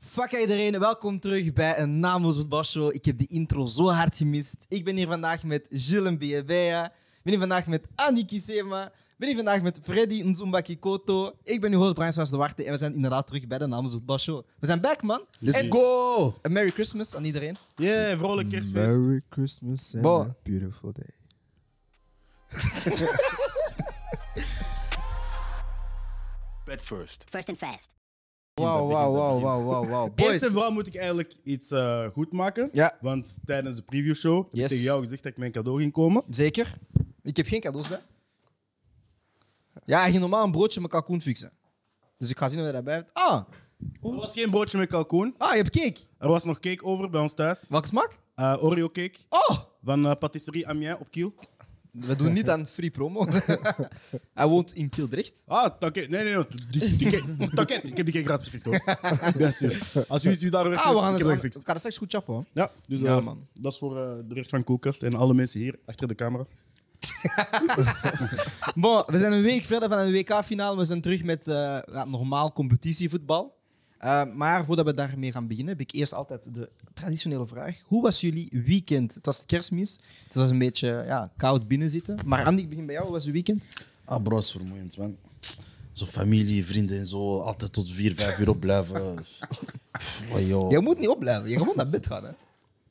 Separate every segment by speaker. Speaker 1: Fakka iedereen, welkom terug bij een naamloos voetbalshow. Ik heb die intro zo hard gemist. Ik ben hier vandaag met Gilles Biebea. Ik ben hier vandaag met Annie Kisema. Ik ben hier vandaag met Freddy Nzumba Kikoto. Ik ben uw host Brian Swaas de Warte en we zijn inderdaad terug bij de naamloos voetbalshow. We zijn back, man.
Speaker 2: Let's
Speaker 1: En
Speaker 2: go!
Speaker 1: een Merry Christmas aan iedereen.
Speaker 2: Yeah, vrolijk kerstfeest.
Speaker 3: Merry Christmas and
Speaker 1: Bo.
Speaker 3: a beautiful day.
Speaker 2: Bed first.
Speaker 4: First and fast.
Speaker 1: Wauw,
Speaker 2: begint,
Speaker 1: wauw,
Speaker 2: dat
Speaker 1: wauw,
Speaker 2: begint.
Speaker 1: wauw, wauw, wauw.
Speaker 2: Eerst en
Speaker 1: Boys,
Speaker 2: vooral moet ik eigenlijk iets eh, goed maken.
Speaker 1: Ja.
Speaker 2: Want tijdens de previewshow heb
Speaker 1: Yes.
Speaker 2: ik tegen jou gezegd dat ik mijn cadeau ging komen.
Speaker 1: zeker. Ik heb geen cadeaus bij. Ja, hij ging normaal een broodje met kalkoen fixen. Dus ik ga zien of hij daarbij heeft. Ah,
Speaker 2: Er was geen broodje met kalkoen.
Speaker 1: ah, je hebt cake.
Speaker 2: Er was nog cake over bij ons thuis.
Speaker 1: Welke smaak?
Speaker 2: Eh, Oreo cake
Speaker 1: Oh!
Speaker 2: van eh, patisserie Amiens op Kiel.
Speaker 1: We doen niet aan free promo. Hij woont in Kildrecht.
Speaker 2: Ah, dank Nee, nee, nee. Die, die cake, dank je. Ik heb die cake gratis gefixt hoor. Bien sûr. Als u is, u daar weg.
Speaker 1: Ah, we gaan
Speaker 2: ik
Speaker 1: het
Speaker 2: heb dat
Speaker 1: we
Speaker 2: gefixt.
Speaker 1: gaan het straks goed chappen. hoor.
Speaker 2: Ja, dus
Speaker 1: Ja,
Speaker 2: eh,
Speaker 1: man.
Speaker 2: dat is voor eh, de rest van Koelkast en alle mensen hier achter de camera.
Speaker 1: Ah, Bon, we zijn een week verder van een WK-finale. We zijn terug met eh, ja, normaal competitievoetbal. Eh, maar voordat we daarmee gaan beginnen, heb ik eerst altijd de traditionele vraag. Hoe was jullie weekend? Het was kerstmis. Het was een beetje ja, koud binnenzitten. Maar Andy, ik begin bij jou. Hoe was je weekend?
Speaker 5: Ah, bro, is vermoeiend, man. Zo familie, vrienden en zo, altijd tot vier, vijf uur opblijven. Pff, oh, joh.
Speaker 1: Jij moet niet opblijven. Je moet naar bed gaan. Hè.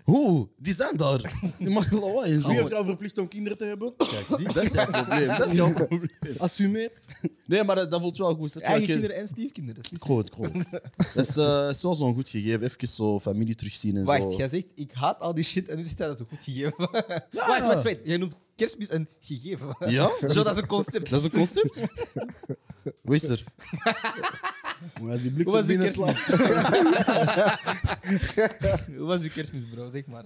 Speaker 5: Hoe? Die zijn daar. Die mag wel lawaai en zo.
Speaker 1: Oh.
Speaker 2: Wie heeft jou verplicht om kinderen te hebben? Kijk, zie.
Speaker 5: Oh, Dat is jouw probleem. Dat is jouw probleem. Assumeer. Nee, maar dat, dat voelt wel goed. Zet wel
Speaker 1: Eigen
Speaker 5: een keer-
Speaker 1: kinderen en stiefkinderen. dat is-
Speaker 5: Goed, goed. Dat is, eh, is wel zo'n goed gegeven. Even zo familie terugzien en zo.
Speaker 1: Wacht, jij zegt ik haat al die shit en nu zit hij dat zo goed gegeven. Wacht, wacht, wacht. Jij noemt kerstmis een gegeven.
Speaker 5: Ja?
Speaker 1: Zo, dat is een concept.
Speaker 5: Dat is een concept? Wees er.
Speaker 2: Als die
Speaker 1: Hoe was
Speaker 2: bliksem
Speaker 1: die
Speaker 2: binnen
Speaker 1: kerstmis? Hoe was je kerstmis, bro? Zeg maar.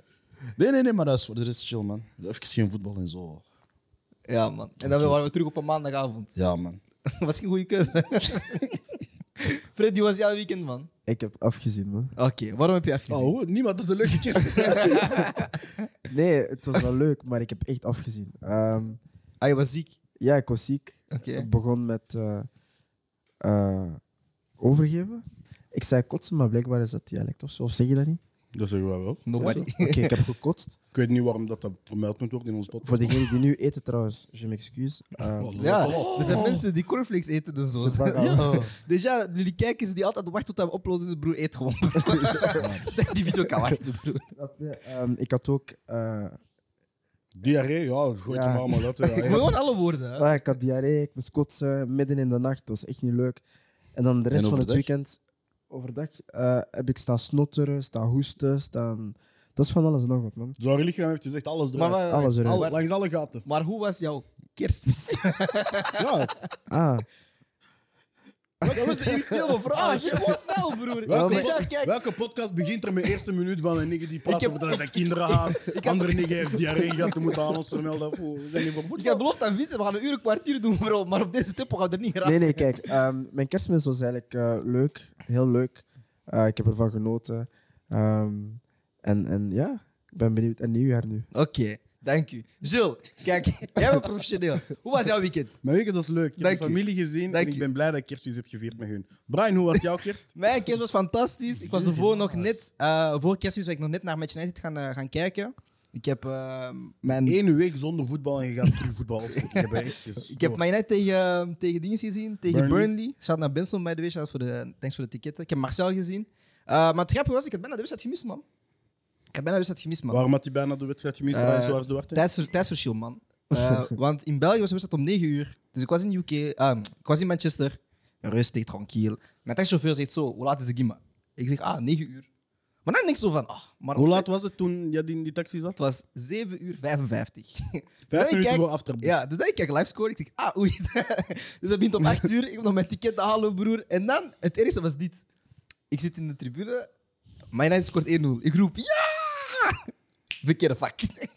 Speaker 5: Nee, nee, nee, maar dat is voor de rest chill, man. Even geen voetbal en zo.
Speaker 1: Ja, man. En dan waren we terug op een maandagavond.
Speaker 5: Ja, man.
Speaker 1: was geen goede keuze. Fred, die was jouw weekend, man.
Speaker 3: Ik heb afgezien, man.
Speaker 1: Oké, waarom heb je afgezien?
Speaker 2: Oh, niemand had een leuke kerst.
Speaker 3: Nee, het was wel leuk, maar ik heb echt afgezien. Ehm,
Speaker 1: Ah, je was ziek.
Speaker 3: ja, ik was ziek.
Speaker 1: Oké.
Speaker 3: Het begon met eh, eh, overgeven. Ik zei kotsen, maar blijkbaar is dat dialect of zo. Of zeg je dat niet?
Speaker 2: Dat zeggen we wel.
Speaker 1: Nobody.
Speaker 3: Oké, ik heb gekotst.
Speaker 2: Ik weet niet waarom dat, dat vermeld moet worden in ons podcast.
Speaker 3: Voor degenen die nu eten trouwens, je m'excuse. Ehm,
Speaker 1: Ja,
Speaker 2: Oh,
Speaker 1: er zijn mensen die cornflakes eten, dus zo.
Speaker 3: Ze bakken al.
Speaker 1: Déjà, jullie kijkers die altijd wachten tot hij uploaden, dus broer, eet gewoon. die video kan wachten, broer.
Speaker 3: Ehm, ik had ook eh,
Speaker 2: Diarree, ja, gooi
Speaker 3: Ja.
Speaker 2: het maar allemaal uit. hè. Ja, ja.
Speaker 1: Gewoon alle woorden. hè.
Speaker 3: Ah, ik had diarree, ik moest kotsen, midden in de nacht. Dat was echt niet leuk. En dan de rest
Speaker 5: En
Speaker 3: van het
Speaker 5: overdag?
Speaker 3: weekend, overdag, eh, heb ik staan snotteren, staan hoesten, staan... Dat is van alles en nog wat, man.
Speaker 2: Zo lichaam heeft gezegd, alles
Speaker 1: Maar, eh,
Speaker 2: eruit.
Speaker 1: maar,
Speaker 3: Alles eruit.
Speaker 2: Alles, langs alle gaten.
Speaker 1: maar hoe was jouw kerstmis?
Speaker 2: Ja,
Speaker 3: Ah,
Speaker 2: dat was de eerste hele
Speaker 1: Ah,
Speaker 2: vraag.
Speaker 1: je was wel, broer.
Speaker 2: Welke,
Speaker 1: Déjà,
Speaker 2: pod-
Speaker 1: kijk.
Speaker 2: welke podcast begint er met de eerste minuut van een nigger die praat
Speaker 1: Ik heb-
Speaker 2: over dat hij zijn kinderen haat, andere nigger heeft diarree gehad, we moeten aan ons vermelden. Oeh, We zijn hier voor
Speaker 1: Ik heb
Speaker 2: voetbal.
Speaker 1: beloofd aan vissen, we gaan een uur een kwartier doen, bro. Maar op deze tempo gaan we er niet raken.
Speaker 3: nee, nee, kijk. ehm, mijn kerstmis was eigenlijk eh, leuk. Heel leuk. Eh, ik heb ervan genoten. Ehm, en, en ja, ik ben benieuwd. En nieuwjaar nu.
Speaker 1: Oké, dank u. Gilles, kijk, jij bent professioneel. Hoe was jouw weekend?
Speaker 2: Maar weet je, dat is leuk. Ik heb
Speaker 1: Dank
Speaker 2: de
Speaker 1: je.
Speaker 2: familie gezien
Speaker 1: Dank
Speaker 2: en ik
Speaker 1: je.
Speaker 2: ben blij dat ik kerstvis heb gevierd met hun. Brian, hoe was jouw kerst?
Speaker 1: Mijn kerst was fantastisch. Ik was ervoor nog net, eh, voor kerstmis was ik nog net naar Match United gaan, eh, gaan kijken. Ik heb eh, mijn...
Speaker 2: Eén week zonder voetbal en je gaat terug voetbal opzoeken. Ik heb echt
Speaker 1: Ik heb mij net tegen, eh, tegen dingen gezien, tegen
Speaker 2: oh. Burnley.
Speaker 1: Burnley. Shout naar Benson, by the way. Shout voor de, thanks voor de ticketten. Ik heb Marcel gezien. Eh, maar het grappige was, ik had bijna de wedstrijd gemist, man. Ik heb bijna de wedstrijd gemist, man.
Speaker 2: Waarom had hij bijna de wedstrijd gemist,
Speaker 1: Eh,
Speaker 2: Brian Soares Duarte?
Speaker 1: Tijdsver- tijdsverschil, man. Eh, want in België was de wedstrijd om 9 uur. Dus ik was in UK, eh, ik was in Manchester. Rustig, tranquil. Mijn taxichauffeur zegt zo, hoe laat is de Gimma? Ik zeg, ah, 9 uur. Maar dan denk ik zo van, ah, maar
Speaker 2: Hoe laat was het toen je in die taxi zat?
Speaker 1: het was 7 uur 55. Dan
Speaker 2: Vijf
Speaker 1: ik
Speaker 2: minuten
Speaker 1: kijk-
Speaker 2: voor aftrap.
Speaker 1: Ja, dus dan kijk ik livescore. Ik zeg, ah, oei. dus dat begint om 8 uur. Ik moet nog mijn ticket halen, broer. En dan, het ergste was dit. Ik zit in de tribune. Mijn United scoort 1-0. Ik roep, ja! Verkeerde vak.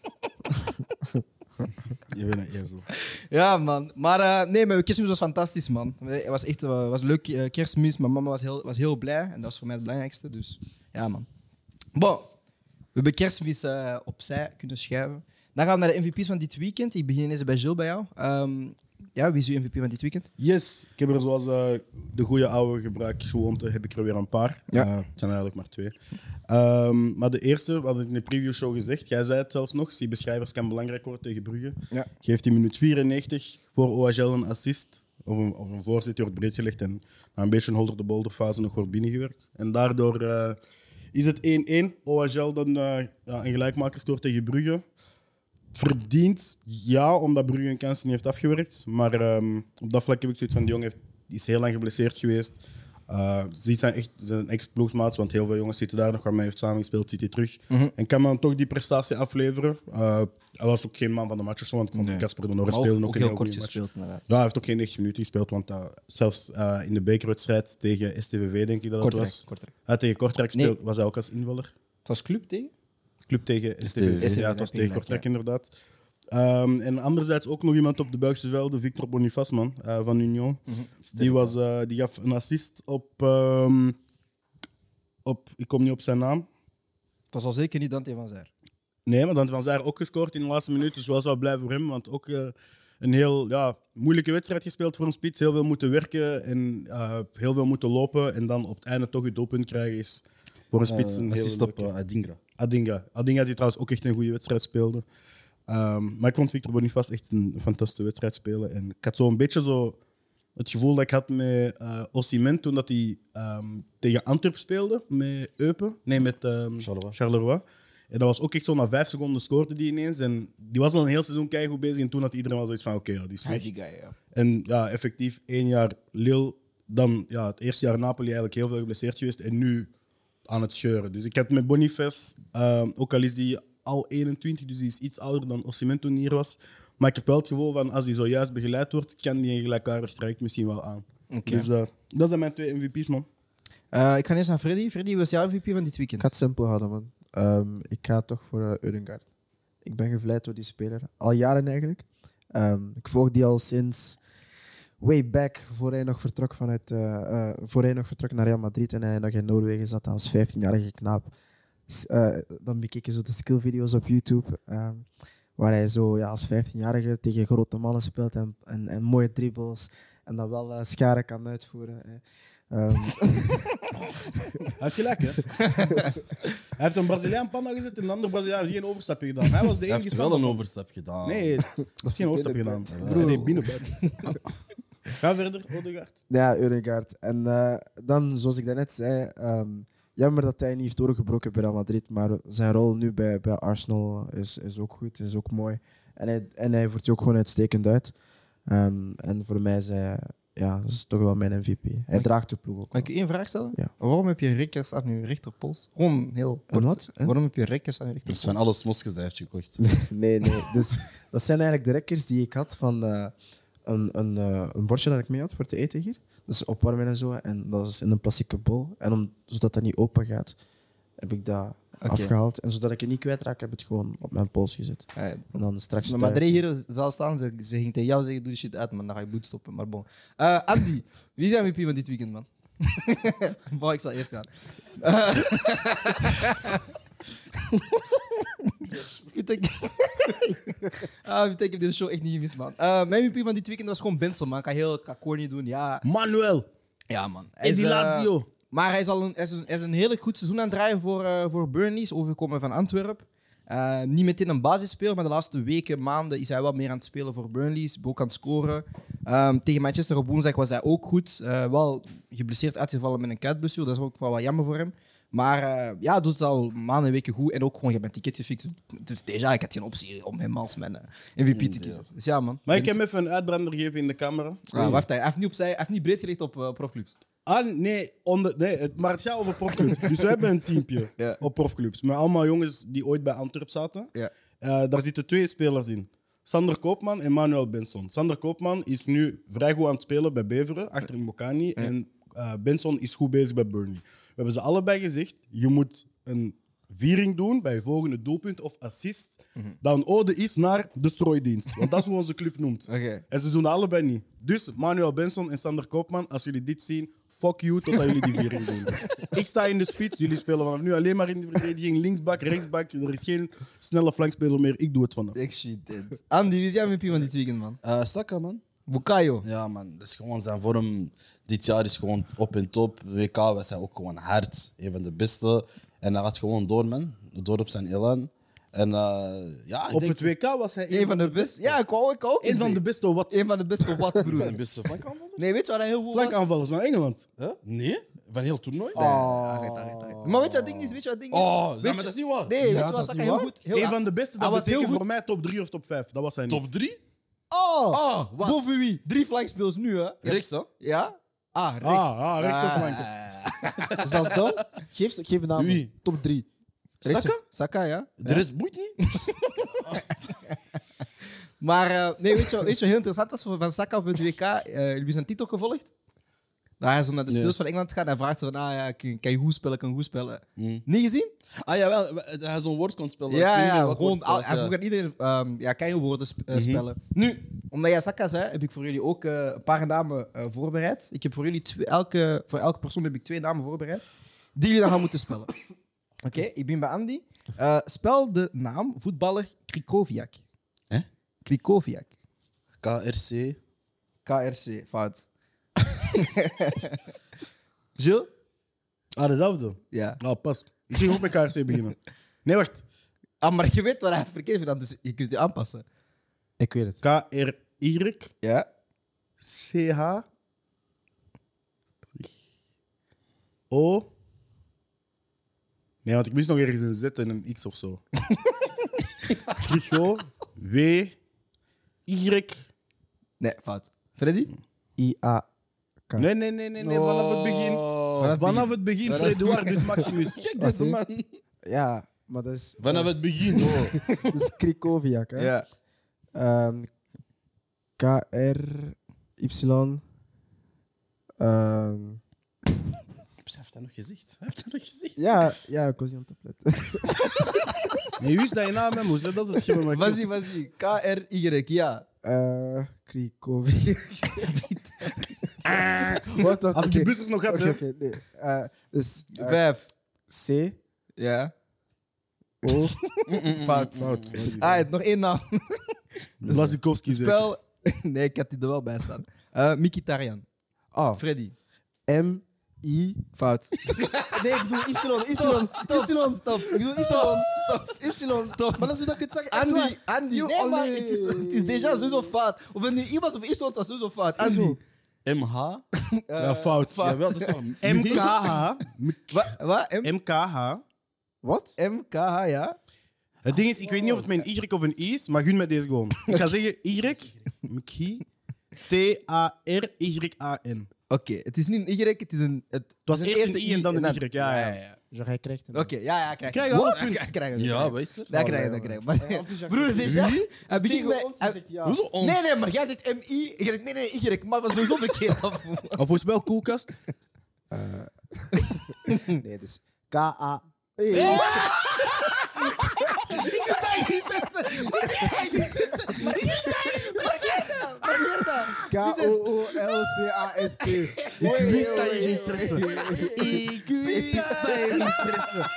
Speaker 2: Je bent een ezel.
Speaker 1: ja, man. Maar eh, nee, mijn kerstmis was fantastisch, man. Het was echt eh, was leuk eh, kerstmis. Mijn mama was heel, was heel blij. En dat was voor mij het belangrijkste. Dus ja, man. Bon, we hebben kerstmis eh, opzij kunnen schuiven. Dan gaan we naar de MVP's van dit weekend. Ik begin eens bij Jill bij jou. Ehm, Ja, wie is uw MVP van dit weekend?
Speaker 2: Yes, ik heb er zoals eh, de goede oude gebruiksgewoonte heb ik er weer een paar.
Speaker 1: Ja.
Speaker 2: Eh, het zijn eigenlijk maar twee. Ehm, maar de eerste, we hadden het in de previewshow gezegd, jij zei het zelfs nog, zie beschrijvers kan belangrijk worden tegen Brugge.
Speaker 1: Ja.
Speaker 2: Geeft in minuut 94 voor OHL een assist, of een, of een voorzet, die wordt breedgelegd en na een beetje een holder-de-bolder fase nog wordt binnengewerkt. En daardoor eh, is het 1-1. OHL dan eh, ja, een gelijkmaker scoort tegen Brugge. Verdient, ja, omdat Brugge een kans niet heeft afgewerkt. Maar ehm, op dat vlak heb ik zoiets van, de jongen heeft, is heel lang geblesseerd geweest. Eh, ze zijn echt zijn ex-ploegsmaats, want heel veel jongens zitten daar nog, waarmee hij heeft samengespeeld, zit hij terug.
Speaker 1: Mhm.
Speaker 2: En kan dan toch die prestatie afleveren. Eh, hij was ook geen man van de match of zo, want ik vond
Speaker 1: Nee.
Speaker 2: Casper de Norris
Speaker 1: Maar ook-
Speaker 2: spelen ook,
Speaker 1: ook
Speaker 2: een
Speaker 1: heel
Speaker 2: heel
Speaker 1: kort
Speaker 2: goede match.
Speaker 1: gespeeld, inderdaad.
Speaker 2: Ja, hij heeft ook geen 90 minuten gespeeld, want eh, zelfs eh, in de bekerwedstrijd tegen STVV, denk ik dat het
Speaker 1: Kortrijk,
Speaker 2: was.
Speaker 1: Kortrijk.
Speaker 2: Ah, tegen Kortrijk
Speaker 1: Nee.
Speaker 2: speelde, was hij ook als invaller
Speaker 1: Het was club tegen?
Speaker 2: club tegen
Speaker 5: STVV.
Speaker 2: STV. Ja, het was
Speaker 1: STVV,
Speaker 2: tegen Kortrijk, inderdaad. Ehm, en anderzijds ook nog iemand op de Belgische velden, Victor Bonifasman eh, van Union.
Speaker 5: Mhm.
Speaker 2: die, was, eh, die gaf een assist op, ehm, op... Ik kom niet op zijn naam.
Speaker 1: Het was al zeker niet Dante van Zijr.
Speaker 2: Nee, maar dan Van Zijr ook gescoord in de laatste minuut. Dus wel zou blijven voor hem. Want ook eh, een heel ja, moeilijke wedstrijd gespeeld voor een spits. Heel veel moeten werken en eh, heel veel moeten lopen. En dan op het einde toch het doelpunt krijgen is voor een spits een
Speaker 5: Eh,
Speaker 2: heel
Speaker 5: assist op
Speaker 2: leuke-
Speaker 5: eh, Adingra.
Speaker 2: Adinga. Adinga die trouwens ook echt een goede wedstrijd speelde. Ehm, maar ik vond Victor Bonifaz echt een fantastische wedstrijd spelen. En ik had zo'n beetje zo het gevoel dat ik had met eh Osimhen toen dat hij ehm, tegen Antwerp speelde. Met Eupen. Nee, met ehm,
Speaker 5: Charleroi.
Speaker 2: Charleroi. En dat was ook echt zo na vijf seconden scoorde die ineens. En die was al een heel seizoen keigoed bezig. En toen had iedereen wel zoiets van, oké, ja, die is weg.
Speaker 1: guy, ja.
Speaker 2: En ja, effectief één jaar Lille, dan ja, het eerste jaar Napoli eigenlijk heel veel geblesseerd geweest en nu aan het scheuren. Dus ik had met Boniface, ehm, ook al is die al 21, dus die is iets ouder dan Osimhen toen hij hier was. Maar ik heb wel het gevoel van als hij zojuist begeleid wordt, kan die een gelijkaardig traject misschien wel aan. Dus eh, dat zijn mijn twee MVP's, man.
Speaker 1: Eh, ik ga eerst naar Freddy. Freddy, was jouw MVP van dit weekend?
Speaker 3: Ik ga het simpel houden, man. Ehm, ik ga toch voor eh, Eudegaard. Ik ben gevleid door die speler. Al jaren eigenlijk. Ehm, ik volg die al sinds way back, voor hij nog vertrok, vanuit, eh, eh, voor hij nog vertrok naar Real Madrid en hij nog in Noorwegen zat als 15-jarige knaap. S- eh, dan bekeek je zo de skillvideo's op YouTube, ehm, waar hij zo ja, als 15-jarige tegen grote mannen speelt en, en, en mooie dribbles en dan wel eh, scharen kan uitvoeren. eh. Ehm,
Speaker 2: Hij heeft gelijk, hè? hij heeft een Braziliaan panda gezet en een ander Braziliaan heeft geen overstapje gedaan. Hij was de
Speaker 5: Hij
Speaker 2: enige.
Speaker 5: heeft wel een overstap gedaan.
Speaker 2: Nee, hij heeft geen overstapje gedaan.
Speaker 3: binnenbuit.
Speaker 2: Broer, nee, binnenbuiten. Ga verder, Odegaard.
Speaker 3: Ja, Eudegaard. En eh, dan, zoals ik daarnet zei, ehm, jammer dat hij niet heeft doorgebroken bij Real Madrid, maar zijn rol nu bij, bij Arsenal is, is ook goed, is ook mooi. En hij, en hij voert je ook gewoon uitstekend uit. Ehm, en voor mij is hij, ja, dat is toch wel mijn MVP. Hij
Speaker 1: ik-
Speaker 3: draagt de ploeg ook.
Speaker 1: Mag
Speaker 3: wel.
Speaker 1: ik u één vraag stellen?
Speaker 3: Ja.
Speaker 1: Waarom heb je rekkers aan je rechterpols? Waarom heel
Speaker 3: Een
Speaker 1: kort.
Speaker 3: wat? Hè?
Speaker 1: Waarom heb je rekkers aan je
Speaker 5: Dat is
Speaker 1: rechterpols?
Speaker 5: Dus van alle smoskes die hij heeft gekocht.
Speaker 3: Nee, nee. Dus dat zijn eigenlijk de rekkers die ik had van eh, een, een, eh, een bordje dat ik mee had voor te eten hier. Dus opwarmen en zo. En dat is in een plastieke bol. En om, zodat dat niet open gaat, heb ik dat afgehaald. En zodat ik het niet kwijtraak, heb ik het gewoon op mijn pols gezet.
Speaker 1: Ah, ja.
Speaker 3: En dan straks.
Speaker 1: Als mijn
Speaker 3: thuis-
Speaker 1: madre hier zou staan, ze, ze ging tegen jou zeggen: doe die shit uit, man. Dan ga je boet stoppen. Maar bon. Eh, Andy, wie is jouw MVP van dit weekend, man? bon, ik zal eerst gaan. Eh, Pieter, ik- Ah, Pieter, ik heb deze show echt niet gemist, man. Eh, mijn MVP van dit weekend was gewoon Benson, man. Ik ga heel ik ga corny doen, ja.
Speaker 2: Manuel,
Speaker 1: Ja, man. Hij
Speaker 2: en
Speaker 1: is,
Speaker 2: die
Speaker 1: eh,
Speaker 2: Lazio.
Speaker 1: Maar hij is, al een, hij is een, hij is een heel goed seizoen aan het draaien voor, eh voor Burnley. Is overgekomen van Antwerpen. Eh, niet meteen een basisspeler, maar de laatste weken, maanden is hij wel meer aan het spelen voor Burnley. Is ook aan het scoren. Ehm, tegen Manchester op woensdag was hij ook goed. Eh, wel geblesseerd uitgevallen met een kuitblessure. Dat is ook wel wat jammer voor hem. Maar eh, ja, doet het al maanden en weken goed. En ook gewoon, je bent ticket gefixt. Dus déjà, ik had geen optie om hem als mijn eh, MVP te kiezen. Dus ja, man.
Speaker 2: Mag ik hem even een uitbrander geven in de camera?
Speaker 1: Ah, wacht, hij heeft niet, opzij, hij heeft niet breed gelegd op eh, profclubs.
Speaker 2: Ah, nee, onder, nee het, maar het gaat over profclubs. dus we hebben een teampje
Speaker 1: Ja.
Speaker 2: op profclubs. Met allemaal jongens die ooit bij Antwerp zaten.
Speaker 1: Ja.
Speaker 2: Eh, daar zitten twee spelers in. Sander Koopman en Manuel Benson. Sander Koopman is nu vrij goed aan het spelen bij Beveren, achter Mokani. En eh, Benson is goed bezig bij Burnley. We hebben ze allebei gezegd, je moet een viering doen bij je volgende doelpunt of assist. Dat een ode is naar de strooidienst. Want dat is hoe onze club noemt.
Speaker 1: Oké.
Speaker 2: En ze doen dat allebei niet. Dus Manuel Benson en Sander Koopman, als jullie dit zien, fuck you totdat jullie die viering doen. Ik sta in de spits, jullie spelen vanaf nu alleen maar in de verdediging, linksbak, rechtsbak. Er is geen snelle flankspeler meer, ik doe het vanaf.
Speaker 1: Ik zie dit. Andy, wie is jouw MVP van dit weekend, man?
Speaker 5: Eh Saka, man.
Speaker 1: Bukayo.
Speaker 5: Ja, man, dat is gewoon zijn vorm. Dit jaar is gewoon op en top. WK was hij ook gewoon hard. Een van de beste. En hij gaat gewoon door, man. Door op zijn elan. En eh, ja, ik
Speaker 2: Op
Speaker 5: denk-
Speaker 2: het WK was hij
Speaker 1: Een van de beste. Ja, ik wou ik ook.
Speaker 2: een van de beste wat
Speaker 1: Een van de beste wat,
Speaker 5: Een van de
Speaker 1: broer.
Speaker 5: beste flankaanvallers?
Speaker 1: Nee, weet je wat hij heel goed was?
Speaker 2: flankaanvallers naar Engeland.
Speaker 5: Huh? Ah, Nee, van heel toernooi?
Speaker 1: Ah. Maar weet je wat ding is? Weet je wat ding is?
Speaker 5: Oh, zeg
Speaker 1: Weet
Speaker 5: maar,
Speaker 1: je-
Speaker 5: dat is niet waar.
Speaker 1: Nee, weet je wat Saka heel goed... Heel
Speaker 2: een van de beste,
Speaker 1: Hij
Speaker 2: dat
Speaker 1: was heel
Speaker 2: betekent
Speaker 1: goed.
Speaker 2: voor mij top 3 of top 5. Dat was hij niet.
Speaker 5: Top 3?
Speaker 1: Oh, wat? Boven wie? Drie flankspeels nu, hè?
Speaker 5: Rechts, hè?
Speaker 1: Ja? Ah, rechts.
Speaker 2: Ah, ah, rechts op flanken.
Speaker 3: Zelfs dan, geef, geef een naam.
Speaker 5: Wie?
Speaker 3: Top 3.
Speaker 1: Rechts-
Speaker 5: Saka?
Speaker 1: Saka, ja.
Speaker 5: De rest boeit niet.
Speaker 1: Maar eh, nee, weet je, wat- weet je wat heel interessant was van van Saka op het WK? eh jullie zijn Tito gevolgd? Dat hij zo naar de speels van Engeland gaat en hij vraagt zo van, ah, ja, kan, kan je goed spelen, kan je goed spelen. Niet gezien?
Speaker 5: Ah ja, wel, dat hij zo'n woord kon spelen. Ik
Speaker 1: Ja,
Speaker 5: weet niet
Speaker 1: ja,
Speaker 5: wat
Speaker 1: gewoon,
Speaker 5: woord het
Speaker 1: al,
Speaker 5: was,
Speaker 1: hij
Speaker 5: ja.
Speaker 1: vroeg aan iedereen, ehm, ja, kan je woorden sp- eh, spellen? Nu, omdat jij Saka zei, heb ik voor jullie ook eh, een paar namen eh, voorbereid. Ik heb voor jullie, twee, elke, voor elke persoon heb ik twee namen voorbereid, die jullie dan gaan moeten spellen. Oké, ik ben bij Andy. Eh, spel de naam voetballer Krikoviak.
Speaker 5: Hè?
Speaker 1: Krikoviak.
Speaker 5: KRC.
Speaker 1: KRC, fout. Gilles?
Speaker 2: Ah, dezelfde.
Speaker 1: Ja.
Speaker 2: Ah, pas. Ik ging ook met KRC beginnen. Nee, wacht.
Speaker 1: Ah, maar je weet wat hij verkeerd vindt, dus je kunt je aanpassen.
Speaker 3: Ik weet het.
Speaker 2: K-R-Y-C-H.
Speaker 1: Ja.
Speaker 2: O. Nee, want ik mis nog ergens een Z en een X of zo. Krigo. W. Y.
Speaker 1: Nee, fout. Freddy?
Speaker 3: I-A-K.
Speaker 2: Nee, nee, nee, nee, nee. Vanaf het begin.
Speaker 1: Vanaf
Speaker 2: Vanaf het begin, Fredoir, dus Maximus. Kijk,
Speaker 3: Wat
Speaker 2: deze
Speaker 3: zie je?
Speaker 2: man.
Speaker 3: Ja, maar dat is,
Speaker 5: Vanaf het begin, hoor.
Speaker 3: dat is Krikoviak. Hè?
Speaker 1: Ja.
Speaker 3: Ehm, K-R-Y. Ehm,
Speaker 5: Hij heeft dat nog gezegd. Hij heeft dat nog gezegd.
Speaker 3: ja, ja, ik was niet aan het opletten.
Speaker 2: Nee, wist dat je naam hem moest. hè? Dat is het gegeven. maar ik-
Speaker 1: Vas-y, vas-y. K-R-Y, ja.
Speaker 3: Eh, Krikoviak. Wat wat?
Speaker 2: Als ik
Speaker 3: oké.
Speaker 2: die bussers nog heb,
Speaker 3: Oké,
Speaker 2: hè.
Speaker 3: oké, nee. Eh, dus eh,
Speaker 1: Vijf.
Speaker 3: C,
Speaker 1: Ja.
Speaker 3: O,
Speaker 1: Fout.
Speaker 2: Fout.
Speaker 1: Ah, je hebt nog één naam.
Speaker 2: Blazikowski zeker.
Speaker 1: Spel... Nee, ik had die er wel bij staan. Eh Mikitarian.
Speaker 3: A,
Speaker 1: Freddy.
Speaker 3: M, I.
Speaker 1: Fout.
Speaker 3: Nee, ik bedoel Ypsilon,
Speaker 1: Stop, stop, stop, stop. Ik bedoel, Stop, stop.
Speaker 3: Ypsilon.
Speaker 1: Stop.
Speaker 3: Maar dat is hoe dat ik het zeg. echt
Speaker 1: Andy,
Speaker 3: waar.
Speaker 1: Andy. Oh,
Speaker 3: Yo,
Speaker 1: Nee, maar
Speaker 3: allee.
Speaker 1: het is, het is déjà sowieso fout. Of het nu iemand of iets was, het was sowieso fout. Andy.
Speaker 3: Hoezo?
Speaker 5: MH.
Speaker 1: eh,
Speaker 2: Ja, fout.
Speaker 1: fout.
Speaker 5: Jawel, dat is toch...
Speaker 2: MKH.
Speaker 1: Wa- Wat? M-
Speaker 2: MKH.
Speaker 3: Wat?
Speaker 1: MKH, ja?
Speaker 2: Het ding is, ik weet niet of het met een Y of een I is, maar gun me deze gewoon. Ik ga zeggen Y, Mki, T-A-R-Y-A-N.
Speaker 1: Oké, het is niet een Y, het is een... Het, het
Speaker 2: was
Speaker 1: is
Speaker 2: eerst een I en dan een Y, ja, ja.
Speaker 3: Jij krijgt hem.
Speaker 1: Oké, ja, ja, krijg
Speaker 2: Krijg je half
Speaker 1: Ja, krijg- krijg je.
Speaker 5: Ja, wat is er?
Speaker 1: Dat krijg je, dat krijg je. Maar- Broer, dit is... Hij begint met... hij-
Speaker 3: ja.
Speaker 5: Hoezo ons?
Speaker 1: Nee, nee, maar jij zegt MI. Ik zeg nee, nee, Y. Maar was sowieso verkeerd. afvoer.
Speaker 2: Of voorspel koelkast.
Speaker 3: Nee, dus K-A. Hey. K-O-O-L-C-A-S-T.
Speaker 2: Ik wist dat je ging stressen. Ik wist dat je ging stressen.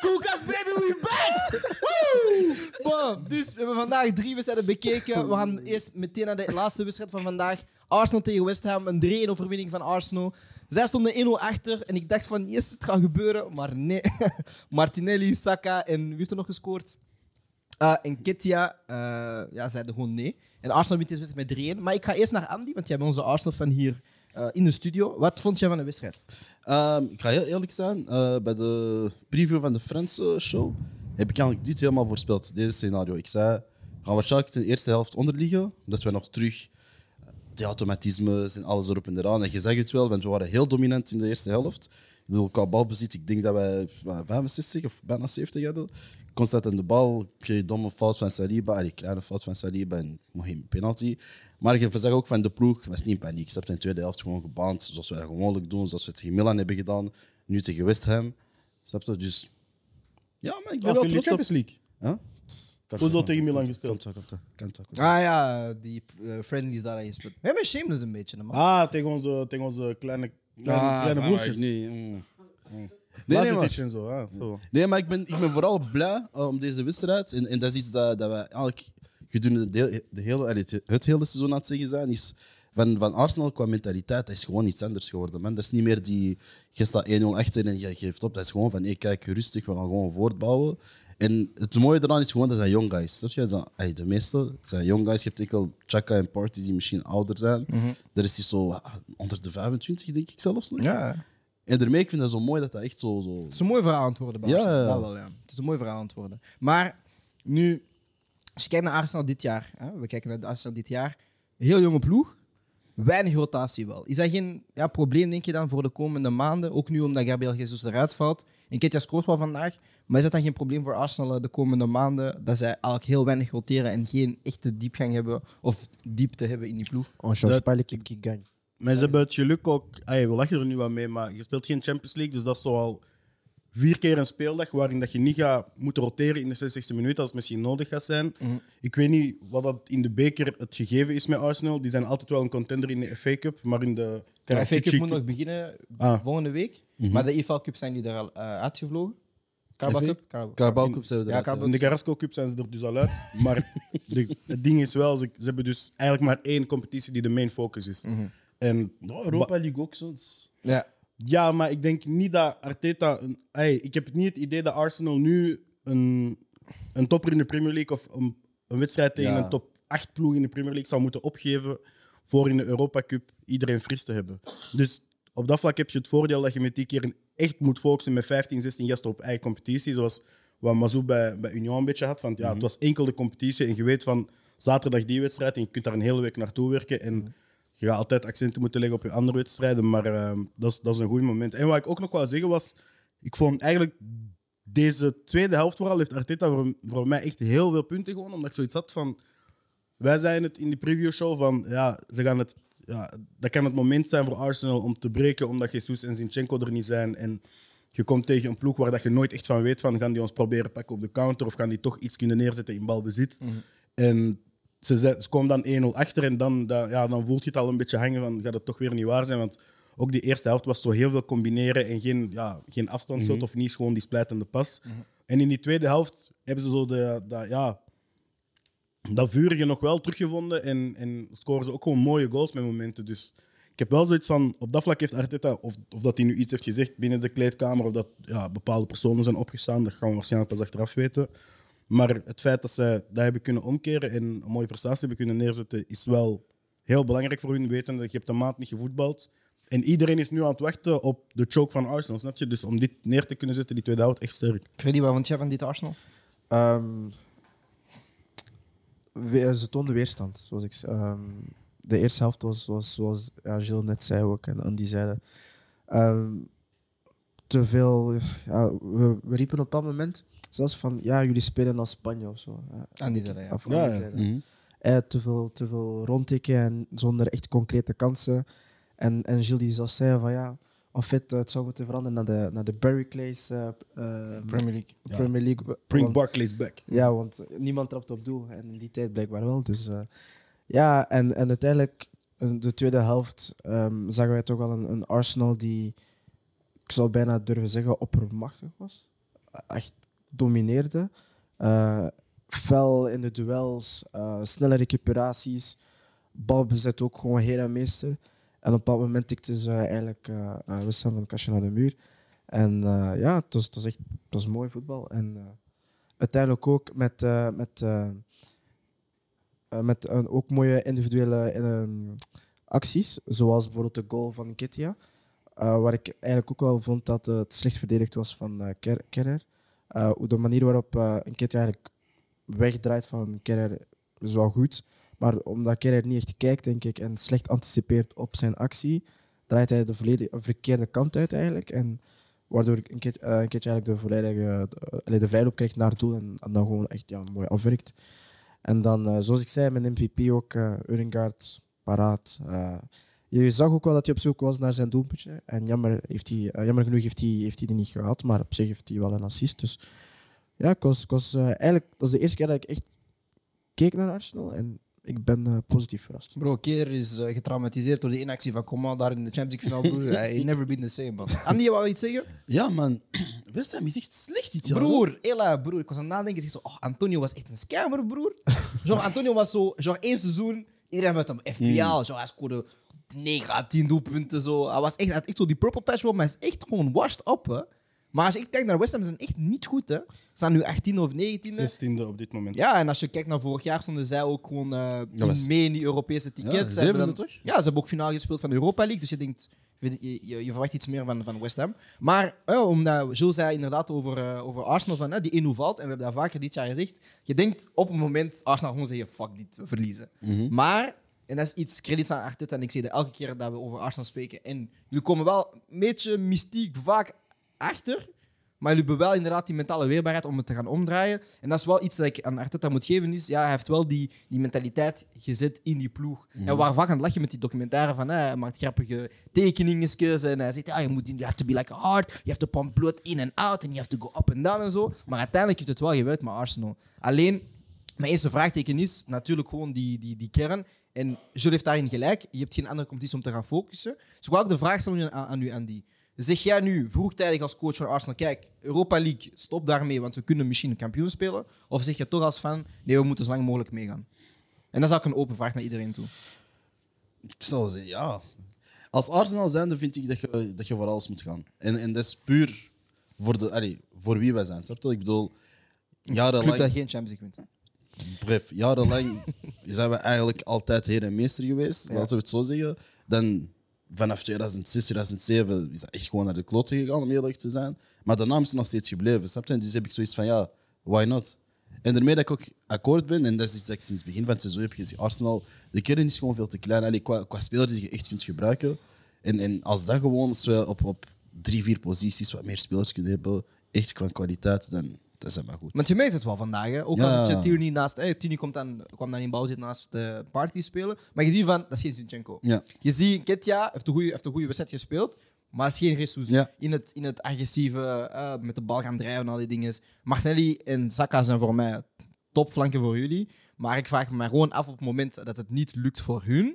Speaker 1: Koelkast Ah. baby, we back! Woe! Bam. Dus we hebben vandaag drie wedstrijden bekeken. We gaan eerst meteen naar de laatste wedstrijd van vandaag. Arsenal tegen West Ham. Een 3-1 overwinning van Arsenal. Zij stonden 1-0 achter en ik dacht van, yes, het gaat gebeuren. Maar nee. Martinelli, Saka en wie heeft er nog gescoord? Eh, en Ketia eh, ja, zeiden gewoon nee. En Arsenal wint deze wedstrijd met 3-1. Maar ik ga eerst naar Andy, want jij bent onze Arsenal-fan hier eh, in de studio. Wat vond jij van de wedstrijd?
Speaker 5: Ehm, ik ga heel eerlijk zijn, eh, bij de preview van de Franse show heb ik eigenlijk dit helemaal voorspeld, deze scenario. Ik zei, we gaan waarschijnlijk de eerste helft onderliggen, dat we nog terug de automatismes en alles erop en eraan. En je zegt het wel, want we waren heel dominant in de eerste helft. Ik bedoel, qua balbezit, ik denk dat wij eh, 65 of bijna 70 hadden. Constant aan de bal, je domme fout van Saliba, die kleine fout van Saliba en Mohim penalty. Maar je verzag ook van de ploeg, was niet in paniek. Ze hebben in de tweede helft gewoon gebaand, zoals wij gewoonlijk doen, zoals we het tegen Milan hebben gedaan, nu tegen West Ham. Snap je? Dus ja, maar ik ben wel trots op...
Speaker 2: League.
Speaker 5: Huh?
Speaker 2: Hoezo tegen Milan gespeeld?
Speaker 5: Komt dat, komt dat, komt dat, komt dat.
Speaker 1: Ah ja, die eh, friendlies daar aan je spit. Wij hebben shameless een beetje, man.
Speaker 2: Ah, tegen onze, tegen onze kleine, kleine,
Speaker 5: Ah,
Speaker 2: kleine
Speaker 5: maar
Speaker 2: broertjes. Nee,
Speaker 5: Nee, mm.
Speaker 2: nee,
Speaker 5: nee, nee, maar-
Speaker 2: en zo. ah, zo.
Speaker 5: Nee, maar ik ben, ik ben vooral blij eh, om deze wedstrijd. En, en dat is iets dat, dat wij eigenlijk gedurende de, heel- de hele, allee, het, het hele seizoen aan het zeggen zijn, is van, van Arsenal qua mentaliteit, dat is gewoon iets anders geworden. Man. Dat is niet meer die, je staat 1-0 achter en je geeft op. Dat is gewoon van, hey, kijk, rustig, we gaan gewoon voortbouwen. En het mooie eraan is gewoon, dat zijn young guys. Snap je? Dat zijn, allee, de meeste zijn young guys. Je hebt enkel Chaka en Party die misschien ouder zijn. Daar is die zo ah, onder de 25, denk ik zelfs nog.
Speaker 1: Ja.
Speaker 5: En daarmee, ik vind dat zo mooi dat dat echt zo... zo...
Speaker 1: Het is een mooi verhaal aan het worden bij
Speaker 5: Ja.
Speaker 1: Arsenal. Dat wel, ja. Het is een mooi verhaal aan het worden. Maar nu, als je kijkt naar Arsenal dit jaar, hè, we kijken naar de Arsenal dit jaar, heel jonge ploeg, weinig rotatie wel. Is dat geen ja, probleem, denk je dan, voor de komende maanden? Ook nu omdat Gabriel Jesus eruit valt. En Ketja scoort wel vandaag, maar is dat dan geen probleem voor Arsenal eh, de komende maanden? Dat zij eigenlijk heel weinig roteren en geen echte diepgang hebben of diepte hebben in die ploeg?
Speaker 3: On change
Speaker 2: Dat-
Speaker 3: pas l'équipe qui gagne.
Speaker 2: Maar ze hebben het geluk ook. Ay, we lachen er nu wat mee, maar je speelt geen Champions League. Dus dat is zo al vier keer een speeldag waarin dat je niet gaat moeten roteren in de 60e minuut als het misschien nodig gaat zijn.
Speaker 1: Mhm.
Speaker 2: Ik weet niet wat dat in de beker het gegeven is met Arsenal. Die zijn altijd wel een contender in de FA Cup, maar in de.
Speaker 1: De FA Cup moet
Speaker 2: Cup-
Speaker 1: nog beginnen
Speaker 2: Ah.
Speaker 1: volgende week, maar de EFL Cup zijn die er al eh, uitgevlogen. Carabao
Speaker 5: FA?
Speaker 1: Cup? Carabao-
Speaker 5: Carabao Cup zijn we
Speaker 1: Ja,
Speaker 5: eruit,
Speaker 1: Carabao-
Speaker 2: In de Carrasco Cup zijn ze er dus al uit. Maar de- het ding is wel, ze, ze hebben dus eigenlijk maar één competitie die de main focus is.
Speaker 1: Mhm.
Speaker 2: En
Speaker 5: hè. Europa League ook soms.
Speaker 1: Ja.
Speaker 2: Ja, maar ik denk niet dat Arteta. Een, hey, ik heb niet het idee dat Arsenal nu een, een topper in de Premier League of een, een wedstrijd tegen
Speaker 5: Ja.
Speaker 2: een top 8 ploeg in de Premier League zou moeten opgeven voor in de Europa Cup iedereen fris te hebben. Dus op dat vlak heb je het voordeel dat je met die keer echt moet focussen met 15, 16 gasten op eigen competitie. Zoals wat Mazou bij, bij Union een beetje had. Van, ja, Het was enkel de competitie en je weet van zaterdag die wedstrijd en je kunt daar een hele week naartoe werken. En je gaat altijd accenten moeten leggen op je andere wedstrijden, maar ehm, dat, is, dat is een goed moment. En wat ik ook nog wou zeggen was, ik vond eigenlijk deze tweede helft vooral heeft Arteta voor, voor mij echt heel veel punten gewonnen, omdat ik zoiets had van... Wij zeiden het in de previewshow van, ja, ze gaan het... Ja, dat kan het moment zijn voor Arsenal om te breken, omdat Jesus en Zinchenko er niet zijn. En je komt tegen een ploeg waar dat je nooit echt van weet van, gaan die ons proberen pakken op de counter of gaan die toch iets kunnen neerzetten in balbezit. En ze, zet- ze komen dan 1-0 achter en dan, dan, ja, dan voelt je het al een beetje hangen van gaat het toch weer niet waar zijn. Want ook die eerste helft was zo heel veel combineren en geen, ja, geen afstandsschot of niet gewoon die splijtende pas. En in die tweede helft hebben ze zo de, dat, ja, dat vuurige nog wel teruggevonden en, en scoren ze ook gewoon mooie goals met momenten. Dus ik heb wel zoiets van, op dat vlak heeft Arteta, of, of dat hij nu iets heeft gezegd binnen de kleedkamer, of dat ja, bepaalde personen zijn opgestaan, dat gaan we waarschijnlijk pas achteraf weten. Maar het feit dat ze dat hebben kunnen omkeren en een mooie prestatie hebben kunnen neerzetten, is wel heel belangrijk voor hun. Weten dat je hebt een maand niet gevoetbald. En iedereen is nu aan het wachten op de choke van Arsenal, snap je? Dus om dit neer te kunnen zetten, die tweede helft, echt sterk.
Speaker 1: Freddy, wat vond jij van dit Arsenal?
Speaker 3: Ehm, we- ze toonden weerstand, zoals ik zei. Ehm, de eerste helft was, was zoals ja, Gilles net zei ook en Andy zeiden. Ehm, te veel. Ja, we, we riepen op dat moment zelfs van ja, jullie spelen als Spanje of zo. Ja,
Speaker 1: Aan die zeiden, Ah, ja.
Speaker 3: of
Speaker 2: Ja,
Speaker 3: Andy
Speaker 2: ja.
Speaker 3: zeiden.
Speaker 5: Mhm.
Speaker 3: Eh, te, veel, te veel rondtikken en zonder echt concrete kansen. En, en Gilles die zelfs zei van ja, of het, het zou moeten veranderen naar de, naar de Barriclays eh, eh,
Speaker 1: Premier League.
Speaker 3: Premier League.
Speaker 2: Bring
Speaker 3: want-
Speaker 2: Barclays back.
Speaker 3: ja, want niemand trapt op doel. En in die tijd blijkbaar wel. Dus eh, ja, en, en uiteindelijk, eh, de tweede helft, ehm, zagen wij toch wel een, een Arsenal die, ik zou bijna durven zeggen, oppermachtig was. Echt domineerde. Eh, fel in de duels, eh, snelle recuperaties, balbezit ook gewoon heer en meester. En op dat moment tikte ze eigenlijk eh eh, Wissam van Kastje naar de muur. En eh, ja, het was, het was echt het was mooi voetbal. En eh, uiteindelijk ook met, eh, met, eh, eh, met een, ook mooie individuele ehm, acties, zoals bijvoorbeeld de goal van Kittia, eh, waar ik eigenlijk ook wel vond dat eh, het slecht verdedigd was van eh, Ker- Kerrer. Eh, hoe de manier waarop eh Kittia eigenlijk wegdraait van Kerrer is wel goed, maar omdat Kerrer niet echt kijkt, denk ik, en slecht anticipeert op zijn actie, draait hij de volledig- verkeerde kant uit eigenlijk. En Waardoor een keertje, eh, een keertje eigenlijk de volledige de, allee, de vrijloop krijgt naar het doel en, en dan gewoon echt ja, mooi afwerkt. En dan, eh, zoals ik zei, mijn MVP ook, eh Urengaard, paraat. eh. je zag ook wel dat hij op zoek was naar zijn doelpuntje. En jammer, heeft hij, eh, jammer genoeg heeft hij, heeft hij die niet gehad, maar op zich heeft hij wel een assist. Dus ja, ik was, ik was, eh, eigenlijk, dat is de eerste keer dat ik echt keek naar Arsenal. En ik ben eh, positief verrast.
Speaker 1: Bro, Keer is eh, getraumatiseerd door die inactie van Coman daar in de Champions League finale. Broer, Hij never been the same, man. Andy, je wou iets zeggen?
Speaker 5: Ja, man. West Ham is echt slecht dit jaar. hoor.
Speaker 1: Broer, Ella, broer. Ik was aan het nadenken. Ik zeg zo, oh, Antonio was echt een scammer, broer. Genre, Antonio was zo, genre één seizoen, iedereen met hem FPL. Genre, hij scoorde 9 à 10 doelpunten. Zo. Hij was echt, hij had echt zo die purple patch, bro, maar hij is echt gewoon washed up, hè. Maar als je echt kijkt naar West Ham, ze zijn echt niet goed, hè. Ze staan nu 18 of 19
Speaker 2: 16e op dit moment.
Speaker 1: ja, en als je kijkt naar vorig jaar, stonden zij ook gewoon eh,
Speaker 5: Ja, maar-
Speaker 1: mee in die Europese tickets.
Speaker 5: Ja,
Speaker 1: Ze
Speaker 5: zevende
Speaker 1: hebben
Speaker 5: toch?
Speaker 1: Ja, ze hebben ook finale gespeeld van de Europa League. Dus je denkt, weet je, je, je verwacht iets meer van, van West Ham. Maar eh, omdat Jules zei inderdaad over, eh, over Arsenal, van, eh, die 1 valt. En we hebben dat vaker dit jaar gezegd. Je denkt op een moment, Arsenal gewoon zeggen, fuck dit, we verliezen.
Speaker 5: Mhm.
Speaker 1: Maar... En dat is iets credits aan Arteta. En ik zeg dat elke keer dat we over Arsenal spreken. En jullie komen wel een beetje mystiek vaak achter. Maar jullie hebben wel inderdaad die mentale weerbaarheid om het te gaan omdraaien. En dat is wel iets dat ik aan Arteta moet geven. Is, ja, hij heeft wel die, die mentaliteit gezet in die ploeg. En waar vaak aan het lachen met die documentaire van... hè, Hij maakt grappige tekeningetjes. En hij zegt, ja, je moet, you have to be like a heart. You have to pump blood in and out. And you have to go up and down en zo. Maar uiteindelijk heeft het wel gewerkt met Arsenal. Alleen, mijn eerste vraagteken is natuurlijk gewoon die, die, die kern. En Jules heeft daarin gelijk. Je hebt geen andere competitie om te gaan focussen. Dus ik wil ook de vraag stellen aan, aan u, Andy. Zeg jij nu vroegtijdig als coach van Arsenal, kijk, Europa League, stop daarmee, want we kunnen misschien kampioen spelen? Of zeg je toch als fan, nee, we moeten zo lang mogelijk meegaan? En dat is ook een open vraag naar iedereen toe.
Speaker 5: Ik zou zeggen, ja. Als Arsenal zijnde vind ik dat je, dat je voor alles moet gaan. En, en dat is puur voor, de, allee, voor wie wij zijn. Snap je? Ik bedoel,
Speaker 1: Club dat
Speaker 5: jarenlang,
Speaker 1: geen Champions League wint.
Speaker 5: bref, jarenlang zijn we eigenlijk altijd heer en meester geweest. Laten we het zo zeggen. Dan vanaf 2006, 2007 is dat echt gewoon naar de kloten gegaan, om eerlijk te zijn. Maar de naam is nog steeds gebleven. Snap je? En Dus heb ik zoiets van, ja, why not? En daarmee dat ik ook akkoord ben, en dat is iets dat ik sinds het begin van het seizoen heb gezien. Arsenal, de kern is gewoon veel te klein. Allee, qua, qua spelers die je echt kunt gebruiken. En, en als dat gewoon, als we op, op drie, vier posities wat meer spelers kunnen hebben, echt qua kwaliteit, dan dat is dat maar goed.
Speaker 1: Want je merkt het wel vandaag, hè? ook
Speaker 5: Ja.
Speaker 1: als het Tierney naast... Eh, Tierney komt dan, kwam dan in bouw zitten naast de party spelen. Maar je ziet van, dat is geen Zinchenko.
Speaker 5: Ja.
Speaker 1: Je ziet, Ketja heeft een goede heeft een goede wedstrijd gespeeld, maar is geen Jesus.
Speaker 5: Ja.
Speaker 1: In, het, in het agressieve, eh, met de bal gaan drijven en al die dingen. Martinelli en Saka zijn voor mij topflanken voor jullie. Maar ik vraag me gewoon af op het moment dat het niet lukt voor hun,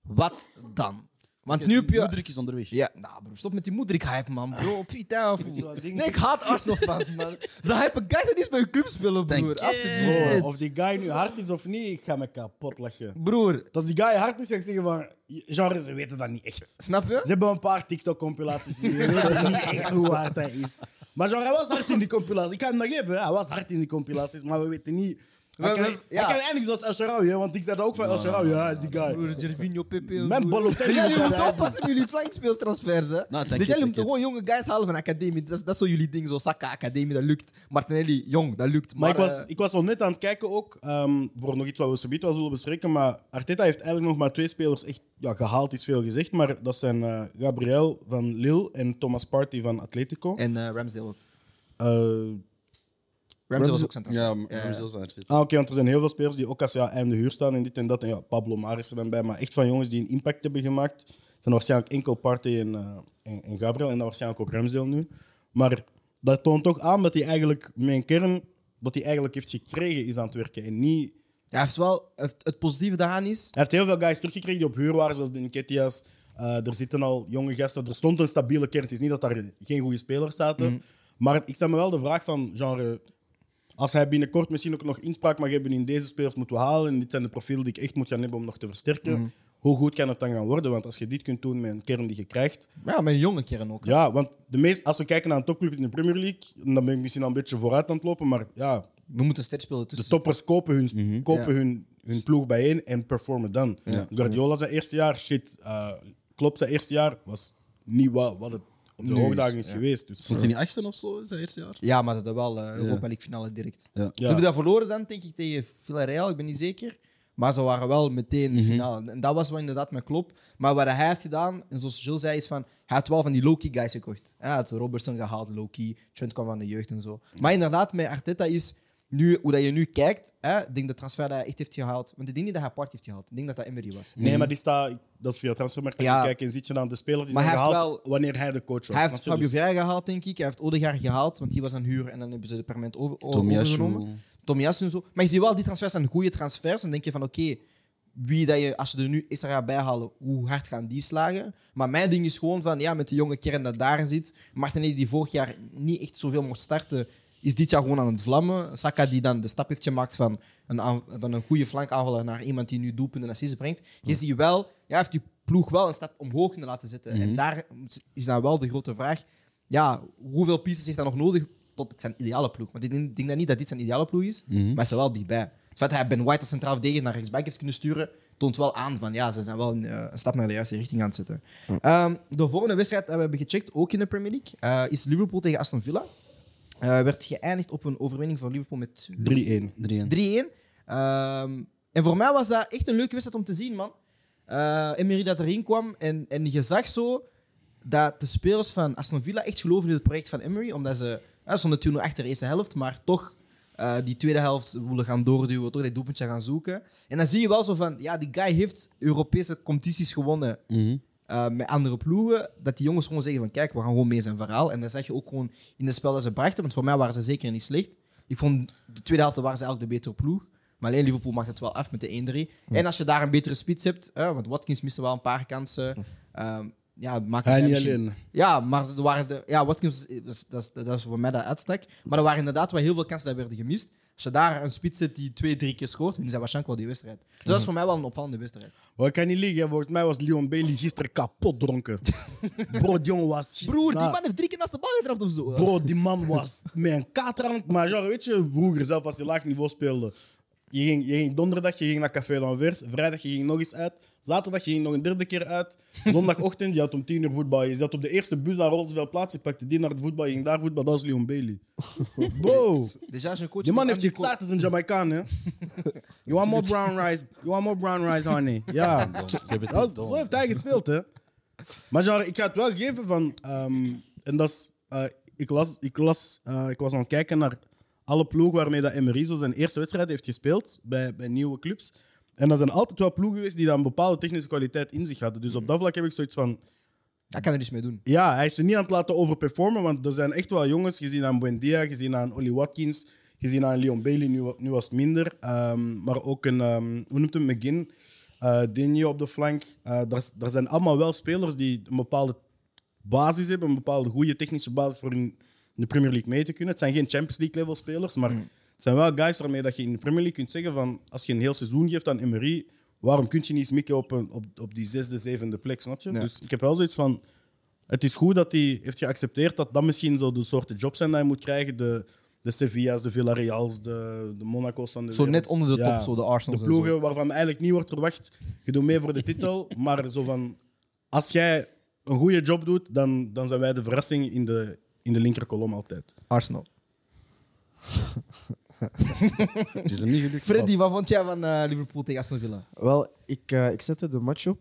Speaker 1: wat dan? Want nu heb je...
Speaker 5: Moedrik is onderweg.
Speaker 1: Ja, nou bro, stop met die moederikhype, man, bro. Pita, of... Nee, ik haat Arsenal-fans, man. Ze hypen guys die niet bij hun club spelen, broer. Alsjeblieft.
Speaker 2: Bro, of die guy nu hard is of niet, ik ga me kapot lachen.
Speaker 1: Broer,
Speaker 2: Als die guy hard is, ga ik zeggen van... Genre, ze weten dat niet echt.
Speaker 1: snap
Speaker 2: Ze
Speaker 1: je?
Speaker 2: hebben een paar TikTok-compilaties gezien. Je weet niet echt hoe hard hij is. Maar genre, hij was hard in die compilaties. Ik kan het nog even, hè. hij was hard in die compilaties, maar we weten niet... Hij
Speaker 1: We-
Speaker 2: kan,
Speaker 1: we-
Speaker 2: hij
Speaker 1: ja.
Speaker 2: kan eigenlijk zoals El Shaarawy, hè, want ik zei dat ook van El Shaarawy. Ja, hij is die guy.
Speaker 1: Nou, Broer, Gervinho, Pepe.
Speaker 2: Mijn
Speaker 1: broer.
Speaker 2: Balotelli
Speaker 1: Ja,
Speaker 2: moet
Speaker 1: jullie moeten
Speaker 2: eruit.
Speaker 1: oppassen met jullie flankspeelstransfers, hè.
Speaker 5: dank je,
Speaker 1: dus jullie
Speaker 5: dank
Speaker 1: moeten
Speaker 5: je.
Speaker 1: gewoon jonge guys halen van academie. Dat is, dat is zo jullie ding, zo Saka, academie, dat lukt. Martinelli, jong, dat lukt.
Speaker 2: Maar ik was,
Speaker 1: eh,
Speaker 2: ik was al net aan het kijken ook, ehm, voor nog iets wat we zo wel zullen bespreken, maar Arteta heeft eigenlijk nog maar twee spelers echt ja, gehaald, is veel gezegd, maar dat zijn eh, Gabriel van Lille en Thomas Partey van Atletico.
Speaker 1: En eh, Ramsdale ook.
Speaker 2: Eh,
Speaker 1: Ramsdale was ook centraal.
Speaker 5: Ja, maar ja. zelfs van Arteta.
Speaker 2: Ah, oké, want er zijn heel veel spelers die ook als ja, einde huur staan en dit en dat. En ja, Pablo Maar is er dan bij, maar echt van jongens die een impact hebben gemaakt. zijn waarschijnlijk enkel Partey en, eh, en, en Gabriel en dan waarschijnlijk ook Ramsdale nu. Maar dat toont toch aan dat hij eigenlijk mijn kern, wat hij eigenlijk heeft gekregen, is aan het werken. En niet...
Speaker 1: Hij heeft wel... Het, het positieve daaraan is...
Speaker 2: Hij heeft heel veel guys teruggekregen die op huur waren, zoals de Nketias. Eh, er zitten al jonge gasten. Er stond een stabiele kern. Het is niet dat daar geen goede spelers zaten. Maar ik stel me wel de vraag van, genre... Als hij binnenkort misschien ook nog inspraak mag hebben in deze spelers moeten we halen. En dit zijn de profielen die ik echt moet gaan hebben om nog te versterken. Hoe goed kan het dan gaan worden? Want als je dit kunt doen met een kern die je krijgt,
Speaker 1: Ja, met een jonge kern ook.
Speaker 2: ja, want de meest, als we kijken naar een topclub in de Premier League, en dan ben ik misschien al een beetje vooruit aan het lopen, maar ja,
Speaker 1: We moeten sterk spelen
Speaker 2: de
Speaker 1: tussen.
Speaker 2: toppers kopen hun, kopen
Speaker 1: Mhm. Ja.
Speaker 2: hun, hun ploeg bijeen en performen dan. Guardiola zijn eerste jaar, shit. eh Klopp zijn eerste jaar was niet wat, wat het op de
Speaker 1: Nu
Speaker 2: hoogdagen
Speaker 1: is,
Speaker 2: is geweest. Dus,
Speaker 5: Stond hij niet achtste of zo in zijn eerste jaar?
Speaker 1: Ja, maar dat is wel eh, Europa League finale direct.
Speaker 5: Ja.
Speaker 1: Ze hebben dat verloren dan, denk ik, tegen Villarreal, ik ben niet zeker. Maar ze waren wel meteen in de finale. En dat was wel inderdaad mijn klop. Maar wat hij heeft gedaan, en zoals Jules zei, is van... Hij had wel van die low-key guys gekocht. Hij had Robertson gehaald, low-key. Trent kwam van de jeugd en zo. Maar inderdaad, met Arteta is... Nu, hoe dat je nu kijkt, hè, ik denk de transfer dat hij echt heeft gehaald... Want ik denk niet dat hij apart heeft gehaald. Ik denk dat dat Emery was.
Speaker 2: Nee, maar die staat, dat is via transfermarkt.
Speaker 1: Mhm. Ja.
Speaker 2: Ja. Kijk, en zit je dan de spelers die
Speaker 1: Maar
Speaker 2: zijn
Speaker 1: hij heeft
Speaker 2: gehaald wanneer hij de coach was.
Speaker 1: Hij heeft
Speaker 2: snap je?
Speaker 1: Fabio
Speaker 2: Dus
Speaker 1: Vieira gehaald, denk ik. Hij heeft Odegaard gehaald, want die was aan huur. En dan hebben ze de permanent over, o-
Speaker 5: Tomiyasu.
Speaker 1: overgenomen. Tomiyasu en zo. Maar je ziet wel, die transfers zijn goede transfers. Dan denk je van, oké, wie dat je, als je er nu extra gaat bijhalen, hoe hard gaan die slagen. Maar mijn ding is gewoon van, ja, met de jonge kern dat daar zit. Martinelli die vorig jaar niet echt zoveel mocht starten, is dit jaar gewoon aan het vlammen. Saka die dan de stap heeft gemaakt van een, aan- van een goede flankaanvaller naar iemand die nu doelpunten en assists brengt. Je ziet wel, ja, hij heeft die ploeg wel een stap omhoog kunnen laten zetten. En daar is dan wel de grote vraag, ja, hoeveel pieces heeft hij nog nodig tot het zijn ideale ploeg? Want ik denk, denk dat niet dat dit zijn ideale ploeg is, maar hij is er wel dichtbij. Het feit dat hij Ben White als centraal verdediger naar rechtsback heeft kunnen sturen, toont wel aan van ja, ze zijn wel een, eh, een stap naar de juiste richting aan het zetten. Ehm, de volgende wedstrijd dat we hebben gecheckt, ook in de Premier League, eh, is Liverpool tegen Aston Villa. Eh, werd geëindigd op een overwinning van Liverpool met
Speaker 2: 3-1.
Speaker 5: 3-1.
Speaker 1: 3-1. Ehm, en voor mij was dat echt een leuke wedstrijd om te zien, man. Eh Emery dat erin kwam en, en je zag zo dat de spelers van Aston Villa echt geloven in het project van Emery, omdat ze ja, stonden toen nog achter de eerste helft, maar toch eh, die tweede helft willen gaan doorduwen, toch dat doelpuntje gaan zoeken. En dan zie je wel zo van, ja, die guy heeft Europese competities gewonnen eh, met andere ploegen, dat die jongens gewoon zeggen van kijk, we gaan gewoon mee zijn verhaal. En dat zag je ook gewoon in het spel dat ze brachten, want voor mij waren ze zeker niet slecht. Ik vond de tweede helft waren ze eigenlijk de betere ploeg. Maar alleen Liverpool maakt het wel af met de 1-3. En als je daar een betere spits hebt, eh, want Watkins miste wel een paar kansen. ehm, ja, maakte
Speaker 2: Hij
Speaker 1: zij
Speaker 2: niet
Speaker 1: misschien-
Speaker 2: alleen.
Speaker 1: ja, maar er waren de, ja, Watkins, eh, dat is, dat, is, dat is voor mij dat uitstak. Maar er waren inderdaad wel heel veel kansen die werden gemist. Als je daar een spits zet die twee, drie keer scoort, winnen ze waarschijnlijk wel die wedstrijd. Dus dat is voor mij wel een opvallende wedstrijd.
Speaker 2: Maar Oh, ik kan niet liegen, hè. volgens mij was Leon Bailey gisteren kapot dronken. Bro, die jongen was... gisteren-
Speaker 1: Broer, die man heeft drie keer naast de bal getrapt of zo.
Speaker 2: Bro, die man was met een kater aan het maar genre, Weet je, vroeger zelf als je laag niveau speelde. Je ging, je ging donderdag je ging naar Café Lanvers, vrijdag je ging nog eens uit, zaterdag je ging nog een derde keer uit, zondagochtend je had om tien uur voetbal. Je zat op de eerste bus naar Roosevelt plaats, je pakte die naar het voetbal, je ging daar voetbal, dat was Leon Bailey. Bro,
Speaker 1: Dus als je een coach
Speaker 2: die man
Speaker 1: van
Speaker 2: heeft je
Speaker 1: Andy Cole-
Speaker 2: zaad, is een Jamaicaan, hè. You want more brown rice, you want more brown rice, honey. Ja, dat is- zo heeft hij gespeeld, hè? Maar genre, ik ga het wel geven van. ehm, en dat is. eh, ik, las, ik, las, eh, ik was aan het kijken naar alle ploegen waarmee dat Emery zo zijn eerste wedstrijd heeft gespeeld bij, bij nieuwe clubs. En dat zijn altijd wel ploegen geweest die dan een bepaalde technische kwaliteit in zich hadden. Dus op dat vlak heb ik zoiets van.
Speaker 1: Hij kan er niets mee doen.
Speaker 2: Ja, hij is ze niet aan het laten overperformen, want er zijn echt wel jongens, gezien aan Buendia, gezien aan Ollie Watkins, gezien aan Leon Bailey, nu, wa- nu was het minder. Ehm, maar ook een, ehm, hoe noemt hem, McGinn, eh Digne op de flank. Eh, daar, s- daar zijn allemaal wel spelers die een bepaalde basis hebben, een bepaalde goede technische basis voor in, in de Premier League mee te kunnen. Het zijn geen Champions League level spelers, maar
Speaker 1: Mm.
Speaker 2: het zijn wel guys waarmee dat je in de Premier League kunt zeggen van, als je een heel seizoen geeft aan Emery, waarom kun je niet mikken op, een, op, op die zesde, zevende plek, snap je?
Speaker 1: Ja.
Speaker 2: Dus ik heb wel zoiets van, het is goed dat hij heeft geaccepteerd dat dat misschien zo de soorten jobs zijn die hij moet krijgen. De, de Sevilla's, de Villarreals, de, de Monaco's van de
Speaker 1: Zo
Speaker 2: wereld.
Speaker 1: net onder de top,
Speaker 2: Ja.
Speaker 1: zo de
Speaker 2: De
Speaker 1: Arsenal.
Speaker 2: ploegen waarvan eigenlijk niet wordt verwacht, je doet mee voor de titel, maar zo van, als jij een goede job doet, dan, dan zijn wij de verrassing in de, in de linkerkolom altijd.
Speaker 1: Arsenal.
Speaker 5: Het is hem niet gelukt.
Speaker 1: Freddy, wat vond jij van eh, Liverpool tegen Aston Villa?
Speaker 3: Wel, ik, eh, ik zette de match op.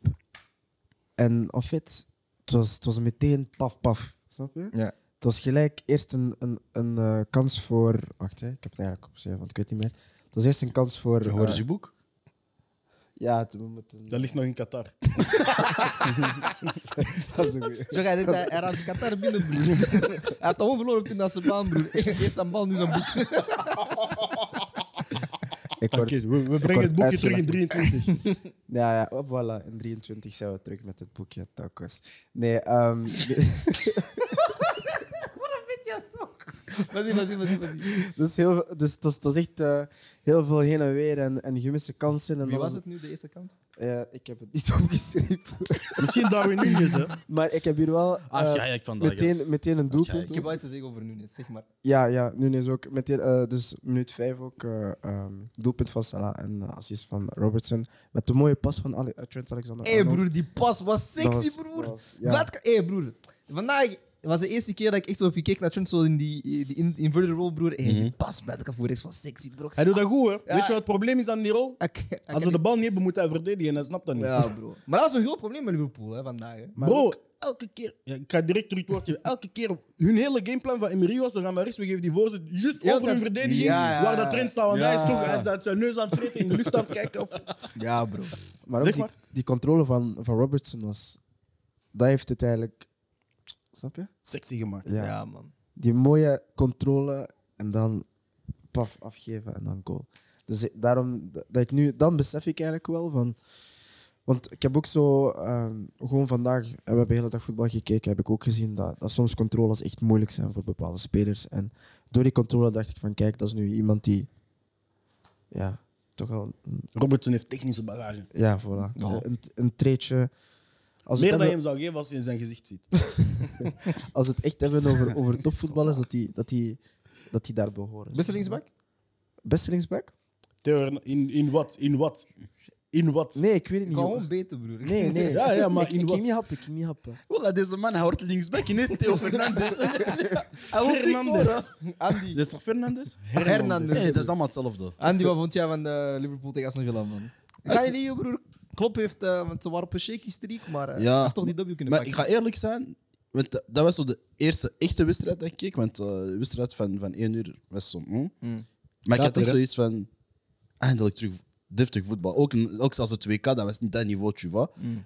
Speaker 3: En of het, het was, het was meteen paf, paf. Snap je?
Speaker 1: Ja.
Speaker 3: Het was gelijk eerst een, een, een eh, kans voor. Wacht, hè, ik heb het eigenlijk opgeschreven, want ik weet niet meer. Het was eerst een kans voor.
Speaker 5: Pas. Hoor
Speaker 3: eh,
Speaker 5: eens je boek?
Speaker 3: ja, het, we moeten.
Speaker 2: Dat ligt nog in Qatar.
Speaker 3: dat is een goeie.
Speaker 1: Zeg, hij, denkt, hij, hij raadt eh, Qatar binnen, broer. hij had gewoon verloren toen hij zijn baan, broer. Eerst zijn bal, nu zijn boek.
Speaker 3: Ik word-
Speaker 2: Oké, we, we
Speaker 3: kort
Speaker 2: brengen het boekje terug in
Speaker 3: uitgelachen.
Speaker 2: 23.
Speaker 3: Ja, ja, oh, voilà. In 23 zijn we terug met het boekje Tacos. Nee, ehm,
Speaker 1: Wat is wat is wat is wat is
Speaker 3: dus, heel, veel- dus het was, het was echt eh, heel veel heen en weer en, en gemiste kansen. En
Speaker 1: Wie
Speaker 3: dat
Speaker 1: was het nu, de eerste kant?
Speaker 3: eh, ik heb het niet opgeschreven.
Speaker 2: Misschien Darwin Nunes, hè?
Speaker 3: maar ik heb hier wel
Speaker 5: Ah,
Speaker 3: eh,
Speaker 5: ja, ja, ik vandaag.
Speaker 3: meteen, meteen een doelpunt.
Speaker 1: Ik heb wel iets te zeggen over Nunes, zeg maar.
Speaker 3: Ja, ja, Nunes ook. Meteen, eh, dus minuut 5 ook. eh, ehm, doelpunt van Salah en eh, assist van Robertson. Met de mooie pas van Ale- eh, Trent Alexander.
Speaker 1: Hé, broer, die pas was sexy, broer. Wat kan- Hé, broer. Vandaag was de eerste keer dat ik echt zo heb gekeken naar Trent, zo in die, eh, die in- inverted roll, broer. Hé, die pas bij de kapoerex was sexy, bro.
Speaker 2: Hij doet dat goed, hè? Weet je
Speaker 1: Ja.
Speaker 2: wat het probleem is aan die rol?
Speaker 1: ah, Ik- ik-
Speaker 2: Als ze de bal niet hebben, moet hij verdedigen en hij snapt dat niet.
Speaker 1: Ja, bro. Maar dat is een groot probleem met Liverpool hè, vandaag. Hè.
Speaker 3: Maar
Speaker 2: Bro, elke keer. Ja, ik ga direct terug het woord geven. Elke keer. Hun hele gameplan van Emery was: we gaan naar rechts, we geven die voorzet. Juist
Speaker 1: Heel
Speaker 2: over hun
Speaker 1: dat-
Speaker 2: verdediging.
Speaker 1: Ja, ja,
Speaker 2: waar
Speaker 1: ja.
Speaker 2: dat trend staat. Want hij is
Speaker 1: Ja.
Speaker 2: toch hij is uit zijn neus aan het vreten in de lucht aan het kijken. Of...
Speaker 1: Ja, bro.
Speaker 3: Maar ook
Speaker 2: Zeg
Speaker 3: die,
Speaker 2: maar.
Speaker 3: die controle van, van Robertson was. Dat heeft het eigenlijk. Snap je?
Speaker 2: Sexy gemaakt.
Speaker 1: Ja,
Speaker 3: Ja.
Speaker 1: man.
Speaker 3: Die mooie controle en dan paf afgeven en dan goal. Dus ik- daarom dat dat ik nu, dan besef ik eigenlijk wel van. Want ik heb ook zo, ehm, gewoon vandaag, en we hebben de hele dag voetbal gekeken, heb ik ook gezien dat, dat soms controles echt moeilijk zijn voor bepaalde spelers. En door die controle dacht ik van, kijk, dat is nu iemand die, ja, toch al,
Speaker 2: Robertson heeft technische bagage.
Speaker 3: ja, voilà,
Speaker 1: Oh.
Speaker 3: een, een treetje. Als we
Speaker 2: Meer
Speaker 3: het
Speaker 2: dan je
Speaker 3: hebben-
Speaker 2: hem zou geven als je in zijn gezicht ziet.
Speaker 3: als we het echt hebben over, over topvoetballers, dat die, dat, die, dat die daar behoren.
Speaker 1: Beste linksback?
Speaker 3: Beste linksback?
Speaker 2: Theo, in, in wat? In wat? In wat?
Speaker 3: Nee, ik weet het niet.
Speaker 1: Gewoon
Speaker 3: joh.
Speaker 1: beter, broer.
Speaker 3: Nee, nee.
Speaker 2: Ja, ja, maar
Speaker 3: ik,
Speaker 2: in
Speaker 3: ik
Speaker 2: wat?
Speaker 3: ging niet happen, ik ging niet happen.
Speaker 5: Voilà, deze man houdt linksback ineens Theo Fernandes. Hij hoort niks
Speaker 2: Fernandes.
Speaker 5: horen.
Speaker 1: Andy,
Speaker 5: Dit is toch Fernandes?
Speaker 1: Hernandez.
Speaker 5: Nee, dat is allemaal hetzelfde.
Speaker 1: Andy, wat vond jij van eh, Liverpool tegen Aston Villa, man? Ga
Speaker 5: Als-
Speaker 1: je niet, eh, broer? Klopp heeft, eh, want ze waren op een shaky streak, maar eh,
Speaker 5: Ja.
Speaker 1: hij heeft toch die W kunnen
Speaker 5: Maar ik
Speaker 1: pakken.
Speaker 5: ga eerlijk zijn, want dat dat was zo de eerste echte wedstrijd dat ik keek. Want eh, de wedstrijd van, van 1 uur was zo. hm.
Speaker 1: Mm.
Speaker 5: Maar ik
Speaker 2: Later,
Speaker 5: had ook
Speaker 2: hè?
Speaker 5: zoiets van. Eindelijk terug deftig voetbal. Ook, een- ook zelfs het WK, dat was niet dat niveau, tu vois.
Speaker 1: Hmm.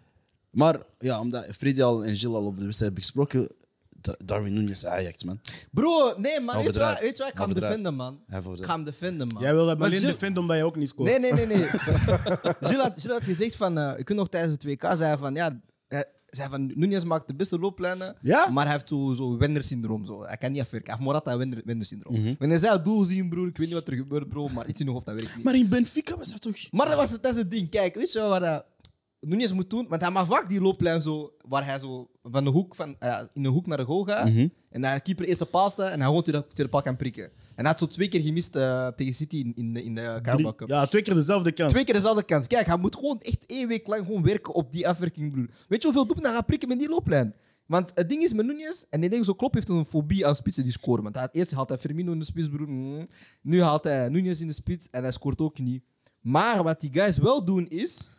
Speaker 5: Maar ja, omdat Freddy al en Gilles al over de wedstrijd hebben gesproken. Da- Darwin Nunes Ajax, man.
Speaker 1: Bro, nee, man. Weet je
Speaker 5: Overdrijft.
Speaker 1: wat? Weet je wat? Ik ga hem
Speaker 5: Overdrijft.
Speaker 1: defenden, man.
Speaker 5: Hij voor
Speaker 1: Ik
Speaker 5: de-
Speaker 1: ga hem defenden, man.
Speaker 2: Jij wil hem
Speaker 1: Maar
Speaker 2: alleen
Speaker 1: Gilles-
Speaker 2: defenden omdat je ook niet scoort.
Speaker 1: Nee, nee, nee, nee. Gilles had, Gilles had gezegd van, eh, ik weet nog tijdens het WK, zei hij van, ja, hij zei van, Nunez maakt de beste looplijnen,
Speaker 2: Ja?
Speaker 1: maar hij heeft zo'n zo Wender-syndroom. Zo. Hij kan niet afwerken. Hij heeft Morata Wender- Wender-syndroom. Wanneer zij het doel zien, broer, ik weet niet wat er gebeurt, bro, maar iets in je hoofd, dat werkt niet. Maar,
Speaker 5: in Benfica was dat toch.
Speaker 1: dat, was, het- dat is het ding. Kijk, weet je wat eh, Nunez moet doen? Want hij maakt vaak die looplijn zo, waar hij zo van de hoek, van, eh, in de hoek naar de goal gaat. En dan keeper eerst de paas en hij gewoon tegen de- tegen de paal kan prikken. En hij had zo twee keer gemist eh, tegen City in, in, de- in de Carabao Cup.
Speaker 2: Ja, twee keer dezelfde kans.
Speaker 1: Twee keer dezelfde kans. Kijk, hij moet gewoon echt één week lang gewoon werken op die afwerking, broer. Weet je hoeveel doelpunten hij gaat prikken met die looplijn? Want het ding is met Nunez, en ik denk zo, Klopp heeft een fobie aan spitsen die scoren. Want hij had- eerst haalt hij Firmino in de spits, broer. Mm. Nu haalt hij Nunez in de spits en hij scoort ook niet. Maar wat die guys wel doen is...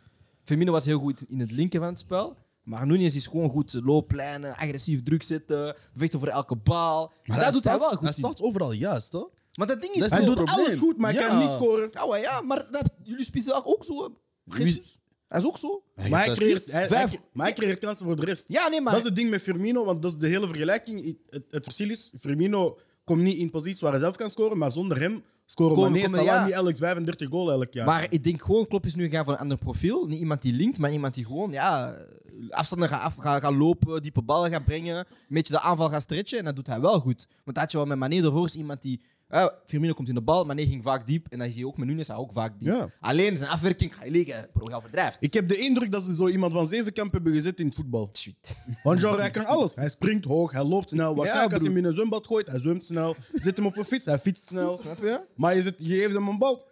Speaker 1: Firmino was heel goed in het linken van het spel. Maar Nunez is gewoon goed looplijnen, agressief druk zetten, vechten voor elke bal. dat doet hij wel goed
Speaker 5: Hij
Speaker 1: in.
Speaker 5: staat overal juist, hoor.
Speaker 1: Maar dat ding is...
Speaker 5: Dat
Speaker 2: Hij
Speaker 5: is
Speaker 1: zo-
Speaker 2: doet
Speaker 5: probleem.
Speaker 2: alles goed, maar hij
Speaker 5: Ja.
Speaker 2: kan niet scoren.
Speaker 1: Ja, maar ja, maar dat, jullie spitsen ook zo. hè.
Speaker 5: Wie-
Speaker 1: Jesus. Hij is ook zo.
Speaker 2: Maar hij,
Speaker 5: heeft
Speaker 2: creëert,
Speaker 5: assist.
Speaker 2: hij,
Speaker 1: Vijf-
Speaker 2: hij- maar hij creëert kansen voor de rest.
Speaker 1: Ja, nee, maar...
Speaker 2: Dat is het ding met Firmino, want dat is de hele vergelijking. Het, het, het verschil is, Firmino komt niet in posities waar hij zelf kan scoren, maar zonder hem scoren
Speaker 1: Komen-
Speaker 2: Mané,
Speaker 1: komen,
Speaker 2: Salah,
Speaker 1: ja.
Speaker 2: niet Alex 35 goal elk jaar.
Speaker 1: Maar ik denk gewoon, Klopp is nu gaan voor een ander profiel. Niet iemand die linkt, maar iemand die gewoon ja, afstanden gaat, af, gaat, gaat lopen, diepe ballen gaat brengen, een beetje de aanval gaat stretchen. En dat doet hij wel goed. Want dat had je wel met Mané ervoor, is iemand die... eh, Firmino komt in de bal, Mané ging vaak diep. En dat zie je ook met Nunes, hij ook vaak diep.
Speaker 2: Ja.
Speaker 1: Alleen zijn afwerking ga je liggen. Bro, je overdrijft.
Speaker 2: ik heb de indruk dat ze zo iemand van Zevenkamp hebben gezet in het voetbal.
Speaker 1: Shit.
Speaker 2: Want genre, hij kan alles. Hij springt hoog, hij loopt snel. Waarschijnlijk als je hem in een zwembad gooit, hij zwemt snel. Zet hem op een fiets, hij fietst snel. Maar je, zet, je geeft hem een bal.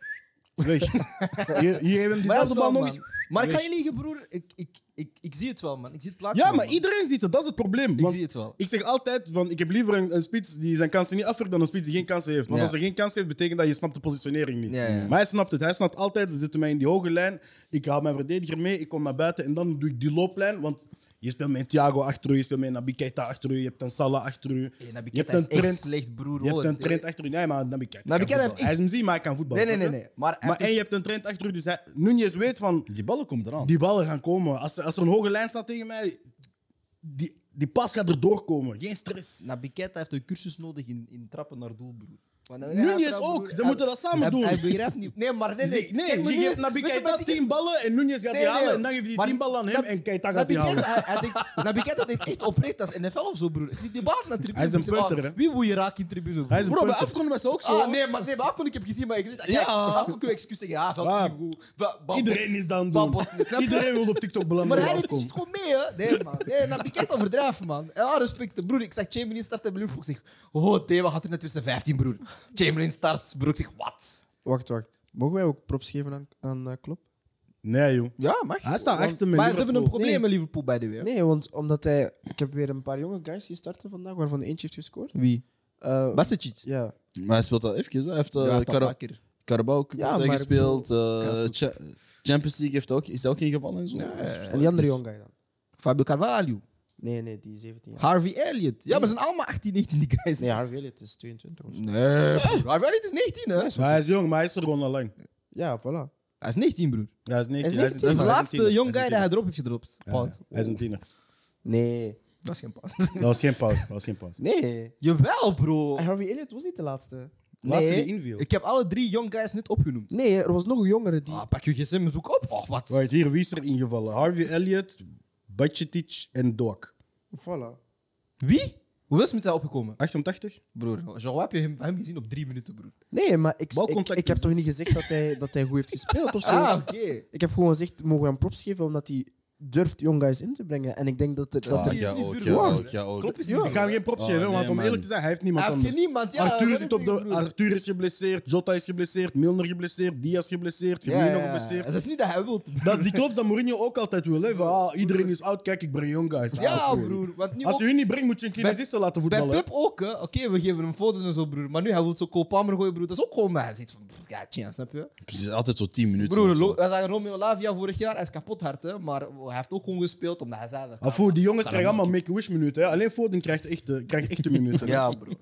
Speaker 2: Weg. Je, je
Speaker 1: Maar
Speaker 2: geeft hem
Speaker 1: dat
Speaker 2: diezelfde
Speaker 1: is
Speaker 2: bal
Speaker 1: wel,
Speaker 2: nog
Speaker 1: man.
Speaker 2: eens.
Speaker 1: Maar ik ga je liegen, broer. Ik, ik, ik, ik zie het wel, man. Ik zie het plaatje.
Speaker 2: Ja,
Speaker 1: wel,
Speaker 2: maar
Speaker 1: man.
Speaker 2: iedereen ziet het, dat is het probleem.
Speaker 1: Ik
Speaker 2: Want
Speaker 1: zie het wel.
Speaker 2: Ik zeg altijd, van, ik heb liever een, een spits die zijn kansen niet afwerkt dan een spits die geen kansen heeft. Want
Speaker 1: Ja.
Speaker 2: als hij geen kansen heeft, betekent dat je snapt de positionering niet.
Speaker 1: Ja, ja.
Speaker 2: Maar hij snapt het. Hij snapt altijd, ze zitten mij in die hoge lijn. Ik haal mijn verdediger mee, ik kom naar buiten en dan doe ik die looplijn. Want je speelt met een Thiago achter u, je speelt met een Nabi Keita achter u, je hebt een Salah achter u.
Speaker 1: Hey, Eh, Naby
Speaker 2: je hebt
Speaker 1: Keita is echt
Speaker 2: Trent-
Speaker 1: slecht, broer,
Speaker 2: Je hebt
Speaker 1: hoor.
Speaker 2: een trend achter u. Nee, maar Nabi Keita
Speaker 1: Naby
Speaker 2: kan
Speaker 1: Keita heeft
Speaker 2: voetballen. Hij is hem zien, maar hij kan voetballen.
Speaker 1: Nee, nee, nee.
Speaker 2: snap je?
Speaker 1: nee. Maar, hij
Speaker 2: Maar,
Speaker 1: heeft
Speaker 2: en je hebt een trend achter u, dus hij, Nunez weet van...
Speaker 5: Die ballen komen eraan.
Speaker 2: Die ballen gaan komen. Als, als er een hoge lijn staat tegen mij, die, die pas gaat er doorkomen. Geen stress.
Speaker 1: Naby Keita heeft een cursus nodig in, in trappen naar doel, broer. Want hij-
Speaker 2: Nunez
Speaker 1: hij trapt,
Speaker 2: ook.
Speaker 1: broer.
Speaker 2: Ze
Speaker 1: Hij-
Speaker 2: moeten dat samen
Speaker 1: hij-
Speaker 2: doen.
Speaker 1: Hij begrijpt niet. Nee, maar nee, nee.
Speaker 2: Nee, nee,
Speaker 1: Kijk, maar
Speaker 2: je
Speaker 1: Nunez-
Speaker 2: geeft Nabi
Speaker 1: weet je
Speaker 2: Keita
Speaker 1: wat die-
Speaker 2: 10 ballen en Nunez gaat
Speaker 1: Nee,
Speaker 2: die
Speaker 1: nee.
Speaker 2: halen. En dan geeft hij
Speaker 1: Maar
Speaker 2: 10 ballen aan hem
Speaker 1: Nab-
Speaker 2: en Keita gaat
Speaker 1: Naby
Speaker 2: die halen.
Speaker 1: Keita, hij- hij denkt- Naby Keita denkt echt oprecht als NFL of zo, broer. Ik zie die bal naar tribune.
Speaker 2: Hij is een
Speaker 1: Ik zeg, ah,
Speaker 2: punter, hè.
Speaker 1: Wie moet je raken in tribune, broer?
Speaker 2: Hij is een
Speaker 5: Bro, bij
Speaker 2: punter.
Speaker 5: Afcon was ze ook zo.
Speaker 1: Ah, nee, maar nee, bij Afcon ik heb gezien, maar ik weet
Speaker 5: Ja.
Speaker 1: Kijk, als Afcon kun je excuus zeggen. Ja, veld is
Speaker 2: Waar?
Speaker 1: niet goed. Wel, bal-
Speaker 2: Iedereen is dan
Speaker 1: bal-
Speaker 2: doen.
Speaker 1: bal- snap je?
Speaker 2: Iedereen wil op TikTok belanden.
Speaker 1: Maar hij
Speaker 2: bij
Speaker 1: doet
Speaker 2: Afcon.
Speaker 1: het gewoon mee, hè? Nee, man. Nee, Naby Keita overdrijft, man. Ja, respect. Broer, ik zag Chamberlain starten bij Liverpool. Ik zeg, oh, Theo gaat er net tussen 15, broer. Chamberlain start, broer. Ik zeg, wat?
Speaker 3: Wacht, wacht. Mogen wij ook props geven aan, aan eh, Klopp?
Speaker 2: Nee, joh.
Speaker 1: Ja, mag.
Speaker 2: Hij staat achtste met
Speaker 1: Maar ze hebben een
Speaker 2: Liverpool.
Speaker 1: probleem met Liverpool, by the way.
Speaker 3: Nee, want omdat hij... Ik heb weer een paar jonge guys die starten vandaag, waarvan eentje heeft gescoord.
Speaker 1: Wie?
Speaker 3: Eh,
Speaker 1: Basicic.
Speaker 3: ja.
Speaker 5: Maar hij speelt al even. Hij heeft eh,
Speaker 1: Ja, dat
Speaker 5: Cara-
Speaker 1: een keer.
Speaker 5: Carabao Cup
Speaker 3: Ja,
Speaker 5: heeft hij
Speaker 3: maar ik
Speaker 5: gespeeld. eh,
Speaker 3: kan het
Speaker 5: Cha- Champions League heeft hij ook, is hij ook ingevallen en zo.
Speaker 3: En die andere
Speaker 5: Dus-
Speaker 3: jonge guy dan?
Speaker 1: Fabio Carvalho.
Speaker 3: Nee, nee, die is 17 jaar.
Speaker 1: Harvey Elliott. Ja, maar ze zijn allemaal 18, 19, die guys.
Speaker 3: Nee, Harvey Elliott is 22 of zo.
Speaker 1: Nee, broer. Harvey Elliott is 19, hè?
Speaker 2: Maar hij is jong, maar hij is er gewoon al lang.
Speaker 3: Ja, voilà.
Speaker 1: Hij is 19, broer.
Speaker 2: Hij is 19.
Speaker 3: Hij is
Speaker 1: Dat is de
Speaker 2: een
Speaker 1: laatste
Speaker 2: tiener.
Speaker 1: young
Speaker 2: Hij
Speaker 1: guy
Speaker 2: is
Speaker 1: die hij
Speaker 2: een
Speaker 1: erop heeft gedropt.
Speaker 2: tiener.
Speaker 1: Pand.
Speaker 2: Ja, Hij is een tiener.
Speaker 3: Nee.
Speaker 1: Dat is geen pas.
Speaker 2: Dat was geen pauze. Dat was geen pauze.
Speaker 3: Nee.
Speaker 1: Jawel, bro.
Speaker 3: Oh. Harvey Elliott was niet de laatste.
Speaker 2: Laat ze
Speaker 1: Nee.
Speaker 2: die inviel.
Speaker 1: Ik heb alle drie young guys net opgenoemd.
Speaker 3: Nee, er was nog een jongere die...
Speaker 1: Ah, pak je gsm en zoek op. Och, wat?
Speaker 2: Wacht, hier, wie is er ingevallen? Harvey Elliott, Bacetich en Doak.
Speaker 3: Voilà.
Speaker 1: Wie? Hoeveel is met daar opgekomen?
Speaker 2: 88?
Speaker 1: Broer, Jean, heb je hem, hem gezien op drie minuten, broer?
Speaker 3: Nee, maar ik, ik,
Speaker 2: Balcontact
Speaker 3: ik heb
Speaker 2: is-
Speaker 3: toch niet gezegd dat hij, dat hij goed heeft gespeeld of zo?
Speaker 1: Ah, oké.
Speaker 3: Ik heb gewoon gezegd, mogen we hem props geven omdat hij durft young guys in te brengen. En ik denk dat... er- dat
Speaker 5: Ah,
Speaker 3: er-
Speaker 1: is
Speaker 5: ja,
Speaker 1: niet
Speaker 5: ook,
Speaker 1: duur
Speaker 5: ja,
Speaker 1: waard,
Speaker 5: ook, ja, ook.
Speaker 1: Klopt is
Speaker 3: Ja.
Speaker 1: niet
Speaker 2: Ik ga hem geen props
Speaker 5: Ah,
Speaker 2: geven, want
Speaker 5: nee,
Speaker 2: om
Speaker 5: man.
Speaker 2: eerlijk te zijn, hij heeft
Speaker 1: Hij
Speaker 2: niemand
Speaker 1: heeft
Speaker 2: anders.
Speaker 1: geen niemand, ja.
Speaker 2: Arthur,
Speaker 1: wat
Speaker 2: zit op
Speaker 1: het,
Speaker 2: de,
Speaker 1: broer?
Speaker 2: Arthur is geblesseerd, Jota is geblesseerd, Milner geblesseerd, Diaz geblesseerd,
Speaker 1: Ja, ja,
Speaker 2: Firmino
Speaker 1: ja.
Speaker 2: geblesseerd.
Speaker 1: Dat is niet dat hij wil.
Speaker 2: Dat is die klopt dat Mourinho ook altijd wil. Hè? Van, ah, iedereen is oud, kijk, ik breng young guys.
Speaker 1: Ja,
Speaker 2: Ah, cool.
Speaker 1: broer. Want nu
Speaker 2: Als
Speaker 1: ook-
Speaker 2: je hun niet brengt, moet je een kinesiste laten
Speaker 1: bij
Speaker 2: voetballen.
Speaker 1: Pep ook, hè. Oké, we geven hem foto's en zo, broer. Maar nu, hij wil zo Koopammer gooien, broer. Dat is ook gewoon... maar Hij zit van... pff, Ja, tja, snap je?
Speaker 5: Het is altijd zo 10 minuten.
Speaker 1: Broer,
Speaker 5: of zo.
Speaker 1: Lo- wij zagen Romeo Lavia vorig jaar. Hij is kapot hard, hè. Maar hij heeft ook gewoon gespeeld, omdat hij zei... dat-
Speaker 2: Afvoer, Ah, die jongens krijgen allemaal make-a-wish minuten. hè. Alleen Foden krijgt echte, krijgt echte minuten. hè.
Speaker 1: Ja, broer.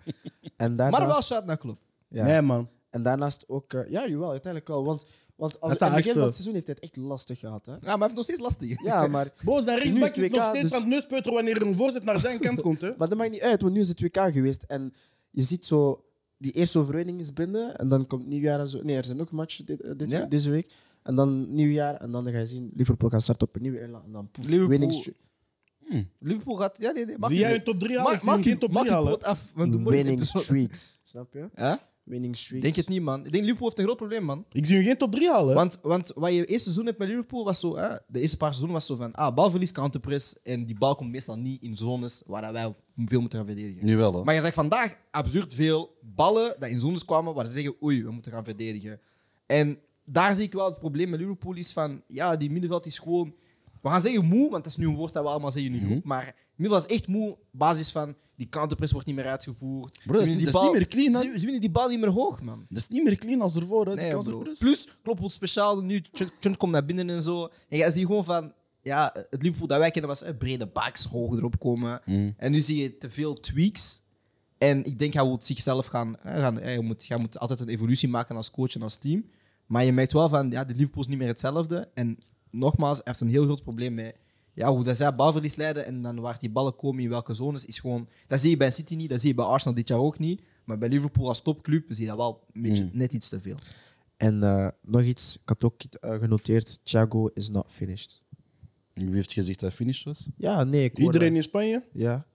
Speaker 3: En
Speaker 1: Maar wel
Speaker 3: daarnaast,
Speaker 1: shout naar Klopp.
Speaker 3: ja.
Speaker 2: Nee, man.
Speaker 3: en daarnaast ook... eh, ja, jawel, uiteindelijk wel. Want, want als,
Speaker 2: is
Speaker 3: in het
Speaker 2: de
Speaker 3: begin
Speaker 2: achtste.
Speaker 3: van het seizoen heeft hij het echt lastig gehad. Hè?
Speaker 1: Ja, maar hij heeft nog steeds lastig.
Speaker 3: Ja, maar,
Speaker 2: Bo, zijn
Speaker 3: is
Speaker 2: rechtsback
Speaker 3: het
Speaker 2: is nog
Speaker 3: WK,
Speaker 2: steeds
Speaker 3: dus-
Speaker 2: aan het neuspeuteren wanneer een voorzet naar zijn kant komt. Hè?
Speaker 3: maar dat maakt niet uit, want nu is het WK geweest. En je ziet zo... Die eerste overwinning is binnen en dan komt nieuwjaar en zo. Nee, er zijn ook matchen dit, eh, dit-
Speaker 1: Ja.
Speaker 3: deze week. En dan nieuwjaar en dan ga je zien, Liverpool gaat starten op een nieuwe eiland. En dan poef,
Speaker 1: Liverpool-
Speaker 3: winning streak.
Speaker 1: Liverpool gaat... Ja, nee, nee. maak
Speaker 2: Zie
Speaker 1: je
Speaker 2: jij
Speaker 1: niet.
Speaker 2: een top 3 halen?
Speaker 1: Maak
Speaker 2: Ik zie hem geen top 3 halen.
Speaker 1: pot af. want de morgen-
Speaker 3: Winning streaks. Snap je?
Speaker 1: Hè?
Speaker 3: Winning streaks.
Speaker 1: Denk het niet, man. Ik denk Liverpool heeft een groot probleem, man.
Speaker 2: Ik zie hem geen top 3 halen.
Speaker 1: Want, want wat je eerste seizoen hebt met Liverpool was zo, hè, de eerste paar seizoenen was zo van, ah, balverlies, counterpress, en die bal komt meestal niet in zones waar dat wij veel moeten gaan verdedigen.
Speaker 5: Nu wel, hè.
Speaker 1: Maar je zegt vandaag absurd veel ballen dat in zones kwamen waar ze zeggen, oei, we moeten gaan verdedigen. En daar zie ik wel het probleem met Liverpool is van, ja, die middenveld is gewoon, we gaan zeggen moe, want dat is nu een woord dat we allemaal zeggen
Speaker 5: Mhm.
Speaker 1: nu, maar het middenveld is echt moe, op basis van, die counterpress wordt niet meer uitgevoerd.
Speaker 5: Bro, dat is
Speaker 1: Ze winnen
Speaker 5: niet-
Speaker 1: die
Speaker 5: dat is niet
Speaker 1: bal-
Speaker 5: meer clean, hè?
Speaker 1: Ze, ze winnen die bal niet meer hoog, man.
Speaker 5: Dat is niet meer clean als ervoor, hè, die
Speaker 1: Nee, bro.
Speaker 5: counterpress.
Speaker 1: Plus, klopt het speciaal nu. Chunt Chunt komt naar binnen en zo. En jij ziet gewoon van. Ja, het Liverpool dat wij kennen was eh, brede backs, hoog erop komen. En nu zie je te veel tweaks. En ik denk, hij wil zichzelf gaan... Hij, gaan, hij, moet, hij moet altijd een evolutie maken als coach en als team. Maar je merkt wel van, ja, de Liverpool is niet meer hetzelfde. En nogmaals, hij heeft een heel groot probleem met... Ja, hoe dat zij balverlies leiden en dan waar die ballen komen, in welke zones, is gewoon... Dat zie je bij City niet, dat zie je bij Arsenal dit jaar ook niet. Maar bij Liverpool als topclub zie je dat wel een beetje, net iets te veel.
Speaker 3: En eh, nog iets, ik had ook eh, genoteerd: Thiago is not finished.
Speaker 5: Wie heeft gezegd dat hij finished was?
Speaker 3: Ja, nee, ik hoor
Speaker 2: Iedereen in Spanje?
Speaker 3: dat. Ja.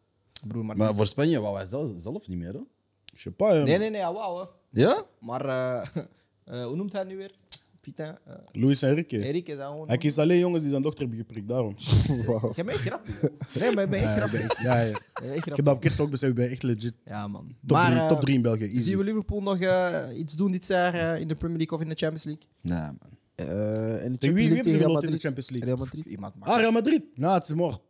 Speaker 1: Broer, maar,
Speaker 5: Maar voor Spanje wou hij zelf, zelf niet meer, hè?
Speaker 2: Je sais pas, hè.
Speaker 1: Nee, nee, nee, ja, wauw. hè.
Speaker 5: Ja?
Speaker 1: Maar eh, eh, hoe noemt hij nu weer? Pita, eh,
Speaker 2: Luis Enrique.
Speaker 1: Erik is dat gewoon.
Speaker 2: Hij kiest alleen jongens die zijn dochter hebben geprikt, daarom.
Speaker 1: Jij bent echt grappig. Nee, maar ik ben echt
Speaker 2: Ja,
Speaker 1: grappig.
Speaker 2: ben Eh, ik- ja, ja.
Speaker 1: Ik ben echt
Speaker 2: Ik heb
Speaker 1: grappig.
Speaker 2: dat op kerst ook beseft, ik ben echt legit
Speaker 1: Ja, man.
Speaker 2: top
Speaker 1: maar
Speaker 2: 3
Speaker 1: eh,
Speaker 2: in België. Easy.
Speaker 1: zien we Liverpool nog eh, iets doen dit jaar eh, in de Premier League of in de Champions League?
Speaker 5: Nee, man.
Speaker 3: Eh, en de
Speaker 2: Tegen wie- wie hebben
Speaker 3: Champions League
Speaker 2: ze
Speaker 3: tegen Real
Speaker 2: geloot in de
Speaker 3: Madrid.
Speaker 2: Champions League?
Speaker 3: Real Madrid.
Speaker 1: Iemand maakt.
Speaker 2: Ah, Real Madrid. Nou, het is morgen.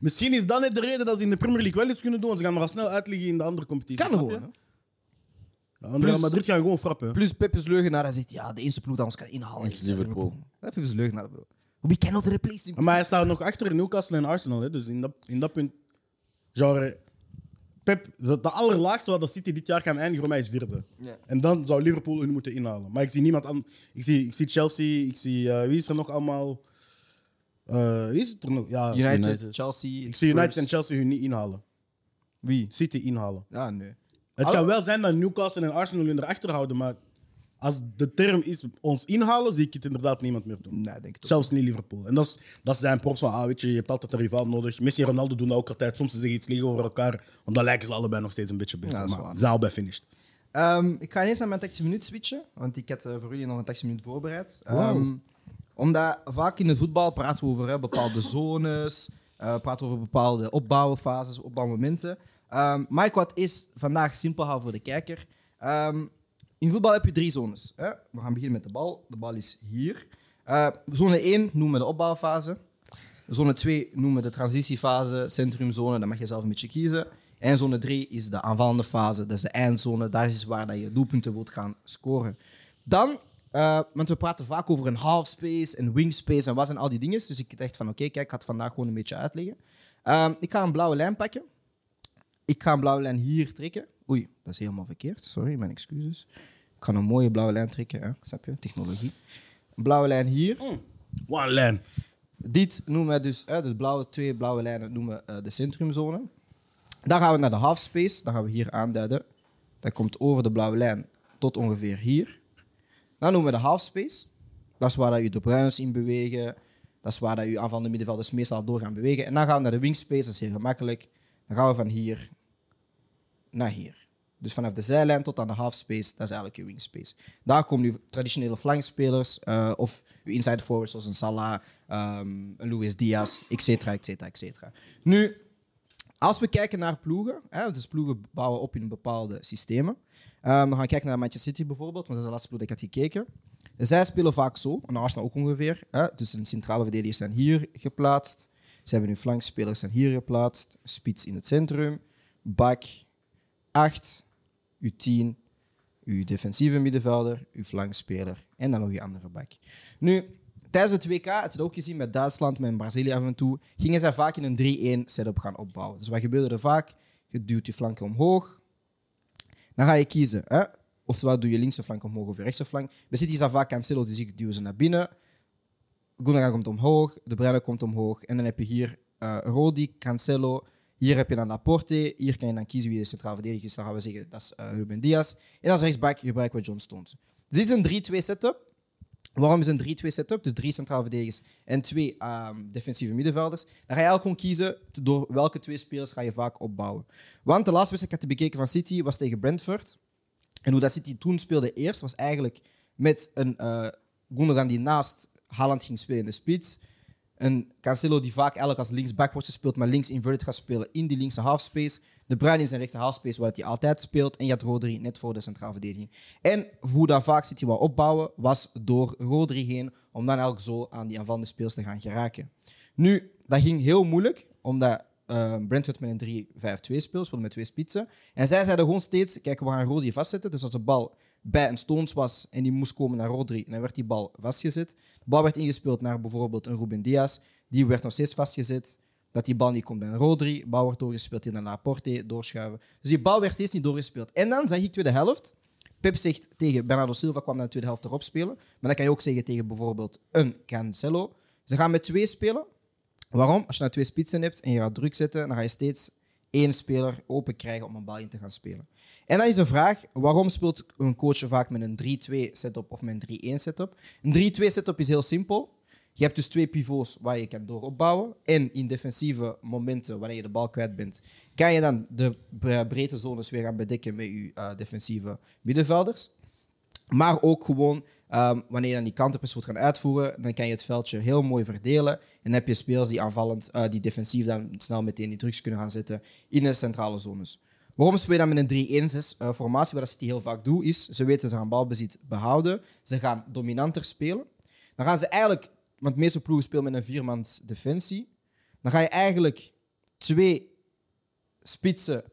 Speaker 2: Misschien is dat net de reden dat ze in de Premier League wel iets kunnen doen. Ze gaan maar al snel uitliggen in de andere competities.
Speaker 1: kan
Speaker 2: snap
Speaker 1: gewoon. hè.
Speaker 2: je? Ja, want Real
Speaker 1: Plus-
Speaker 2: Madrid gaan gewoon frappen.
Speaker 1: Plus Pep is leugenaar. Hij zegt ja, de eerste ploeg dat ons kan inhalen
Speaker 5: Het is Liverpool.
Speaker 1: Dat Pep is leugenaar, bro. We cannot replace him.
Speaker 2: Maar hij staat nog achter Newcastle en Arsenal. Hè. Dus in dat, in dat punt... Genre, Pep, de, de allerlaagste wat dat City dit jaar kan eindigen voor mij is vierde.
Speaker 1: Ja.
Speaker 2: En dan zou Liverpool hun moeten inhalen. Maar ik zie niemand aan. Ik zie, ik zie Chelsea, ik zie... eh, wie is er nog allemaal... Eh, wie is het er nog? Ja,
Speaker 1: United,
Speaker 5: United.
Speaker 1: Chelsea.
Speaker 2: Ik zie United
Speaker 1: Spurs.
Speaker 2: en Chelsea hun niet inhalen.
Speaker 1: Wie?
Speaker 2: City inhalen.
Speaker 1: Ja, nee.
Speaker 2: Het
Speaker 1: Alle-
Speaker 2: kan wel zijn dat Newcastle en Arsenal hun erachter houden, maar als de term is ons inhalen, zie ik het inderdaad niemand meer doen.
Speaker 1: Nee, denk ik toch.
Speaker 2: Zelfs niet Liverpool. En dat is, dat is zijn props van, ah, weet je, je hebt altijd een rivaal nodig. Messi en Ronaldo doen dat ook altijd. Soms ze zeggen iets liggen over elkaar, want dan lijken ze allebei nog steeds een beetje beter.
Speaker 1: Ja, dat is
Speaker 2: maar
Speaker 1: waar.
Speaker 2: ze zijn al bij finished.
Speaker 1: Ehm, ik ga ineens naar mijn tactische minuut switchen, want ik had eh, voor jullie nog een tactische minuut voorbereid. Ehm, omdat vaak in de voetbal praten we over hè, bepaalde zones, eh, praten we over bepaalde opbouwfases, opbouwmomenten. Ehm maar ik wat is vandaag simpel houden voor de kijker. Ehm, in voetbal heb je drie zones. Hè? We gaan beginnen met de bal. De bal is hier. Eh, zone 1 noemen we de opbouwfase. Zone 2 noemen we de transitiefase, centrumzone, daar mag je zelf een beetje kiezen. En zone 3 is de aanvallende fase, dat is de eindzone, daar is waar dat je doelpunten wilt gaan scoren. Dan, eh, want we praten vaak over een half space, een wing space en wat zijn al die dingen. Dus ik dacht van oké, kijk, ik ga het vandaag gewoon een beetje uitleggen. Ehm, ik ga een blauwe lijn pakken. Ik ga een blauwe lijn hier trekken. Oei, dat is helemaal verkeerd. Sorry, mijn excuses. Ik ga een mooie blauwe lijn trekken, hè? snap je? Technologie. Een blauwe lijn hier.
Speaker 2: Hm. One lane.
Speaker 1: Dit noemen wij dus, hè, de blauwe, twee blauwe lijnen noemen we eh, de centrumzone. Dan gaan we naar de half space, dan gaan we hier aanduiden. Dat komt over de blauwe lijn. tot ongeveer hier. Dan noemen we de halfspace. Dat is waar dat je de Bruiners in bewegen. Dat is waar dat je aanvallende middenvelders meestal door gaan bewegen. En dan gaan we naar de wingspace, dat is heel gemakkelijk. Dan gaan we van hier naar hier. Dus vanaf de zijlijn tot aan de halfspace, dat is eigenlijk je wingspace. Daar komen je traditionele flankspelers eh, of je inside forwards zoals een Salah, ehm, een Luis Diaz, et cetera, et cetera, et cetera. Nu, als we kijken naar ploegen, hè, dus ploegen bouwen op in bepaalde systemen. Ehm, we gaan kijken naar Manchester City bijvoorbeeld, want dat is de laatste ploeg dat ik had gekeken. Zij spelen vaak zo, en Arsenal ook ongeveer. Hè, dus hun centrale verdedigers zijn hier geplaatst. Ze hebben hun flankspelers zijn hier geplaatst. Spits in het centrum. Bak 8, uw 10, uw defensieve middenvelder, uw flankspeler en dan nog je andere bak. Nu, tijdens het WK, het is ook gezien met Duitsland, met Brazilië af en toe, gingen zij vaak in een 3-1 setup gaan opbouwen. Dus wat gebeurde er vaak? Je duwt je flanken omhoog, dan ga je kiezen. Hè? Oftewel doe je linkse flank omhoog of je rechtse flank. Bij City is dat vaak Cancelo, dus ik duw ze naar binnen. Gundogan komt omhoog, De Bruyne komt omhoog. En dan heb je hier eh, Rodi, Cancelo. Hier heb je dan Laporte. Hier kan je dan kiezen wie de centraal verdediger is. Dan gaan we zeggen, dat is eh, Ruben Diaz. En als rechtsback gebruiken we John Stones. Dus Dit is een 3-2 setup. Waarom is een 3-2 setup? Dus drie centrale verdedigers en twee ehm, defensieve middenvelders. Dan ga je eigenlijk gewoon kiezen door welke twee spelers ga je vaak opbouwen. Want de laatste wedstrijd dat ik had bekeken van City was tegen Brentford. En hoe dat City toen speelde eerst, was eigenlijk met een eh Gundogan die naast Haaland ging spelen in de spits. Een Cancelo die vaak eigenlijk als linksback wordt gespeeld, maar links inverted gaat spelen in die linkse halfspace. De Bruin in zijn rechter halfspace, waar hij altijd speelt. En je had Rodri net voor de centrale verdediging. En hoe dat vaak City wou opbouwen, was door Rodri heen, om dan elk zo aan die aanvallende speels te gaan geraken. Nu, dat ging heel moeilijk, omdat eh, Brentford met een 3-5-2 speelt, speelde met twee spitsen. En zij zeiden gewoon steeds, kijk, we gaan Rodri vastzetten. Dus als de bal bij een Stones was en die moest komen naar Rodri, dan werd die bal vastgezet. De bal werd ingespeeld naar bijvoorbeeld een Ruben Diaz. Die werd nog steeds vastgezet. Dat die bal niet komt bij een Rodri. De bal wordt doorgespeeld in een Laporte, doorschuiven. Dus die bal werd steeds niet doorgespeeld. En dan zag ik tweede helft. Pep zegt tegen Bernardo Silva kwam dan de tweede helft erop spelen. Maar dat kan je ook zeggen tegen bijvoorbeeld een Cancelo. Ze gaan met twee spelen. Waarom? Als je nou twee spitsen hebt en je gaat druk zetten, dan ga je steeds één speler open krijgen om een bal in te gaan spelen. En dan is de vraag, waarom speelt een coach vaak met een 3-2 setup of met een 3-1 setup? Een 3-2 setup is heel simpel. Je hebt dus twee pivots waar je kan dooropbouwen. En in defensieve momenten, wanneer je de bal kwijt bent, kan je dan de bre- breedte zones weer gaan bedekken met je eh, defensieve middenvelders. Maar ook gewoon, ehm, wanneer je dan die counterpress moet gaan uitvoeren, dan kan je het veldje heel mooi verdelen. En dan heb je spelers die aanvallend, eh, die defensief dan snel meteen die drugs kunnen gaan zetten in de centrale zones. Waarom speel je dan met een 3-1-6 eh, formatie? Wat dat City heel vaak doet, is ze weten ze gaan balbezit behouden. Ze gaan dominanter spelen. Dan gaan ze eigenlijk, want de meeste ploegen spelen met een viermans defensie. Dan ga je eigenlijk twee spitsen,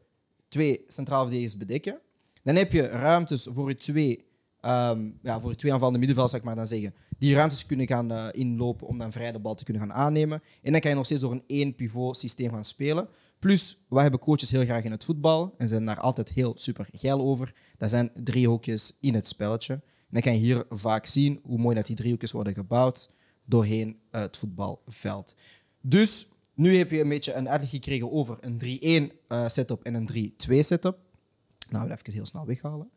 Speaker 1: twee centraal verdedigers bedekken. Dan heb je ruimtes voor je twee, ehm, ja, voor je twee aanvallende middenvelders, zeg ik maar dan zeggen. Die ruimtes kunnen gaan eh, inlopen om dan vrij de bal te kunnen gaan aannemen. En dan kan je nog steeds door een één pivot systeem gaan spelen. Plus, wij hebben coaches heel graag in het voetbal en zijn daar altijd heel super geil over. Dat zijn driehoekjes in het spelletje. En dan kan je hier vaak zien hoe mooi dat die driehoekjes worden gebouwd doorheen eh, het voetbalveld. Dus nu heb je een beetje een uitleg gekregen over een 3-1 eh, setup en een 3-2 setup. Nou, dat even heel snel weghalen.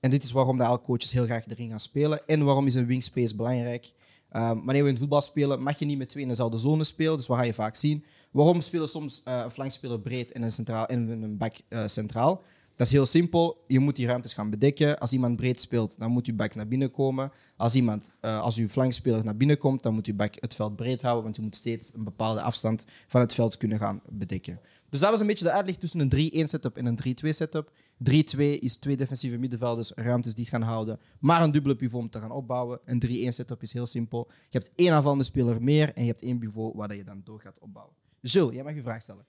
Speaker 1: En dit is waarom de alle coaches heel graag erin gaan spelen. En waarom is een wingspace belangrijk? Ehm, wanneer we in het voetbal spelen, mag je niet met twee in dezelfde zone spelen. Dus wat ga je vaak zien? Waarom spelen soms eh, een flankspeler breed en een, centraal, en een back eh, centraal? Dat is heel simpel. Je moet die ruimtes gaan bedekken. Als iemand breed speelt, dan moet je back naar binnen komen. Als, iemand, eh, als uw flankspeler naar binnen komt, dan moet je back het veld breed houden. Want je moet steeds een bepaalde afstand van het veld kunnen gaan bedekken. Dus dat was een beetje de uitleg tussen een 3-1 setup en een 3-2 setup. 3-2 is twee defensieve middenvelders, ruimtes die het gaan houden, maar een dubbele pivot om te gaan opbouwen. Een 3-1 setup is heel simpel. Je hebt één aanvallende speler meer en je hebt één pivot waar dat je dan door gaat opbouwen. Jules, jij mag je vraag stellen.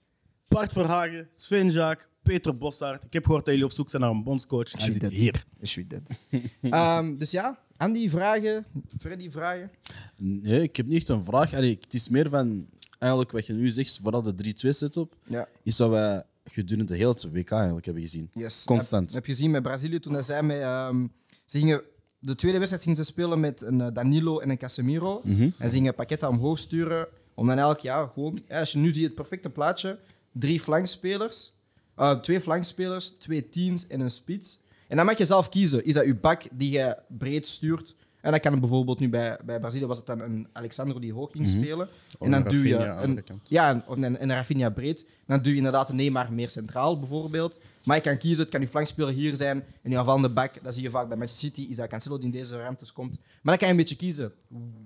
Speaker 2: Bart Verhagen, Sven Jaak, Peter Bossaert. Ik heb gehoord dat jullie op zoek zijn naar een bondscoach. Hij zit hier.
Speaker 1: Is wie dit? Ehm, dus ja, Andy, vragen. Freddy, vragen.
Speaker 5: Nee, ik heb niet echt een vraag. Allee, het is meer van eigenlijk wat je nu zegt, vooral de 3-2 setup,
Speaker 1: Ja.
Speaker 5: is wat wij gedurende heel het WK eigenlijk hebben gezien.
Speaker 1: Yes.
Speaker 5: Constant.
Speaker 1: Heb, heb je gezien met Brazilië toen dat zij met. ehm, ze gingen, de tweede wedstrijd gingen ze spelen met een eh, Danilo en een Casemiro. En ze gingen Paqueta omhoog sturen. Om dan elk jaar gewoon. ja, Als je nu ziet het perfecte plaatje: drie flankspelers, eh, twee flankspelers, twee teams en een spits. En dan mag je zelf kiezen. Is dat je bak die je breed stuurt? En dat kan bijvoorbeeld nu bij, bij Brazilië was het dan een Alexandro die hoog ging spelen. En dan
Speaker 2: Mhm. een
Speaker 1: duw je
Speaker 2: Rafinha aan de
Speaker 1: een,
Speaker 2: rechterkant.
Speaker 1: ja, een, of een, een Rafinha breed. Dan duw je inderdaad een Neymar meer centraal bijvoorbeeld. Maar je kan kiezen, het kan je flankspeler hier zijn. En je aanvallende bak, dat zie je vaak bij Manchester City, is dat Cancelo die in deze ruimtes komt. Maar dan kan je een beetje kiezen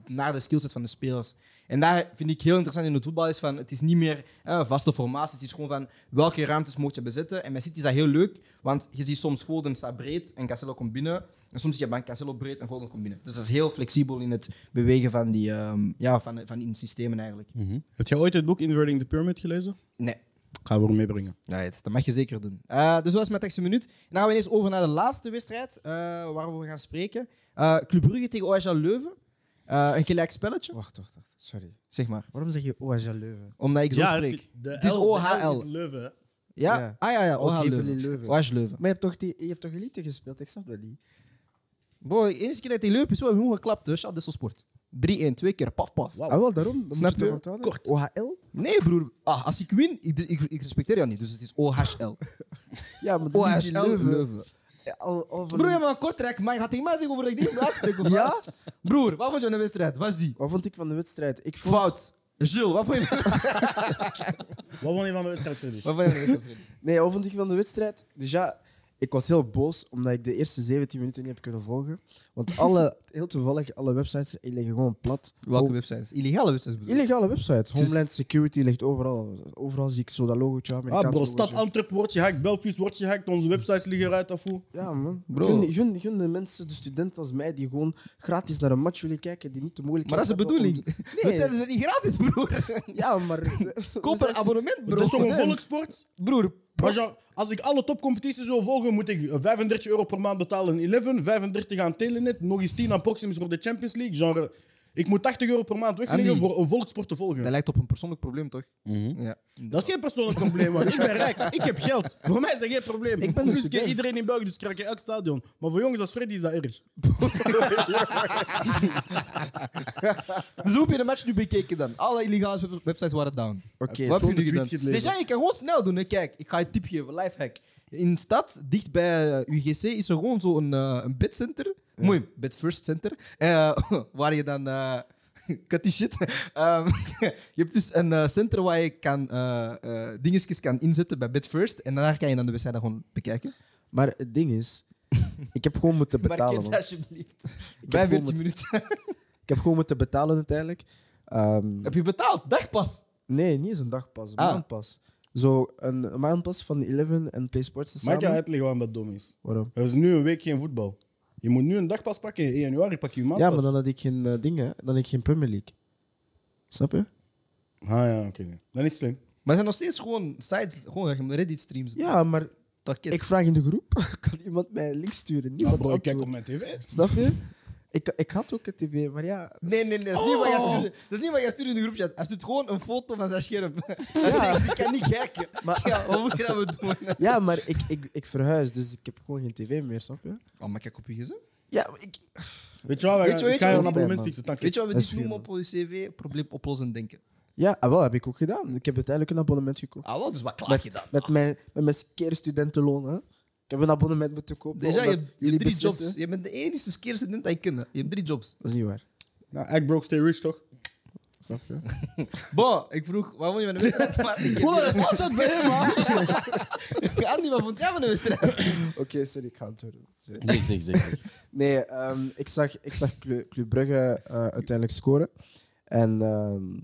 Speaker 1: naar de skillset van de spelers. En daar vind ik heel interessant in het voetbal is van, het is niet meer eh, vaste formaties, het is gewoon van welke ruimtes moet je bezetten. En bij City is dat heel leuk, want je ziet soms Foden staat breed en Cancelo komt binnen. En soms zie je bij Cancelo breed en Foden komt binnen. Dus dat is heel flexibel in het bewegen van die, ehm, ja, van, van die systemen eigenlijk.
Speaker 2: Heb jij ooit het boek Inverting the Pyramid gelezen?
Speaker 1: Nee.
Speaker 2: Gaan we hem meebrengen.
Speaker 1: Right, dat mag je zeker doen. Eh, dus dat was mijn tekstje minuut. En dan gaan we ineens over naar de laatste wedstrijd eh, waar we gaan spreken. Eh, Club Brugge tegen OHL Leuven. Eh, een gelijk spelletje,
Speaker 3: Wacht, wacht, wacht. Sorry.
Speaker 1: zeg maar.
Speaker 3: Waarom zeg je oh, OHL Leuven?
Speaker 1: Omdat ik zo spreek.
Speaker 2: het, de
Speaker 1: Het is
Speaker 2: L- de L
Speaker 1: OHL.
Speaker 2: is Leuven. hè?
Speaker 1: ja?
Speaker 3: ja.
Speaker 1: Ah ja, ja.
Speaker 3: Oud
Speaker 1: OHL
Speaker 3: Heverlee
Speaker 1: Leuven.
Speaker 3: Leuven.
Speaker 1: OHL Leuven.
Speaker 3: Maar je hebt toch, die, je hebt toch elite gespeeld? Ik snap dat niet.
Speaker 1: Bro, de eerste keer dat hij Leuven is, wel hoe geklapt. Dus dat is sport. 3-1, twee keer, paf, paf.
Speaker 3: Ah, wel, daarom. Dat
Speaker 1: Snap
Speaker 3: moet je toch
Speaker 1: je?
Speaker 3: onthouden? OHL?
Speaker 1: Nee, broer. Ah, als ik win, ik, ik, ik respecteer jou niet. Dus het is OHL.
Speaker 3: Ja, maar dat is
Speaker 1: OHL
Speaker 3: die Leuven.
Speaker 1: Leuven.
Speaker 3: Ja, Al, al van-
Speaker 1: Broer, je hebt een kort trek, maar je gaat tegen mij zeggen over dat ik niet moet uitspreken. of
Speaker 3: Ja?
Speaker 1: wat? Broer, wat vond je aan de wedstrijd? Wat zie?
Speaker 3: Wat vond ik van de wedstrijd? Ik vond...
Speaker 1: Fout. Jules, wat vond je?
Speaker 2: Wat won je van de wedstrijd, Freddy?
Speaker 1: Wat vond je van de wedstrijd?
Speaker 3: Nee, wat vond ik van de wedstrijd? Dus ja, ik was heel boos omdat ik de eerste 17 minuten niet heb kunnen volgen. Want alle, heel toevallig, alle websites liggen gewoon plat.
Speaker 1: Welke
Speaker 3: Ho-
Speaker 1: websites? Illegale websites bedoel je?
Speaker 3: Illegale websites.
Speaker 1: Dus-
Speaker 3: Homeland Security ligt overal. Overal zie ik zo dat logootje. Amerikaans
Speaker 2: Ah, bro,
Speaker 3: logootje.
Speaker 2: stad Antwerp wordt gehackt, Belfius wordt gehackt, onze websites liggen eruit af hoe.
Speaker 3: Ja, man.
Speaker 1: Bro.
Speaker 3: Gun, gun, gun de mensen, de studenten als mij, die gewoon gratis naar een match willen kijken, die niet de
Speaker 1: Maar
Speaker 3: moeilijkheid
Speaker 1: dat is de
Speaker 3: hebben om
Speaker 1: bedoeling.
Speaker 3: te-
Speaker 1: We
Speaker 3: Nee,
Speaker 1: zijn er niet gratis, broer.
Speaker 3: ja, maar... we-
Speaker 1: Koop
Speaker 3: we
Speaker 1: een
Speaker 3: zijn-
Speaker 1: abonnement,
Speaker 2: Het is toch
Speaker 1: broer.
Speaker 2: een volkssport?
Speaker 1: Broer,
Speaker 2: Als, je- als ik alle topcompetities wil volgen, moet ik 35 euro per maand betalen in Eleven, 35 aan Telenet, nog eens 10 aan Proximus voor de Champions League. Genre, ik moet 80 euro per maand wegleggen
Speaker 1: Andy.
Speaker 2: voor een volkssport te volgen.
Speaker 1: dat lijkt op een persoonlijk probleem, toch?
Speaker 3: Mhm.
Speaker 1: Ja.
Speaker 2: Dat is geen persoonlijk probleem, want ik ben rijk, ik heb geld. Voor mij is dat geen probleem.
Speaker 3: Ik ben een
Speaker 2: dus ken
Speaker 3: student.
Speaker 2: iedereen in België, dus krijg je elk stadion. Maar voor jongens als Freddy is dat erg.
Speaker 1: Dus hoe heb je de match nu bekeken dan? Alle illegale web- websites waren down.
Speaker 3: Oké,
Speaker 1: Wat
Speaker 3: tot
Speaker 1: heb je
Speaker 3: de
Speaker 1: gedaan?
Speaker 3: tweets gelezen.
Speaker 1: Dus ja, je kan gewoon snel doen. Hè. Kijk, ik ga je een tip geven, lifehack. In de stad, dicht bij eh, UGC, is er gewoon zo'n eh, een bedcenter. Mooi, bed first center. Eh, waar je dan... eh cut die shit. Ehm, je hebt dus een eh, center waar je kan, eh, eh, dingetjes kan inzetten bij bed first. En daar kan je dan de wedstrijd gewoon bekijken.
Speaker 3: Maar het ding is, ik heb gewoon moeten betalen.
Speaker 1: maar
Speaker 3: man.
Speaker 1: ken alsjeblieft.
Speaker 3: Ik
Speaker 1: Bij
Speaker 3: heb, gewoon
Speaker 1: 14
Speaker 3: moeten,
Speaker 1: minuten.
Speaker 3: ik heb gewoon moeten betalen uiteindelijk. Ehm,
Speaker 1: Heb je betaald? Dagpas.
Speaker 3: nee, niet eens een dagpas, een
Speaker 1: Ah.
Speaker 3: maandpas. Zo, een, een maandpas van Eleven en Play Sports te
Speaker 2: Mag ik je
Speaker 3: samen.
Speaker 2: uitleggen waarom dat dom is?
Speaker 3: Waarom?
Speaker 2: Er is nu een week geen voetbal. Je moet nu een dagpas pakken. In januari pak je je
Speaker 3: Ja,
Speaker 2: maandpas.
Speaker 3: maar dan had ik geen eh, dingen, dan had ik geen Premier League. Snap je?
Speaker 2: Ah ja, oké. nee. Dan is het slim.
Speaker 1: Maar er zijn nog steeds gewoon sites, gewoon Reddit streams.
Speaker 3: Ja, maar
Speaker 1: Dat kent.
Speaker 3: ik vraag in de groep, kan iemand mij een link
Speaker 1: Ah,
Speaker 3: sturen?
Speaker 2: Ja,
Speaker 3: Niemand
Speaker 2: Ah, bro, ik kijk op
Speaker 3: antwoordt.
Speaker 2: mijn tv.
Speaker 3: Snap je? Ik, ik had ook een tv, maar ja.
Speaker 1: Nee, nee, nee. Dat is, niet wat jij stuurde, dat is niet wat jij stuurde in de groepchat. Hij stuurt gewoon een foto van zijn scherm. Hij zegt, ik kan niet kijken.
Speaker 3: Maar-
Speaker 1: ja, wat moet je daarmee doen?
Speaker 3: Ja, maar ik, ik, ik verhuis, dus ik heb gewoon geen tv meer, snap je?
Speaker 1: Oh, maar kijk op je gezin.
Speaker 3: Ja, maar ik,
Speaker 2: Weet je wel,
Speaker 1: Weet
Speaker 2: wij
Speaker 1: je-
Speaker 2: gaan,
Speaker 1: weet
Speaker 2: ik
Speaker 1: je
Speaker 2: ga je
Speaker 1: wat
Speaker 2: een
Speaker 3: ik
Speaker 2: abonnement
Speaker 3: ben,
Speaker 2: fixen. Dank je.
Speaker 1: Weet je wat we
Speaker 3: Dat
Speaker 1: dit
Speaker 3: is
Speaker 1: noemen
Speaker 3: vier,
Speaker 1: op je cv? Probleem oplossen denken.
Speaker 3: ja ah, wel, heb ik ook gedaan. Ik heb uiteindelijk een abonnement gekocht.
Speaker 1: Ah, wel, dus wat klaag je
Speaker 3: Met,
Speaker 1: dan?
Speaker 3: met, mijn, met mijn keer studentenloon, hè. Ik heb een abonnement moeten kopen.
Speaker 1: Déjà, je
Speaker 3: omdat
Speaker 1: hebt je hebt drie
Speaker 3: beslissen-
Speaker 1: jobs. Je bent de enige keer student dat je kent. Je hebt drie jobs.
Speaker 3: Dat is niet waar.
Speaker 2: Nou, act broke, stay rich, toch?
Speaker 3: Snap je?
Speaker 1: Bon, ik vroeg, waar vond je van de wedstrijd? Maar ik heb
Speaker 2: dat is altijd bij hem, man.
Speaker 1: Andy, wat vond jij van de wedstrijd?
Speaker 3: Oké, sorry, ik ga het doen. Sorry.
Speaker 5: Zeg, zeg, zeg. zeg.
Speaker 3: Nee, ehm, ik zag, ik zag Clu- Club Brugge eh, uiteindelijk scoren. En ehm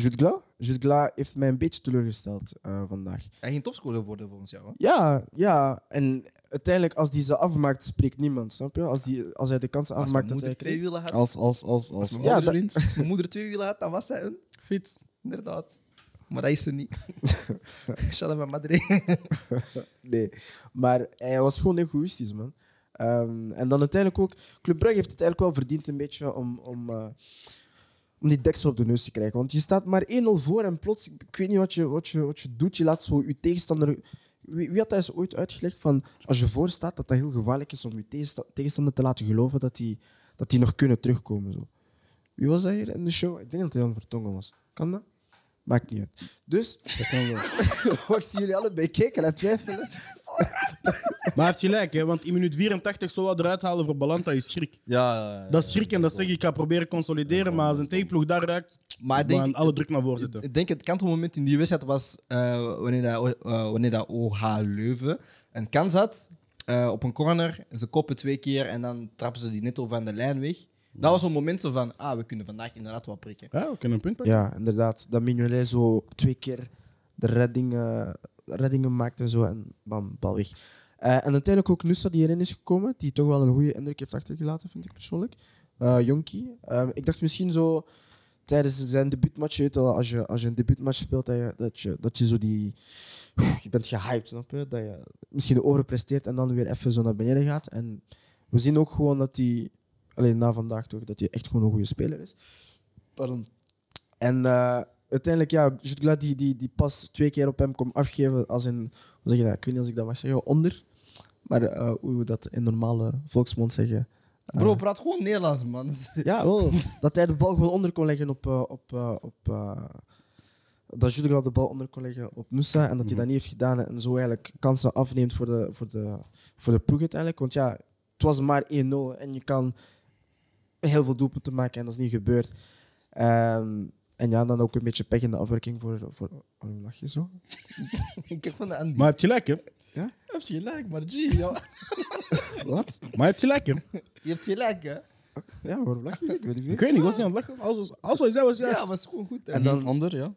Speaker 3: Jude Gla, Jude Gla heeft mij een beetje teleurgesteld eh, vandaag.
Speaker 1: Hij ging topscorer worden volgens jou. Hè?
Speaker 3: Ja, ja. En uiteindelijk, als die ze afmaakt, spreekt niemand, snap je? Als, die, als hij de kansen
Speaker 1: Als mijn
Speaker 3: afmaakt, Ah, dat hij
Speaker 1: moeder twee
Speaker 3: krijgt.
Speaker 1: wielen had,
Speaker 5: Als, als, als, als.
Speaker 1: mijn
Speaker 5: als,
Speaker 3: Ja, dat-
Speaker 5: vriend.
Speaker 1: als mijn moeder twee wielen had, dan was zij een.
Speaker 2: Fiets.
Speaker 1: Inderdaad. Maar dat is ze niet. Shout out naar Madrid.
Speaker 3: Nee. Maar hij was gewoon egoïstisch, man. Ehm, en dan uiteindelijk ook... Club Brugge heeft het eigenlijk wel verdiend een beetje om... om eh, om die deksel op de neus te krijgen. Want je staat maar 1-0 voor en plots, ik weet niet wat je, wat je, wat je doet. Je laat zo je tegenstander. Wie, wie had dat eens ooit uitgelegd? Van als je voor staat, dat dat heel gevaarlijk is om je tegensta- tegenstander te laten geloven dat die, dat die nog kunnen terugkomen. Zo. Wie was dat hier in de show? Ik denk dat hij aan Vertongen was. Kan dat? Maakt niet uit. Dus. Dat kan wel. ik zie jullie allebei kijken en twijfelen.
Speaker 2: hij heeft gelijk, hè, want in minuut 84 zo wat eruit halen voor Balanta is schrik.
Speaker 5: Ja, ja, ja, ja.
Speaker 2: Dat is schrik en dat zeg ik, ik ga proberen consolideren, maar als een tegenploeg daar raakt,
Speaker 1: Maar ik
Speaker 2: gaan
Speaker 1: denk,
Speaker 2: alle druk naar voren zitten.
Speaker 1: ik denk het kantelmoment in die wedstrijd was eh, wanneer, dat, eh, wanneer dat OH Leuven een kans had eh, op een corner. Ze koppen twee keer en dan trappen ze die net over aan de lijn weg. Dat was zo'n moment zo van, ah, we kunnen vandaag inderdaad wat prikken.
Speaker 2: Ja, we kunnen een punt pakken.
Speaker 3: Ja, inderdaad. Dat Mignolet zo twee keer de redding, eh, reddingen maakt en zo. En bam, bal weg. Eh, en uiteindelijk ook Nusa die erin is gekomen. Die toch wel een goede indruk heeft achtergelaten, vind ik persoonlijk. Eh Jonkie. Ehm, ik dacht misschien zo tijdens zijn debuutmatch, je weet wel, als je, als je een debuutmatch speelt, dat je, dat je, dat je zo die... Je bent gehyped, snap je? Dat je misschien overpresteert en dan weer even zo naar beneden gaat. En we zien ook gewoon dat hij, alleen na vandaag toch, dat hij echt gewoon een goede speler is. Pardon. En eh, uiteindelijk, ja, Jutgla die, die, die pas twee keer op hem kon afgeven als een, hoe zeg je dat? Ik weet niet als ik dat mag zeggen, onder. Maar eh, hoe we dat in normale volksmond zeggen. eh,
Speaker 1: Bro, praat gewoon Nederlands, man.
Speaker 3: ja, wel. Dat hij de bal gewoon onder kon leggen op. eh, op, eh, op eh, dat Jutgla de bal onder kon leggen op Nusa en dat hij dat niet heeft gedaan en zo eigenlijk kansen afneemt voor de, voor de, voor de ploeg uiteindelijk. Want ja, het was maar 1-0 en je kan heel veel doelpunten maken en dat is niet gebeurd. Ehm, en ja, dan ook een beetje pech in de afwerking voor... voor waarom lach je zo?
Speaker 1: ik heb van de Andy.
Speaker 2: Maar je hebt gelijk, hè?
Speaker 5: Heb je gelijk, maar G, ja.
Speaker 3: Wat?
Speaker 2: Maar je hebt gelijk, hè?
Speaker 1: Je hebt gelijk, hè?
Speaker 3: Ja, waarom lach je? Ik weet het niet.
Speaker 2: Ik weet niet, ik was niet aan het lachen. Alles, was- alles wat je zei was
Speaker 1: Ja,
Speaker 2: juist.
Speaker 1: maar is gewoon goed. Hè?
Speaker 5: En dan ander, ja.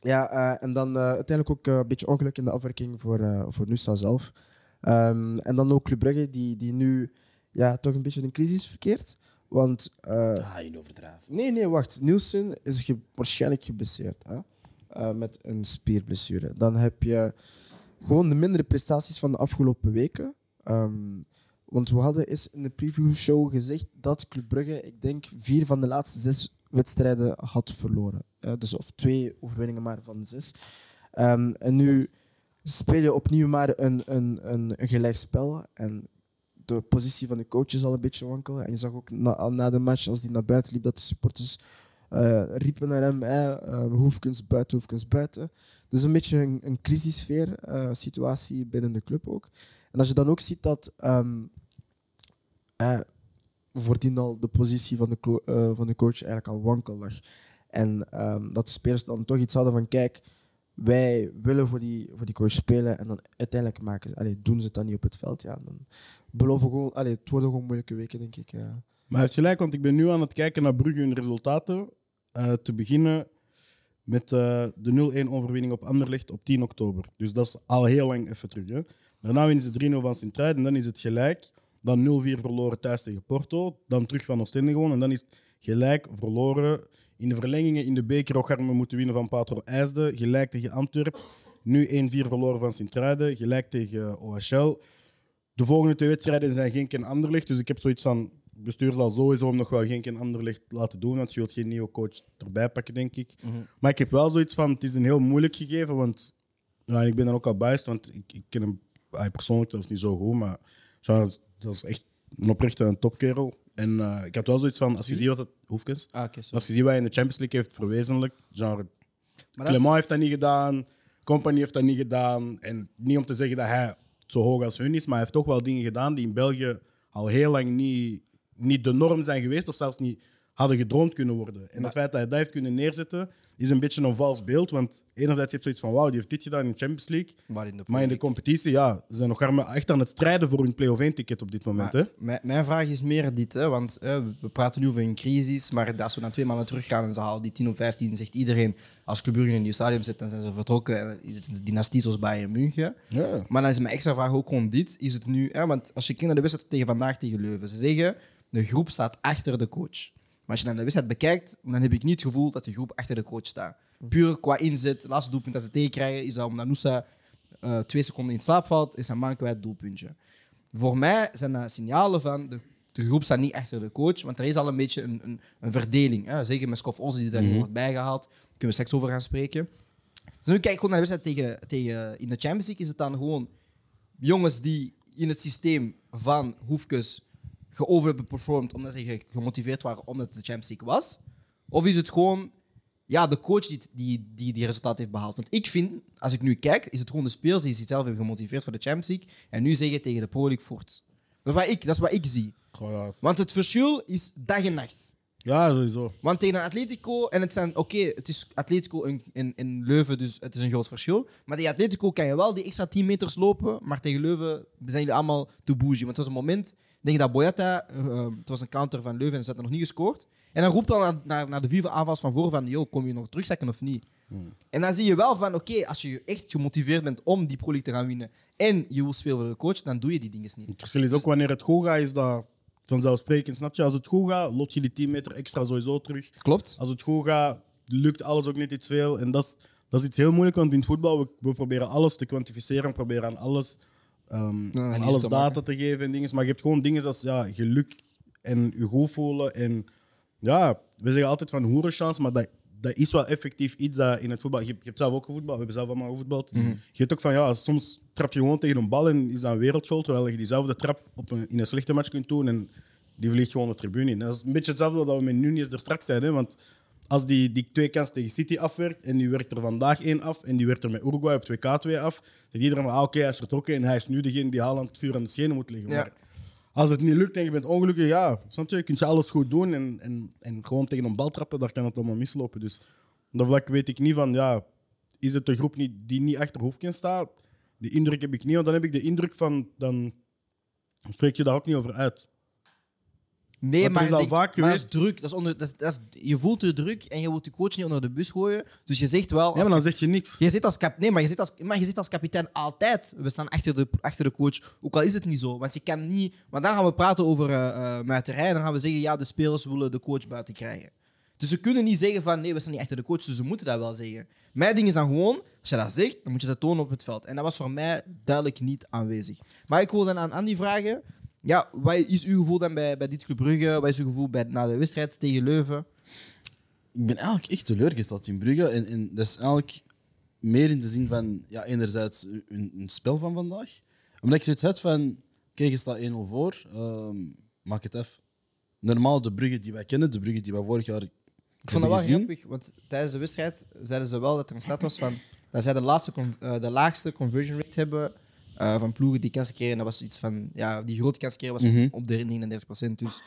Speaker 3: Ja, eh, en dan eh, uiteindelijk ook eh, een beetje ongeluk in de afwerking voor, eh, voor Nusa zelf. Ehm, en dan ook Club Brugge, die, die nu ja, toch een beetje in crisis verkeert. Want... eh,
Speaker 5: Ah, je overdrijft.
Speaker 3: Nee, nee, wacht. Nielsen is ge- waarschijnlijk geblesseerd hè? Eh, met een spierblessure. Dan heb je gewoon de mindere prestaties van de afgelopen weken. Ehm, want we hadden eens in de preview show gezegd dat Club Brugge, ik denk, vier van de laatste zes wedstrijden had verloren. Eh, dus of twee overwinningen maar van de zes. Ehm, en nu speel je opnieuw maar een, een, een, een gelijk spel. En de positie van de coach is al een beetje wankel. En je zag ook na, al na de match, als die naar buiten liep, dat de supporters eh, riepen naar hem: hè, eh, Hoefkens buiten, Hoefkens buiten. Dus een beetje een, een crisissfeer eh, situatie binnen de club ook. En als je dan ook ziet dat ehm, eh, voordien al de positie van de, clo- eh, van de coach eigenlijk al wankel lag. En ehm, dat de spelers dan toch iets hadden van: kijk, wij willen voor die, voor die coach spelen. En dan uiteindelijk maken, ze- allee, doen ze het dan niet op het veld. Ja, dan beloven gewoon, allee, het worden gewoon moeilijke weken, denk ik. eh.
Speaker 2: Maar hij heeft gelijk, want ik ben nu aan het kijken naar Brugge hun resultaten. Eh, te beginnen met eh, de 0-1-overwinning op Anderlecht op 10 oktober. Dus dat is al heel lang even terug. Hè. Daarna winnen ze 3-0 van sint en dan is het gelijk. Dan 0-4 verloren thuis tegen Porto. Dan terug van Oostende gewoon. En dan is het gelijk verloren. In de verlengingen in de beker Ocharme moeten winnen van Patro IJsde. Gelijk tegen Antwerp. Nu 1-4 verloren van sint Gelijk tegen OHL. De volgende twee wedstrijden zijn geen en Anderlecht. Dus ik heb zoiets van. Het bestuur zal sowieso hem nog wel geen en Anderlecht laten doen. Want je wilt geen nieuwe coach erbij pakken, denk ik.
Speaker 1: Mhm.
Speaker 2: Maar ik heb wel zoiets van. Het is een heel moeilijk gegeven. Want ja, ik ben dan ook al biased. Want ik, ik ken hem hij persoonlijk zelfs niet zo goed. Maar Charles, dat is echt een oprechte een topkerel. En eh, ik had wel zoiets van. Als je ziet wat het hoefkens.
Speaker 1: Ah, oké, sorry.
Speaker 2: Als je ziet wat hij in de Champions League heeft verwezenlijk. Genre
Speaker 1: Maar dat is-
Speaker 2: Clement heeft dat niet gedaan, Company heeft dat niet gedaan. En niet om te zeggen dat hij zo hoog als hun is, maar hij heeft toch wel dingen gedaan die in België al heel lang niet, niet de norm zijn geweest of zelfs niet hadden gedroomd kunnen worden. En het feit dat hij dat heeft kunnen neerzetten, is een beetje een vals beeld. Want enerzijds heb je zoiets van, wauw, die heeft dit gedaan in de Champions League.
Speaker 1: Maar in de
Speaker 2: Maar in de competitie, ja, ze zijn nog armen echt aan het strijden voor hun play-off 1-ticket op dit moment. Hè?
Speaker 1: Mijn, mijn vraag is meer dit, hè, want eh, we praten nu over een crisis, maar als we na twee maanden teruggaan en ze halen die 10 of 15, zegt iedereen, als Club Brugge in een nieuw stadium zit, dan zijn ze vertrokken. En is het de dynastie zoals Bayern München.
Speaker 2: Ja.
Speaker 1: Maar dan is mijn extra vraag ook gewoon dit. Is het nu, hè, want als je kijkt naar de wedstrijd tegen vandaag tegen Leuven, ze zeggen, de groep staat achter de coach. Maar als je dan de wedstrijd bekijkt, dan heb ik niet het gevoel dat de groep achter de coach staat.
Speaker 2: Hm.
Speaker 1: Puur qua inzet, het laatste doelpunt dat ze tegenkrijgen, is dat om Nanusa eh, twee seconden in slaap valt, is een man kwijt doelpuntje voor mij zijn dat signalen van de, de groep staat niet achter de coach, want er is al een beetje een, een, een verdeling. Hè? Zeker met Scoff Ozzy die daarin wordt bijgehaald. Daar kunnen we straks over gaan spreken. Dus nu kijk ik gewoon naar de wedstrijd tegen, tegen... In de Champions League is het dan gewoon jongens die in het systeem van Hoefkes geoverperformed omdat ze ge- gemotiveerd waren omdat het de Champions League was? Of is het gewoon ja, de coach die, die, die die resultaat heeft behaald. Want ik vind, als ik nu kijk, is het gewoon de spelers die zichzelf hebben gemotiveerd voor de Champions League. En nu zeggen tegen de Pro League voort. Dat is wat ik, dat is wat ik zie.
Speaker 2: Goh, ja.
Speaker 1: Want het verschil is dag en nacht.
Speaker 2: ja, sowieso.
Speaker 1: Want tegen een Atletico, en het zijn, oké, het is Atletico in, in, in Leuven, dus het is een groot verschil. Maar tegen Atletico kan je wel die extra 10 meters lopen, maar tegen Leuven zijn jullie allemaal te bougie. Want het was een moment, ik denk dat Boyata, eh, het was een counter van Leuven en ze hadden nog niet gescoord. En dan roept dan naar, naar, naar de vier aanvals van voren van, yo, kom je nog terugzakken of niet? En dan zie je wel van, oké, als je echt gemotiveerd bent om die Pro League te gaan winnen en je wil spelen voor de coach, dan doe je die dingen niet.
Speaker 2: Het verschil is ook wanneer het goed gaat, is dat vanzelfsprekend. Snap je? Als het goed gaat, lot je die 10 meter extra sowieso terug.
Speaker 1: Klopt.
Speaker 2: Als het goed gaat, lukt alles ook net iets veel. En dat is, dat is iets heel moeilijk, want in het voetbal we, we proberen alles te kwantificeren, we proberen aan alles, ehm,
Speaker 1: Mm. Ja,
Speaker 2: aan
Speaker 1: iets
Speaker 2: alles
Speaker 1: te
Speaker 2: data
Speaker 1: maken.
Speaker 2: te geven en dingen. Maar je hebt gewoon dingen als ja, geluk en je goed voelen. En ja, we zeggen altijd van hoerenchance, maar dat, dat is wel effectief iets dat in het voetbal. Je, je hebt zelf ook gevoetbald, we hebben zelf allemaal gevoetbald.
Speaker 1: Mhm.
Speaker 2: Je hebt ook van ja, soms trap je gewoon tegen een bal en is dat een wereldgoal, terwijl je diezelfde trap op een, in een slechte match kunt doen en die vliegt gewoon de tribune in. Dat is een beetje hetzelfde wat we met Nunes er straks zeiden, hè, want als die, die twee kansen tegen City afwerkt en die werkt er vandaag één af en die werkt er met Uruguay op 2K 2 af, dan iedereen van ah, oké, hij is vertrokken en hij is nu degene die Haaland het vuur aan de schenen moet leggen.
Speaker 1: Ja.
Speaker 2: Maar als het niet lukt en je bent ongelukkig, ja, snap je? Je kunt je alles goed doen en, en, en gewoon tegen een bal trappen, daar kan het allemaal mislopen. Dus op dat vlak weet ik niet van, ja, is het de groep niet, die niet achter Hoefkens staat? Die indruk heb ik niet, want dan heb ik de indruk van, dan spreek je daar ook niet over uit.
Speaker 1: Nee,
Speaker 2: Want er
Speaker 1: maar,
Speaker 2: is
Speaker 1: ik
Speaker 2: al
Speaker 1: denk-
Speaker 2: vaak
Speaker 1: maar dat is
Speaker 2: geweest-
Speaker 1: druk. Dat is onder, dat is, dat is, je voelt de druk en je wilt de coach niet onder de bus gooien. Dus je zegt wel.
Speaker 2: Ja,
Speaker 1: als-
Speaker 2: maar dan zeg je niks.
Speaker 1: je zit als kap, nee, maar je zit als, maar je zit als kapitein altijd. We staan achter de, achter de coach. Ook al is het niet zo. Want je kan niet. Want dan gaan we praten over eh eh, muiterij. En dan gaan we zeggen: ja, de spelers willen de coach buiten krijgen. Dus ze kunnen niet zeggen van nee, we staan niet achter de coach, dus ze moeten dat wel zeggen. Mijn ding is dan gewoon, als je dat zegt, dan moet je dat tonen op het veld. En dat was voor mij duidelijk niet aanwezig. Maar ik wil dan aan Andy vragen, ja, wat is uw gevoel dan bij, bij dit Club Brugge? Wat is uw gevoel bij, na de wedstrijd tegen Leuven?
Speaker 5: ik ben eigenlijk echt teleurgesteld in Brugge. En, en dat is eigenlijk meer in de zin van, ja, enerzijds een, een spel van vandaag. Omdat ik zoiets had van, kijk, je staat 1-0 voor, ehm, maak het af. Normaal de Brugge die wij kennen, de Brugge die wij vorig jaar
Speaker 1: Ik vond dat wel
Speaker 5: hebben gezien.
Speaker 1: grappig, want tijdens de wedstrijd zeiden ze wel dat er een staat was van dat zij de, laatste con- eh, de laagste conversion rate hebben eh, van ploegen die kansen creëren. En dat was iets van, ja, die grote kansen creëren was op de 39%. Dus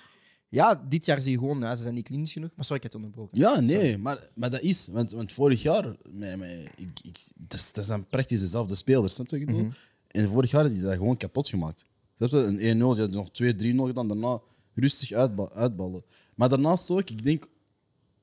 Speaker 1: ja, dit jaar zie je gewoon, ja, ze zijn niet klinisch genoeg. Maar sorry, ik heb het onderbroken.
Speaker 5: Ja, nee, maar, maar dat is. Want, want vorig jaar, met, met, ik, ik, dat, is- dat zijn praktisch dezelfde spelers, snap je wat ik bedoel? En vorig jaar hadden die dat gewoon kapot gemaakt. Snap je? Een 1-0, die hadden nog 2-3-0 gedaan, daarna rustig uitba- uitballen. Maar daarnaast ook, ik denk,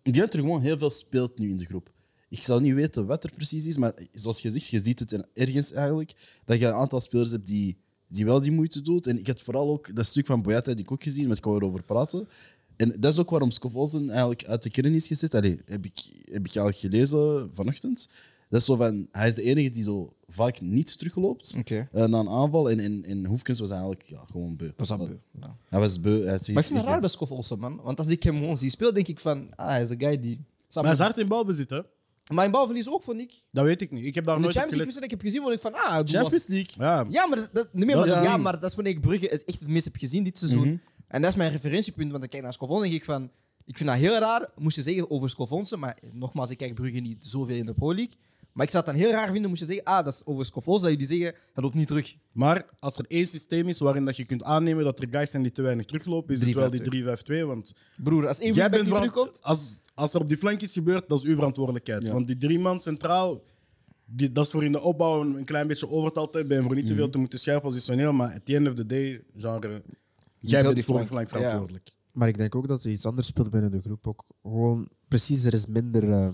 Speaker 5: die heeft er gewoon heel veel speelt nu in de groep. Ik zou niet weten wat er precies is, maar zoals je zegt, je ziet het in- ergens eigenlijk, dat je een aantal spelers hebt die, die wel die moeite doet. En ik had vooral ook dat stuk van Boyata die ik ook gezien, met ik wou erover praten. En dat is ook waarom Scott Olsen eigenlijk uit de kern is gezet. Allee, heb ik, heb ik eigenlijk gelezen vanochtend. Dat is zo van, hij is de enige die zo vaak niet terugloopt
Speaker 1: Oké.
Speaker 5: eh, na een aanval. En, en, en Hoefkens was eigenlijk ja, gewoon beu.
Speaker 1: Dat is dat beu. Ja.
Speaker 5: Hij was beu. Hij had zich-
Speaker 1: Maar ik vind het raar bij Scoff Olsen, man. Want als ik hem gewoon zie spelen, denk ik van, ah, hij is een guy die...
Speaker 2: Maar hij is hard in balbezit, hè?
Speaker 1: Maar in balverlies ook, vond ik. In
Speaker 2: Dat weet ik niet. Ik heb daar
Speaker 1: de
Speaker 2: nooit op
Speaker 1: Champions League wedstrijd
Speaker 2: gelet.
Speaker 1: heb ik gezien, vond ik van, ah, hij doet wel-
Speaker 5: Champions League.
Speaker 2: Ja,
Speaker 1: Ja, maar dat, dat- nee, maar,
Speaker 2: Dat is Mhm.
Speaker 1: dat-
Speaker 2: een
Speaker 1: ja,
Speaker 2: ding.
Speaker 1: maar dat is wanneer ik Brugge het echt het meest heb gezien dit seizoen. En dat is mijn referentiepunt, want ik kijk naar Scovon en denk ik van... Ik vind dat heel raar, moest je zeggen over Scovonsen, maar nogmaals, ik kijk Brugge niet zoveel in de Pro League. Maar ik zou het dan heel raar vinden, moest je zeggen, ah, dat is over Scovonsen, dat jullie zeggen, dat loopt niet terug.
Speaker 2: Maar als er één systeem is waarin dat je kunt aannemen dat er guys zijn die te weinig teruglopen, is het wel die 3-5-2. Want
Speaker 1: Broer, als één wingback
Speaker 2: jij bent
Speaker 1: niet
Speaker 2: veran-
Speaker 1: terugkomt...
Speaker 2: als, als er op die flank iets gebeurt, dat is uw verantwoordelijkheid. Want die drie man centraal, die, dat is voor in de opbouw een, een klein beetje overtal te hebben en voor niet te
Speaker 1: Mhm.
Speaker 2: veel te moeten schuiven positioneel. Maar at the end of the day, genre, jij
Speaker 1: heel
Speaker 2: bent
Speaker 1: die
Speaker 2: voor de
Speaker 1: flank.
Speaker 2: flank
Speaker 1: Ja.
Speaker 2: verantwoordelijk.
Speaker 3: Maar ik denk ook dat er iets anders speelt binnen de groep. Ook gewoon, precies, er is minder. eh,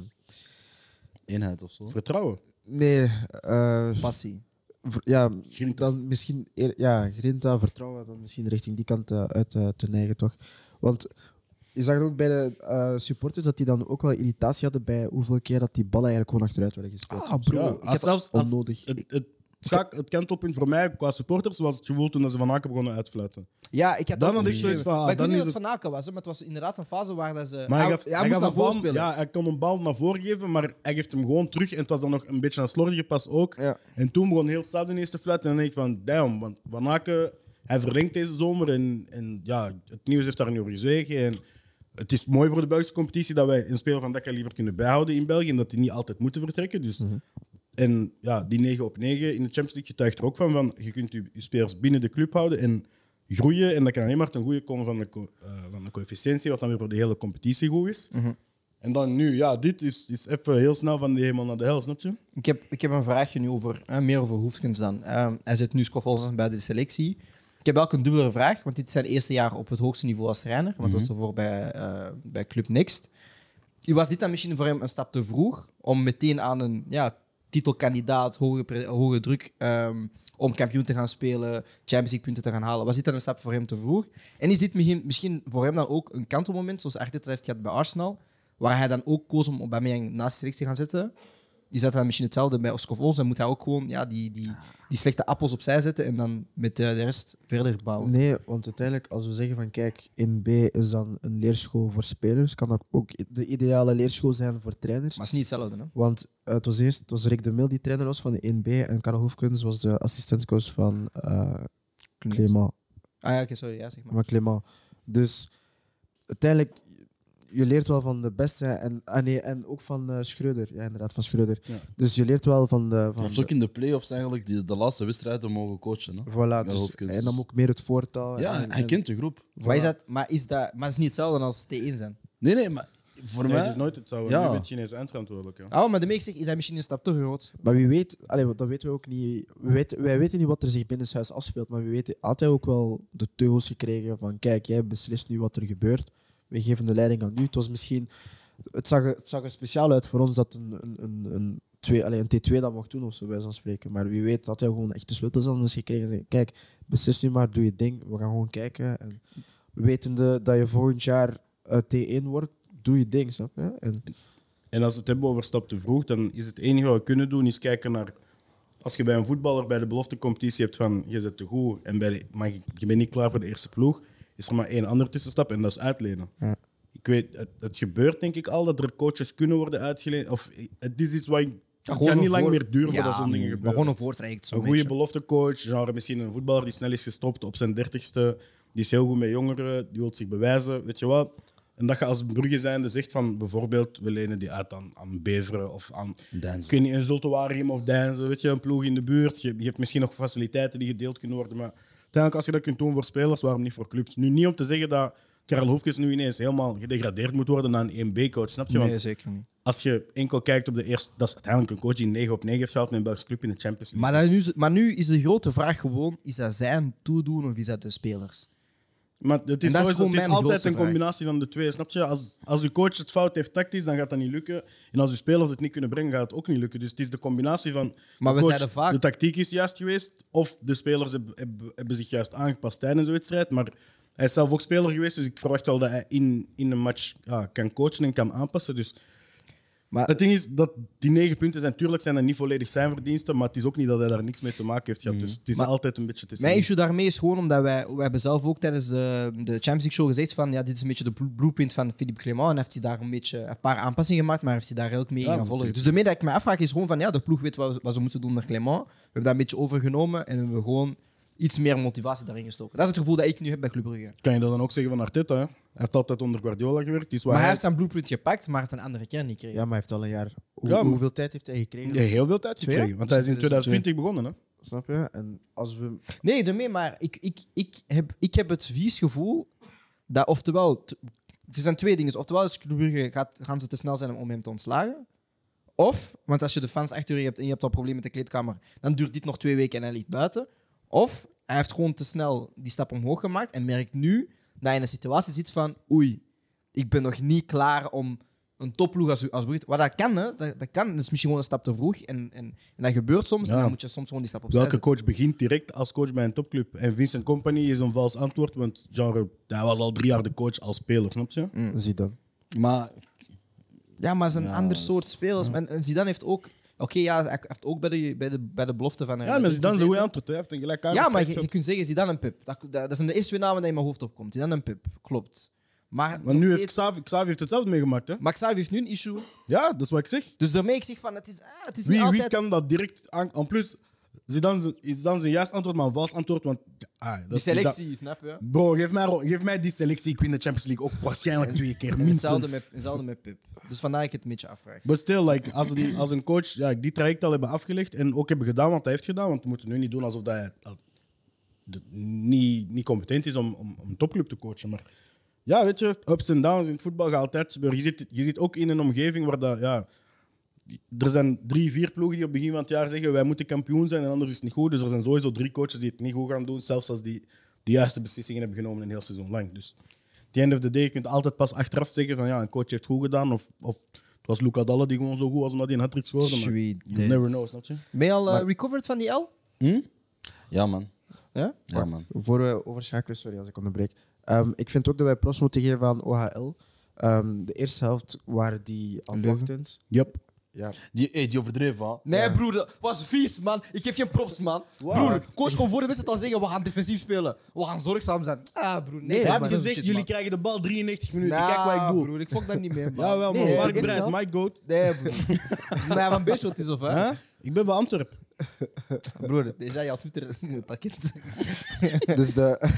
Speaker 5: Eenheid of zo.
Speaker 2: Vertrouwen.
Speaker 3: nee, eh,
Speaker 1: Passie.
Speaker 3: ver- ja,
Speaker 2: Grinta.
Speaker 3: dan misschien. eer- ja, Grinta, vertrouwen, dan misschien richting die kant eh, uit eh, te neigen, toch? Want je zag ook bij de eh, supporters dat die dan ook wel irritatie hadden bij hoeveel keer dat die ballen eigenlijk gewoon achteruit werden gespeeld. soms.
Speaker 2: Ja,
Speaker 3: Ah, Ik had
Speaker 2: als zelfs, als
Speaker 3: onnodig.
Speaker 2: het, het, schaak- het kantelpunt voor mij qua supporters was het gevoel toen dat ze Van Aken begonnen uitfluiten.
Speaker 1: Ja, ik had
Speaker 2: Dan
Speaker 1: ook-
Speaker 2: had ik zoiets van, ah,
Speaker 1: Maar ik
Speaker 2: dan
Speaker 1: weet niet
Speaker 2: is
Speaker 1: wat het
Speaker 2: het-
Speaker 1: van Aken was, hè, maar het was inderdaad een fase waar dat ze...
Speaker 2: Maar hij, gaf,
Speaker 1: eh, ja,
Speaker 2: hij,
Speaker 1: moest
Speaker 2: gaf
Speaker 1: naar
Speaker 2: een
Speaker 1: voren
Speaker 2: bal-
Speaker 1: spelen.
Speaker 2: Ja, hij kon een bal naar voren geven, maar hij geeft hem gewoon terug. En het was dan nog een beetje een slordige pas ook.
Speaker 1: Ja.
Speaker 2: En toen begon heel Stad ineens te fluiten. En dan denk ik van, damn, want Van Aken, hij verlengt deze zomer. En, en ja, het nieuws heeft daar nu over gezwegen. En Het is mooi voor de Belgische competitie dat wij een speler van dat liever kunnen bijhouden in België en dat die niet altijd moeten vertrekken. Dus, En ja, die 9 op 9 in de Champions League getuigt er ook van, van je kunt je, je spelers binnen de club houden en groeien. En dat kan alleen maar ten goede komen van de, co- eh, van de coëfficiëntie, wat dan weer voor de hele competitie goed is. En dan nu, ja, dit is, is even heel snel van de hemel naar de hel, snap je?
Speaker 1: Ik heb, ik heb een vraagje nu over, hè, meer over Hoefkens dan. Ehm, hij zit nu Scoffolsen bij de selectie. Ik heb ook een dubbele vraag, want dit is zijn eerste jaar op het hoogste niveau als trainer. Want dat was ervoor bij, eh, bij Club Next. Was dit dan misschien voor hem een stap te vroeg om meteen aan een ja, titelkandidaat, hoge, pre- hoge druk, ehm, om kampioen te gaan spelen, Champions League punten te gaan halen? Was dit dan een stap voor hem te vroeg? En is dit misschien- misschien voor hem dan ook een kantelmoment, zoals Arteta heeft gehad bij Arsenal, waar hij dan ook koos om Aubameyang naast de selectie te gaan zetten? Is dat dan misschien hetzelfde bij Oskov Olsen? Moet hij ook gewoon ja, die, die, die slechte appels opzij zetten en dan met eh, de rest verder bouwen?
Speaker 3: Nee, want uiteindelijk, als we zeggen van kijk, in B is dan een leerschool voor spelers, kan dat ook de ideale leerschool zijn voor trainers.
Speaker 1: Maar het is niet hetzelfde, hè?
Speaker 3: Want eh, het was eerst het was Rick de Mil die trainer was van de 1B en Karel Hoefkens was de assistentcoach van eh Clément.
Speaker 1: Ah ja, oké, sorry. Ja, zeg maar.
Speaker 3: Maar Clément. Dus uiteindelijk, je leert wel van de beste en, ah nee, en ook van eh, Schreuder. Ja, inderdaad, van Schreuder.
Speaker 2: Ja.
Speaker 3: Dus je leert wel van de.
Speaker 5: Hij
Speaker 3: Van
Speaker 5: heeft ook in de play-offs eigenlijk die, de laatste wedstrijden mogen coachen. Hè?
Speaker 3: de- voilà,
Speaker 5: Ja,
Speaker 3: dus
Speaker 5: Hoefkens
Speaker 3: hij
Speaker 5: is-
Speaker 3: nam ook meer het voortouw.
Speaker 5: Ja,
Speaker 3: en-
Speaker 5: hij
Speaker 3: en-
Speaker 5: kent de groep.
Speaker 1: Maar, is dat, maar, is dat, maar het is niet hetzelfde als T1 zijn.
Speaker 5: Nee, nee, maar voor
Speaker 2: Nee,
Speaker 5: mij...
Speaker 2: het is nooit hetzelfde.
Speaker 5: Ja.
Speaker 2: Nu ben je Chinees eindverantwoordelijk. Ja.
Speaker 1: Oh, maar de meek zegt, is hij misschien een stap te groot?
Speaker 3: Maar wie weet, allee, want dat weten we ook niet. We weten, wij weten niet wat er zich binnenshuis afspeelt, maar wie weet had hij ook wel de teugels gekregen van kijk, jij beslist nu wat er gebeurt. We geven de leiding aan nu. Het was misschien, het zag er, het zag er speciaal uit voor ons dat een, een, een, een, twee, allee, een T2 dat mocht doen of zo bij zo'n spreken. Maar wie weet had hij gewoon echt de sleutels aan ons gekregen. en zeggen, Kijk, beslis nu maar, doe je ding. We gaan gewoon kijken. En wetende dat je volgend jaar eh, T1 wordt, doe je ding. Snap je? En,
Speaker 2: En als we het hebben over stap te vroeg, dan is het enige wat we kunnen doen, is kijken naar... Als je bij een voetballer bij de beloftecompetitie hebt van je zit te goed, en bij de, maar je, je bent niet klaar voor de eerste ploeg, is er maar één andere tussenstap en dat is uitlenen.
Speaker 3: Ja.
Speaker 2: Ik weet, het, het gebeurt denk ik al dat er coaches kunnen worden uitgeleend. Of, het is iets wat ik, het
Speaker 1: gewoon
Speaker 2: gaat niet
Speaker 1: een
Speaker 2: lang
Speaker 1: voor-
Speaker 2: meer duren
Speaker 1: Ja, mm,
Speaker 2: voordat zo'n dingen
Speaker 1: Maar
Speaker 2: gebeuren.
Speaker 1: gewoon een voortraject. zo'n
Speaker 2: Een goede
Speaker 1: beetje.
Speaker 2: beloftecoach, genre misschien een voetballer die snel is gestopt op zijn dertigste. Die is heel goed met jongeren, die wil zich bewijzen, weet je wat. En dat je als Brugge zijnde zegt van bijvoorbeeld, we lenen die uit aan, aan Beveren of aan
Speaker 5: Deinzen.
Speaker 2: ik weet niet, een Zultuarium of Deinzen, weet je, een ploeg in de buurt. Je, je hebt misschien nog faciliteiten die gedeeld kunnen worden, maar uiteindelijk als je dat kunt doen voor spelers, waarom niet voor clubs? Nu niet om te zeggen dat Karel Hoefkes nu ineens helemaal gedegradeerd moet worden naar een 1B-coach, snap je?
Speaker 1: Nee,
Speaker 2: Want
Speaker 1: zeker niet.
Speaker 2: als je enkel kijkt op de eerste, dat is uiteindelijk een coach die 9 op 9 heeft gehaald met een Belgische club in de Champions League.
Speaker 1: Maar, dan nu, maar nu is de grote vraag gewoon, is dat zijn toedoen of is dat de spelers?
Speaker 2: Maar het
Speaker 1: En
Speaker 2: is,
Speaker 1: dat is
Speaker 2: sowieso-
Speaker 1: gewoon
Speaker 2: het is
Speaker 1: mijn
Speaker 2: altijd
Speaker 1: grootste
Speaker 2: een
Speaker 1: vraag.
Speaker 2: combinatie van de twee. Snap je? Als, als je coach het fout heeft tactisch, dan gaat dat niet lukken. En als je spelers het niet kunnen brengen, gaat het ook niet lukken. Dus het is de combinatie van.
Speaker 1: Maar we
Speaker 2: coach,
Speaker 1: zeiden vaak-
Speaker 2: De tactiek is juist geweest, of de spelers hebben, hebben, hebben zich juist aangepast tijdens de wedstrijd. Maar hij is zelf ook speler geweest, dus ik verwacht wel dat hij in, in een match ja, kan coachen en kan aanpassen. Dus
Speaker 1: Maar,
Speaker 2: het ding is dat die negen punten zijn, tuurlijk zijn dat niet volledig zijn verdiensten, maar het is ook niet dat hij daar niks mee te maken heeft gehad. Dus het is altijd een beetje te
Speaker 1: Mm. Mijn issue daarmee is gewoon omdat wij, wij hebben zelf ook tijdens de, de Champions League show gezegd van ja, dit is een beetje de blu- blueprint van Philippe Clement. En heeft hij daar een beetje een paar aanpassingen gemaakt, maar heeft hij daar ook mee
Speaker 2: Ja,
Speaker 1: gaan volgen.
Speaker 2: zeker.
Speaker 1: Dus de meer dat ik me afvraag is gewoon van ja, de ploeg weet wat, wat ze moeten doen naar Clement. We hebben dat een beetje overgenomen en hebben we gewoon iets meer motivatie daarin gestoken. Dat is het gevoel dat ik nu heb bij Club Brugge.
Speaker 2: Kan je dat dan ook zeggen van Arteta? Hè? Hij heeft altijd onder Guardiola gewerkt. Het Is waar
Speaker 1: Maar hij
Speaker 2: hij
Speaker 1: heeft zijn blueprint gepakt, maar het een andere kern niet
Speaker 3: ja,
Speaker 1: gekregen.
Speaker 3: maar hij heeft al een jaar. Hoe-
Speaker 2: Ja, maar-
Speaker 3: hoeveel tijd heeft hij gekregen?
Speaker 2: Ja, heel veel tijd
Speaker 1: Twee
Speaker 2: gekregen.
Speaker 1: jaar?
Speaker 2: Want hij is in
Speaker 1: Dus dat is
Speaker 2: 2020 begonnen. Hè?
Speaker 3: Snap je? En als we.
Speaker 1: Nee, daarmee, maar ik, ik, ik, heb, ik heb het vies gevoel dat, oftewel, t- er zijn twee dingen. Dus Oftewel is Club Brugge, gaat, gaan ze te snel zijn om hem te ontslagen. Of, want als je de fans achter je hebt en je hebt al problemen met de kleedkamer, dan duurt dit nog twee weken en hij ligt buiten. Of hij heeft gewoon te snel die stap omhoog gemaakt en merkt nu dat je in een situatie zit van oei, ik ben nog niet klaar om een topploeg als, als Brugge... Wat dat kan, hè. Dat, dat kan. Dat is misschien gewoon een stap te vroeg en, en, en dat gebeurt soms.
Speaker 2: Ja.
Speaker 1: En dan moet je soms gewoon die stap opzij
Speaker 2: Welke
Speaker 1: zetten.
Speaker 2: coach begint direct als coach bij een topclub? En Vincent Company is een vals antwoord, want genre, hij was al drie jaar de coach als speler, snap
Speaker 1: Mm.
Speaker 2: je?
Speaker 5: Hm.
Speaker 3: Zie dan.
Speaker 5: Maar
Speaker 1: Ja, maar het is een
Speaker 5: Ja,
Speaker 1: ander
Speaker 5: dat
Speaker 1: soort spelers. En, en Zidane heeft ook... Oké, ja, hij heeft ook bij de, bij de, bij de belofte van...
Speaker 2: Ja, maar is dan een goed antwoord. Hij heeft een gelijk
Speaker 1: dus Ja, maar je, je kunt zeggen Zidane en Pep. Dat, dat, dat zijn de eerste twee namen die in mijn hoofd opkomt. Zidane en Pep, klopt. Maar,
Speaker 2: Want nu
Speaker 1: nog
Speaker 2: heeft
Speaker 1: steeds-
Speaker 2: Xavi, Xavi heeft hetzelfde meegemaakt. Hè?
Speaker 1: Maar Xavi heeft nu een issue.
Speaker 2: Ja, dat is wat ik zeg.
Speaker 1: Dus daarmee ik zeg van, het is, ah, het is niet
Speaker 2: Wie, wie
Speaker 1: altijd...
Speaker 2: kan dat direct aan... En plus, Zidane is dan zijn juist antwoord, maar een vals antwoord. Want, ah, dat
Speaker 1: Die
Speaker 2: is Zidane.
Speaker 1: selectie, snap je?
Speaker 2: Bro, geef mij, ro- geef mij die selectie. Ik win de Champions League ook waarschijnlijk twee keer.
Speaker 1: En hetzelfde
Speaker 2: Minstens.
Speaker 1: met, hetzelfde met Pip. Dus vandaar ik het een beetje afvraag.
Speaker 2: Maar stil, like, als, een, als een coach ja, die traject al hebben afgelegd en ook hebben gedaan wat hij heeft gedaan, want we moeten nu niet doen alsof dat hij al- de- niet, niet competent is om, om, om een topclub te coachen. Maar ja, weet je, ups en downs in het voetbal gaat altijd gebeuren. Je zit, je zit ook in een omgeving waar dat, ja, er zijn drie, vier ploegen die op het begin van het jaar zeggen wij moeten kampioen zijn en anders is het niet goed. Dus er zijn sowieso drie coaches die het niet goed gaan doen, zelfs als die de juiste beslissingen hebben genomen een heel seizoen lang. Dus at the end of the day, je kunt altijd pas achteraf zeggen van ja, een coach heeft goed gedaan of, of het was Luca Dalla die gewoon zo goed was omdat hij een hat-trick scoorde. Maar
Speaker 1: Sweet
Speaker 2: you never
Speaker 1: dates.
Speaker 2: know, snap je?
Speaker 1: Ben je al eh, recovered van die L?
Speaker 5: Ja, man.
Speaker 1: Ja?
Speaker 5: Ja, man.
Speaker 3: Voor we overschakelen, sorry als ik onderbreek. Ehm ik vind ook dat wij props moeten geven aan OHL. Ehm, de eerste helft waren die afwachtend.
Speaker 2: Yep.
Speaker 3: Ja.
Speaker 5: Die, hey, die overdreven, hè?
Speaker 1: Nee, broer, was vies, man. Ik geef geen props, man. Broer, coach kon voor de wedstrijd al zeggen: we gaan defensief spelen. We gaan zorgzaam zijn. Ah, broer, nee.
Speaker 2: Hij
Speaker 1: man.
Speaker 2: heeft
Speaker 1: Dat is
Speaker 2: gezegd,
Speaker 1: shit,
Speaker 2: jullie
Speaker 1: man. Nou,
Speaker 2: krijgen de bal 93 minuten,
Speaker 1: Nah,
Speaker 2: kijk wat ik doe.
Speaker 1: broer, ik fok daar niet mee, man.
Speaker 2: Jawel, man.
Speaker 1: Nee,
Speaker 2: Mark
Speaker 1: is
Speaker 2: Brijs,
Speaker 1: dat?
Speaker 2: Mike Goat.
Speaker 1: Nee, broer. Maar van Beerschot is of, hè?
Speaker 2: Huh? Ik ben bij Antwerpen.
Speaker 1: Broer, is jij jouw Twitter pakket?
Speaker 3: Dus de,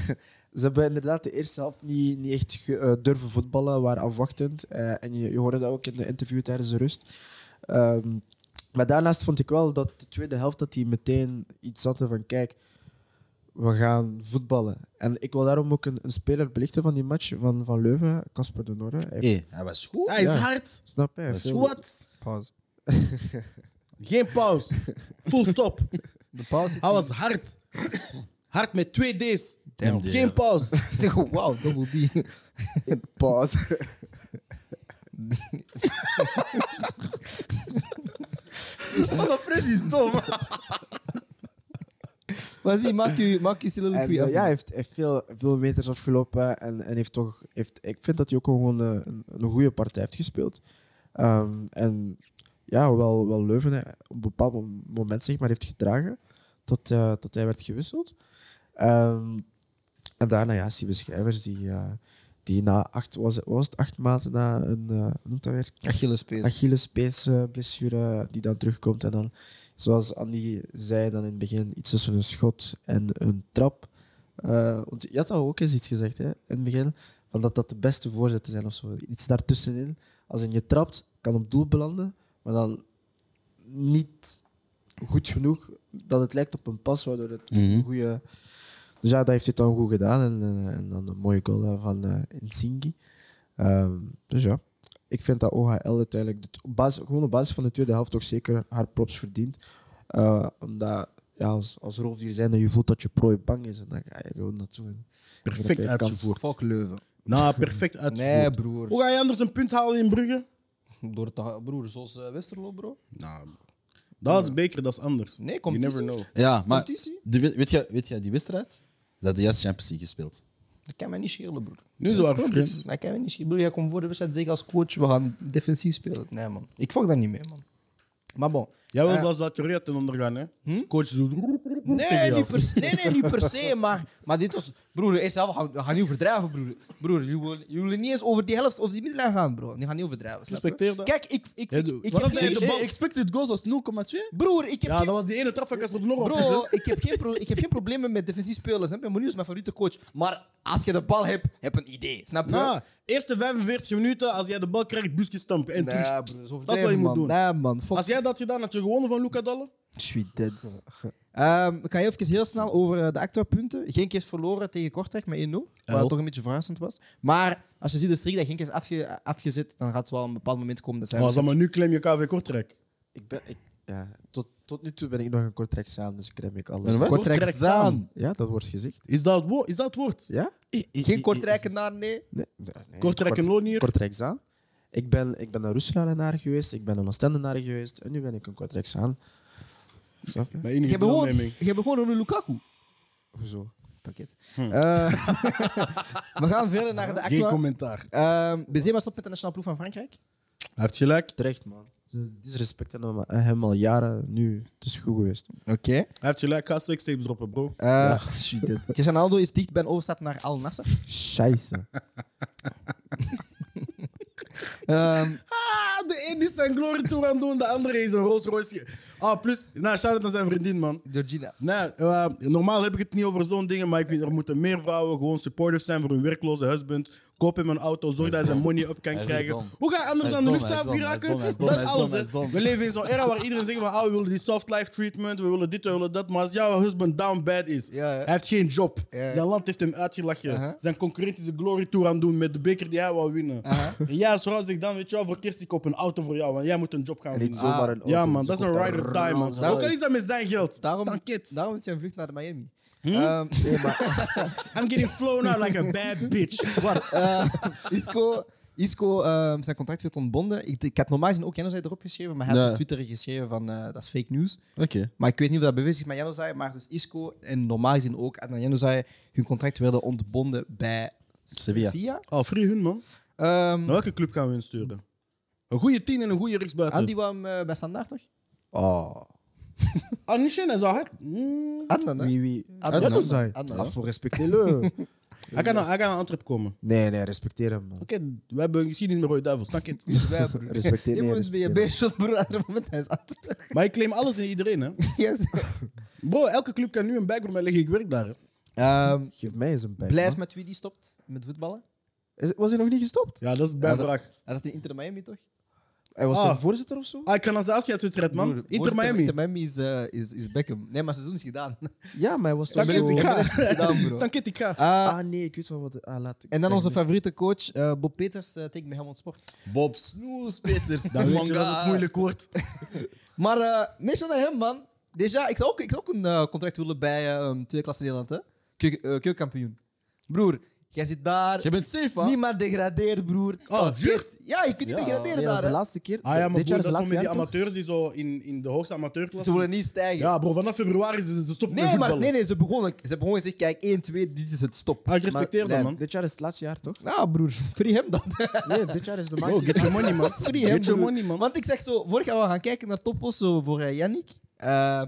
Speaker 3: ze hebben inderdaad de eerste helft niet, niet echt ge- eh, durven voetballen, waren afwachtend. Eh, en je, je hoorde dat ook in de interview tijdens de rust. Ehm, maar daarnaast vond ik wel dat de tweede helft dat die meteen iets hadden van kijk, we gaan voetballen. En ik wil daarom ook een, een speler belichten van die match van, van Leuven, Casper de Norre. Hij heeft-
Speaker 5: Hey, hij was goed.
Speaker 2: Hij is
Speaker 3: Ja.
Speaker 2: hard.
Speaker 3: Snap je? Hij heeft veel-
Speaker 2: Wat?
Speaker 1: Pauze.
Speaker 2: Geen pauze. Full stop.
Speaker 1: De pauze.
Speaker 2: Hij was hard. Hard met twee D's.
Speaker 5: Damn,
Speaker 2: Geen
Speaker 5: dear.
Speaker 2: pauze.
Speaker 1: Wauw, double D.
Speaker 3: Pauze.
Speaker 2: Wat Freddy is stom.
Speaker 1: Maar zie, maak je, maak je
Speaker 3: En,
Speaker 1: soliloquie
Speaker 3: eh,
Speaker 1: af.
Speaker 3: ja, hij heeft, heeft veel, veel meters afgelopen. En, en heeft toch, heeft, ik vind dat hij ook gewoon eh, een, een goede partij heeft gespeeld. Ehm, en ja, wel, wel Leuven eh, op een bepaald mom- moment zeg maar, heeft gedragen tot, eh, tot hij werd gewisseld. Ehm, en daarna, ja, Siebe Schrijvers, die, eh, die na acht, was, het- was het acht maanden na een, eh, hoe noemt dat weer?
Speaker 1: Achillespees.
Speaker 3: Achillespees-blessure eh, die dan terugkomt. En dan, zoals Andy zei dan in het begin, iets tussen een schot en een trap. Eh, want je had al ook eens iets gezegd hè, in het begin, van dat dat de beste voorzetten zijn of zo. Iets daartussenin, als in je trapt, kan op doel belanden, maar dan niet goed genoeg dat het lijkt op een pas, waardoor het
Speaker 5: Mhm.
Speaker 3: een goede... Dus ja, dat heeft hij dan goed gedaan. En, eh, en dan een mooie goal eh, van eh Nzingi. Ehm, dus ja, ik vind dat OHL uiteindelijk, de t- op basis, gewoon op basis van de tweede helft, toch zeker haar props verdient. Eh, omdat ja, als, als roofdier zijn dat je voelt dat je prooi bang is, en dan ga je gewoon naartoe. en-
Speaker 2: Perfect
Speaker 3: Kans.
Speaker 2: uitgevoerd.
Speaker 1: Fuck Leuven.
Speaker 2: Nou, perfect uitgevoerd.
Speaker 1: Nee,
Speaker 2: Hoe
Speaker 1: broer.
Speaker 2: ga je anders een punt halen in Brugge?
Speaker 1: Door te, broer, zoals eh, Westerlo, bro.
Speaker 2: Nou, dat is beker, dat is anders.
Speaker 1: Nee,
Speaker 2: You never
Speaker 1: competitie.
Speaker 2: know.
Speaker 5: Ja, maar
Speaker 1: Competitie?
Speaker 5: de- weet jij weet jij die wedstrijd? Dat had de juiste Champions League gespeeld.
Speaker 1: Dat kan mij niet schelen, broer.
Speaker 2: Nu zo hard fris.
Speaker 1: Dat kan mij niet schelen. Broer, jij komt voor de wedstrijd zeggen als coach, we gaan defensief spelen. Nee, man. Ik volg dat niet mee, man. Maar bon.
Speaker 2: Jij wil
Speaker 1: Eh.
Speaker 2: zelfs dat Korea ten onder gaan, hè? Coach doet.
Speaker 1: Nee, niet per se, nee, nee, niet per se, maar, maar dit was... Broer, eerst zelf, we gaan niet overdrijven, broer. Broer, jullie willen- jullie willen niet eens over die helft of die middenlijn gaan, bro. Die gaan niet overdrijven, snap je?
Speaker 2: Respecteer dat.
Speaker 1: Kijk, ik... ik,
Speaker 2: Ja,
Speaker 1: ik,
Speaker 2: doe-
Speaker 1: ik
Speaker 2: wat
Speaker 1: heb
Speaker 2: had hij
Speaker 1: geen-
Speaker 2: de bal-
Speaker 5: expected goals was 0,2?
Speaker 1: Broer, ik heb
Speaker 2: Ja,
Speaker 1: geen-
Speaker 2: dat was die ene trap van Casper de Norre. op is, hè.
Speaker 1: Bro, ik heb, geen pro- ik heb geen problemen met defensief spelen. Snap je? Mourinho is mijn favoriete coach. Maar als je de bal hebt, heb een idee. Snap je?
Speaker 2: Nou, eerste 45 minuten, als jij de bal krijgt, busjes stampen en
Speaker 1: nee,
Speaker 2: terug.
Speaker 1: broer, dat is
Speaker 2: Dat is wat je
Speaker 1: overdreven,
Speaker 2: moet
Speaker 1: man.
Speaker 2: doen.
Speaker 1: Nee, man. Fuck.
Speaker 2: Als jij dat gedaan had, je gewonnen van Luca Dalle.
Speaker 1: Sweet dead. Ehm, ik ga heel even heel snel over eh, de actuapunten. Geen keer verloren tegen Kortrijk met 1-0, wat
Speaker 2: Jawel.
Speaker 1: toch een beetje verrassend was. Maar als je ziet de streak dat geen keer heeft afge- afgezet, dan gaat het wel een bepaald moment komen dat zij...
Speaker 2: Oh, zeg maar, nu klem je KV Kortrijk.
Speaker 3: Ik ben, ik, ja, tot, tot nu toe ben ik nog een kort aan, dus ik rem ik alles.
Speaker 5: Een wat?
Speaker 1: Kortrijk
Speaker 2: Kortrijk Zaan.
Speaker 1: Zaan.
Speaker 3: Ja, dat wordt gezegd.
Speaker 2: Is dat het woord? Is dat het woord?
Speaker 3: Ja?
Speaker 1: Geen Kortrijkenaar, nee.
Speaker 3: Nee. nee.
Speaker 2: Kortrijk en
Speaker 3: Kort-
Speaker 2: Lonier?
Speaker 3: Kortrijksaan. Ik ben, ik ben een Roeselaar-naar geweest, ik ben een Oostendenaar geweest en nu ben ik een Kortrijksaan. Snap je?
Speaker 2: Mijn
Speaker 1: Je
Speaker 2: enige
Speaker 1: hebt gewoon,
Speaker 2: deelneming.
Speaker 1: je hebt gewoon een Lukaku.
Speaker 3: Hoezo?
Speaker 1: Pakket. Eh, we gaan verder naar de
Speaker 2: Geen
Speaker 1: actua.
Speaker 2: commentaar.
Speaker 1: Ehm Benzema stopt met de nationale ploeg van Frankrijk.
Speaker 2: Hij heeft gelijk.
Speaker 3: Terecht, man. Ze disrespecten hem, hem al jaren nu. Het is goed geweest.
Speaker 1: Oké.
Speaker 2: Hij heeft gelijk. Ga sextapes droppen, bro.
Speaker 1: Eh, Cristiano Ronaldo is dicht bij een overstap naar Al Nasser.
Speaker 3: Scheisse.
Speaker 1: Ehm,
Speaker 2: Ah, de ene is zijn glory tour aan het doen, de andere is een Rolls Royce. Ah, plus, nou, shout-out naar zijn vriendin, man.
Speaker 1: Georgina.
Speaker 2: Nee, eh, normaal heb ik het niet over zo'n dingen, maar ik vind er moeten meer vrouwen gewoon supportive zijn voor hun werkloze husband. Koop hem een auto, zorg dat hij zijn money up kan
Speaker 5: Hij is
Speaker 2: krijgen.
Speaker 5: dom.
Speaker 2: Hoe ga je anders
Speaker 5: Hij is
Speaker 2: aan de
Speaker 5: dom, hij is
Speaker 2: luchthaven
Speaker 5: dom, hij is
Speaker 2: geraken?
Speaker 5: dom, hij is dom,
Speaker 2: Dat is
Speaker 5: hij is dom,
Speaker 2: alles,
Speaker 5: hij is
Speaker 2: hè.
Speaker 5: dom.
Speaker 2: We leven in zo'n era waar iedereen zegt van, ah, we willen die soft life treatment, we willen dit, we willen dat. Maar als jouw husband down bad is,
Speaker 1: Ja, ja.
Speaker 2: hij heeft geen job.
Speaker 1: Ja.
Speaker 2: Zijn land heeft hem uitgelachen.
Speaker 1: Uh-huh.
Speaker 2: Zijn concurrent is een glory tour aan het doen met de beker die hij wou winnen. En jij als vrouw zegt dan, weet je wel, voor kerst ik koop een auto voor jou, want jij moet een job gaan
Speaker 3: En niet
Speaker 2: vinden.
Speaker 3: zomaar een
Speaker 2: Ah, Ja,
Speaker 3: auto,
Speaker 2: man,
Speaker 3: ze
Speaker 2: dat is een
Speaker 3: koopt
Speaker 2: ride or die, man.
Speaker 1: Rolls
Speaker 2: Ook al is dat met zijn geld.
Speaker 1: Daarom,
Speaker 2: Dan kids.
Speaker 1: daarom is zijn vlucht naar de Miami. Ehm,
Speaker 2: I'm getting flown out like a bad bitch. What?
Speaker 1: Eh, Isco, Isco ehm, zijn contract werd ontbonden. Ik, ik had normaal gezien ook Januzaj erop geschreven, maar hij had
Speaker 5: Ja.
Speaker 1: op Twitter geschreven van eh, dat is fake news.
Speaker 5: Oké.
Speaker 1: Maar ik weet niet of dat bewust is met Januzaj, maar dus Isco en normaal gezien ook Adnan Januzaj, hun contract werden ontbonden bij
Speaker 5: Sevilla.
Speaker 1: Via.
Speaker 2: Oh, free hun, man.
Speaker 1: Ehm
Speaker 2: Naar welke club gaan we hun sturen? Een goede tien en een goede rechtsbuiten.
Speaker 1: Andy kwam eh, bij Standaard, toch?
Speaker 3: Oh.
Speaker 2: Anushin is al hard. Mm.
Speaker 1: Adnan, hè?
Speaker 3: Wie, wie?
Speaker 1: Adnan.
Speaker 3: Adnan zei.
Speaker 1: Adnan.
Speaker 3: Ah, voor respecteren.
Speaker 2: Hij kan naar hij kan naar Antwerp komen.
Speaker 3: Nee, nee, respecteer hem, man.
Speaker 2: Oké, we hebben een geschiedenis met Roy Duivel, snap je het?
Speaker 1: Dus wij, broer.
Speaker 3: Respecteer
Speaker 1: Je
Speaker 3: nee,
Speaker 1: moet eens bij je
Speaker 3: respecteer.
Speaker 1: beerschot, broer, aan het moment hij is aan het
Speaker 2: Maar ik claim alles en iedereen, hè.
Speaker 1: yes.
Speaker 2: Bro, elke club kan nu een bag voor mij leggen, ik werk daar. hè.
Speaker 1: Ehm,
Speaker 3: Geef mij eens een pijp.
Speaker 1: Blij is
Speaker 3: man.
Speaker 1: met wie die stopt met voetballen.
Speaker 3: Is- Was hij nog niet gestopt?
Speaker 2: Ja, dat
Speaker 1: Hij
Speaker 2: is
Speaker 1: zat-
Speaker 2: bijvraag.
Speaker 1: Hij zat in Inter Miami, toch?
Speaker 3: Hij was
Speaker 2: Ah.
Speaker 3: zijn voorzitter of zo?
Speaker 2: Ah, ik kan als afscheidswedstrijd,
Speaker 1: Broer,
Speaker 2: man. Inter
Speaker 1: voorzitter,
Speaker 2: Miami.
Speaker 1: Inter Miami is, eh, is, is Beckham. Nee, maar seizoen is gedaan.
Speaker 3: Ja, maar hij was toch
Speaker 2: Dan
Speaker 3: zo...
Speaker 2: kent ik
Speaker 1: de rest is gedaan, bro.
Speaker 2: ga. Dan dus- kent ik ga.
Speaker 1: Eh,
Speaker 3: Ah, nee, ik weet wel wat... Ah, laat ik-
Speaker 1: en dan
Speaker 3: ik
Speaker 1: onze
Speaker 3: wist het.
Speaker 1: favoriete coach, eh, Bob Peters, eh tekent bij Helmond Sport.
Speaker 5: Bob Snoes, Peters.
Speaker 2: Dan weet je
Speaker 5: Manga.
Speaker 2: dat het Ah. moeilijk wordt.
Speaker 1: Maar eh nee, shout naar hem, man. Deja, ik zou ook, ik zou ook een eh, contract willen bij eh, um, Tweede Klasse Nederland, hè? Keu- eh, Keukenkampioen. Broer, jij zit daar.
Speaker 5: Je bent safe, hè?
Speaker 1: Niemand degradeert, broer.
Speaker 2: Oh,
Speaker 1: Tot
Speaker 2: jure?
Speaker 1: dit. Ja, je kunt niet
Speaker 5: Ja.
Speaker 1: degraderen
Speaker 3: Nee, dat
Speaker 1: daar.
Speaker 3: is de
Speaker 1: hè.
Speaker 3: laatste keer.
Speaker 2: Ah ja, maar
Speaker 3: Dit
Speaker 2: broer,
Speaker 3: jaar is
Speaker 2: dat
Speaker 3: het
Speaker 2: is toch
Speaker 3: laatste
Speaker 2: met die
Speaker 3: jaar, toch?
Speaker 2: amateurs die zo in, in de hoogste
Speaker 1: Ze willen
Speaker 2: amateurklasse...
Speaker 1: niet stijgen.
Speaker 2: Ja, bro, vanaf februari ze, ze stoppen met
Speaker 1: nee, maar
Speaker 2: voetballen.
Speaker 1: nee, nee, ze begonnen. Ze hebben gewoon gezegd: kijk, 1, 2, dit is het stop.
Speaker 2: Ah, ik respecteer
Speaker 3: Nee,
Speaker 2: dat, man.
Speaker 3: Dit jaar is het laatste jaar, toch?
Speaker 1: Nou, broer, free hem dan.
Speaker 3: Nee, dit jaar is de
Speaker 2: Bro,
Speaker 3: maxi.
Speaker 2: get your money, man.
Speaker 1: Free hem,
Speaker 2: Get your
Speaker 1: broer.
Speaker 2: money, man.
Speaker 1: Want ik zeg zo, vorig jaar we gaan kijken naar topos zo voor eh, Yannick. Eh,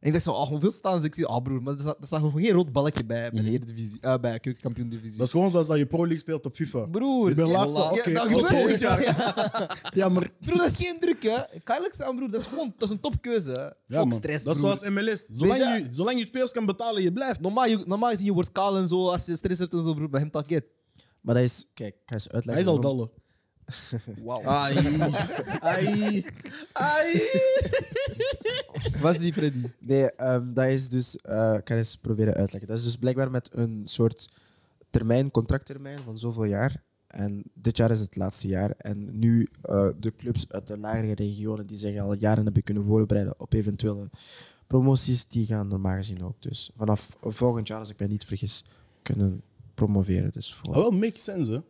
Speaker 1: en ik dacht zo, ah, hoeveel staan ze? Ik zie, ah broer, maar er zat, er zat gewoon geen rood balkje bij, bij de Eredivisie, eh, bij keukenkampioen divisie.
Speaker 2: Mhm. Dat is gewoon zoals dat je Pro League speelt op FIFA.
Speaker 1: Broer,
Speaker 2: Ik ben
Speaker 1: ja,
Speaker 2: laatste.
Speaker 1: ja,
Speaker 2: Oké,
Speaker 1: dat
Speaker 2: oké,
Speaker 1: gebeurt
Speaker 2: dit jaar.
Speaker 1: Ja.
Speaker 2: Ja, maar
Speaker 1: Broer, dat is geen druk, hè? Kijk aan, broer, dat is gewoon dat is een topkeuze. hè.
Speaker 2: ja,
Speaker 1: Fuck
Speaker 2: man.
Speaker 1: stress,
Speaker 2: dat is
Speaker 1: broer.
Speaker 2: zoals MLS. Zolang,
Speaker 1: Deja-
Speaker 2: je, zolang je spelers kan betalen, je blijft.
Speaker 1: Normaal, je, normaal gezien, je wordt kaal en zo als je stress hebt en zo, broer, bij hem taket.
Speaker 3: Maar dat is... Kijk, ik ga eens uitleggen.
Speaker 2: Hij is al
Speaker 3: waarom.
Speaker 2: bellen.
Speaker 5: Ai. Ai. Ai.
Speaker 1: Wat is die Freddy?
Speaker 3: Nee, ehm, dat is dus... eh, ik ga eens proberen uitleggen. Dat is dus blijkbaar met een soort termijn, contracttermijn van zoveel jaar. En dit jaar is het laatste jaar. En nu eh, de clubs uit de lagere regionen die zich al jaren hebben kunnen voorbereiden op eventuele promoties, die gaan normaal gezien ook. Dus vanaf volgend jaar, als ik mij niet vergis, kunnen promoveren. Dus voor...
Speaker 2: Ah, wel, makes sense, hè.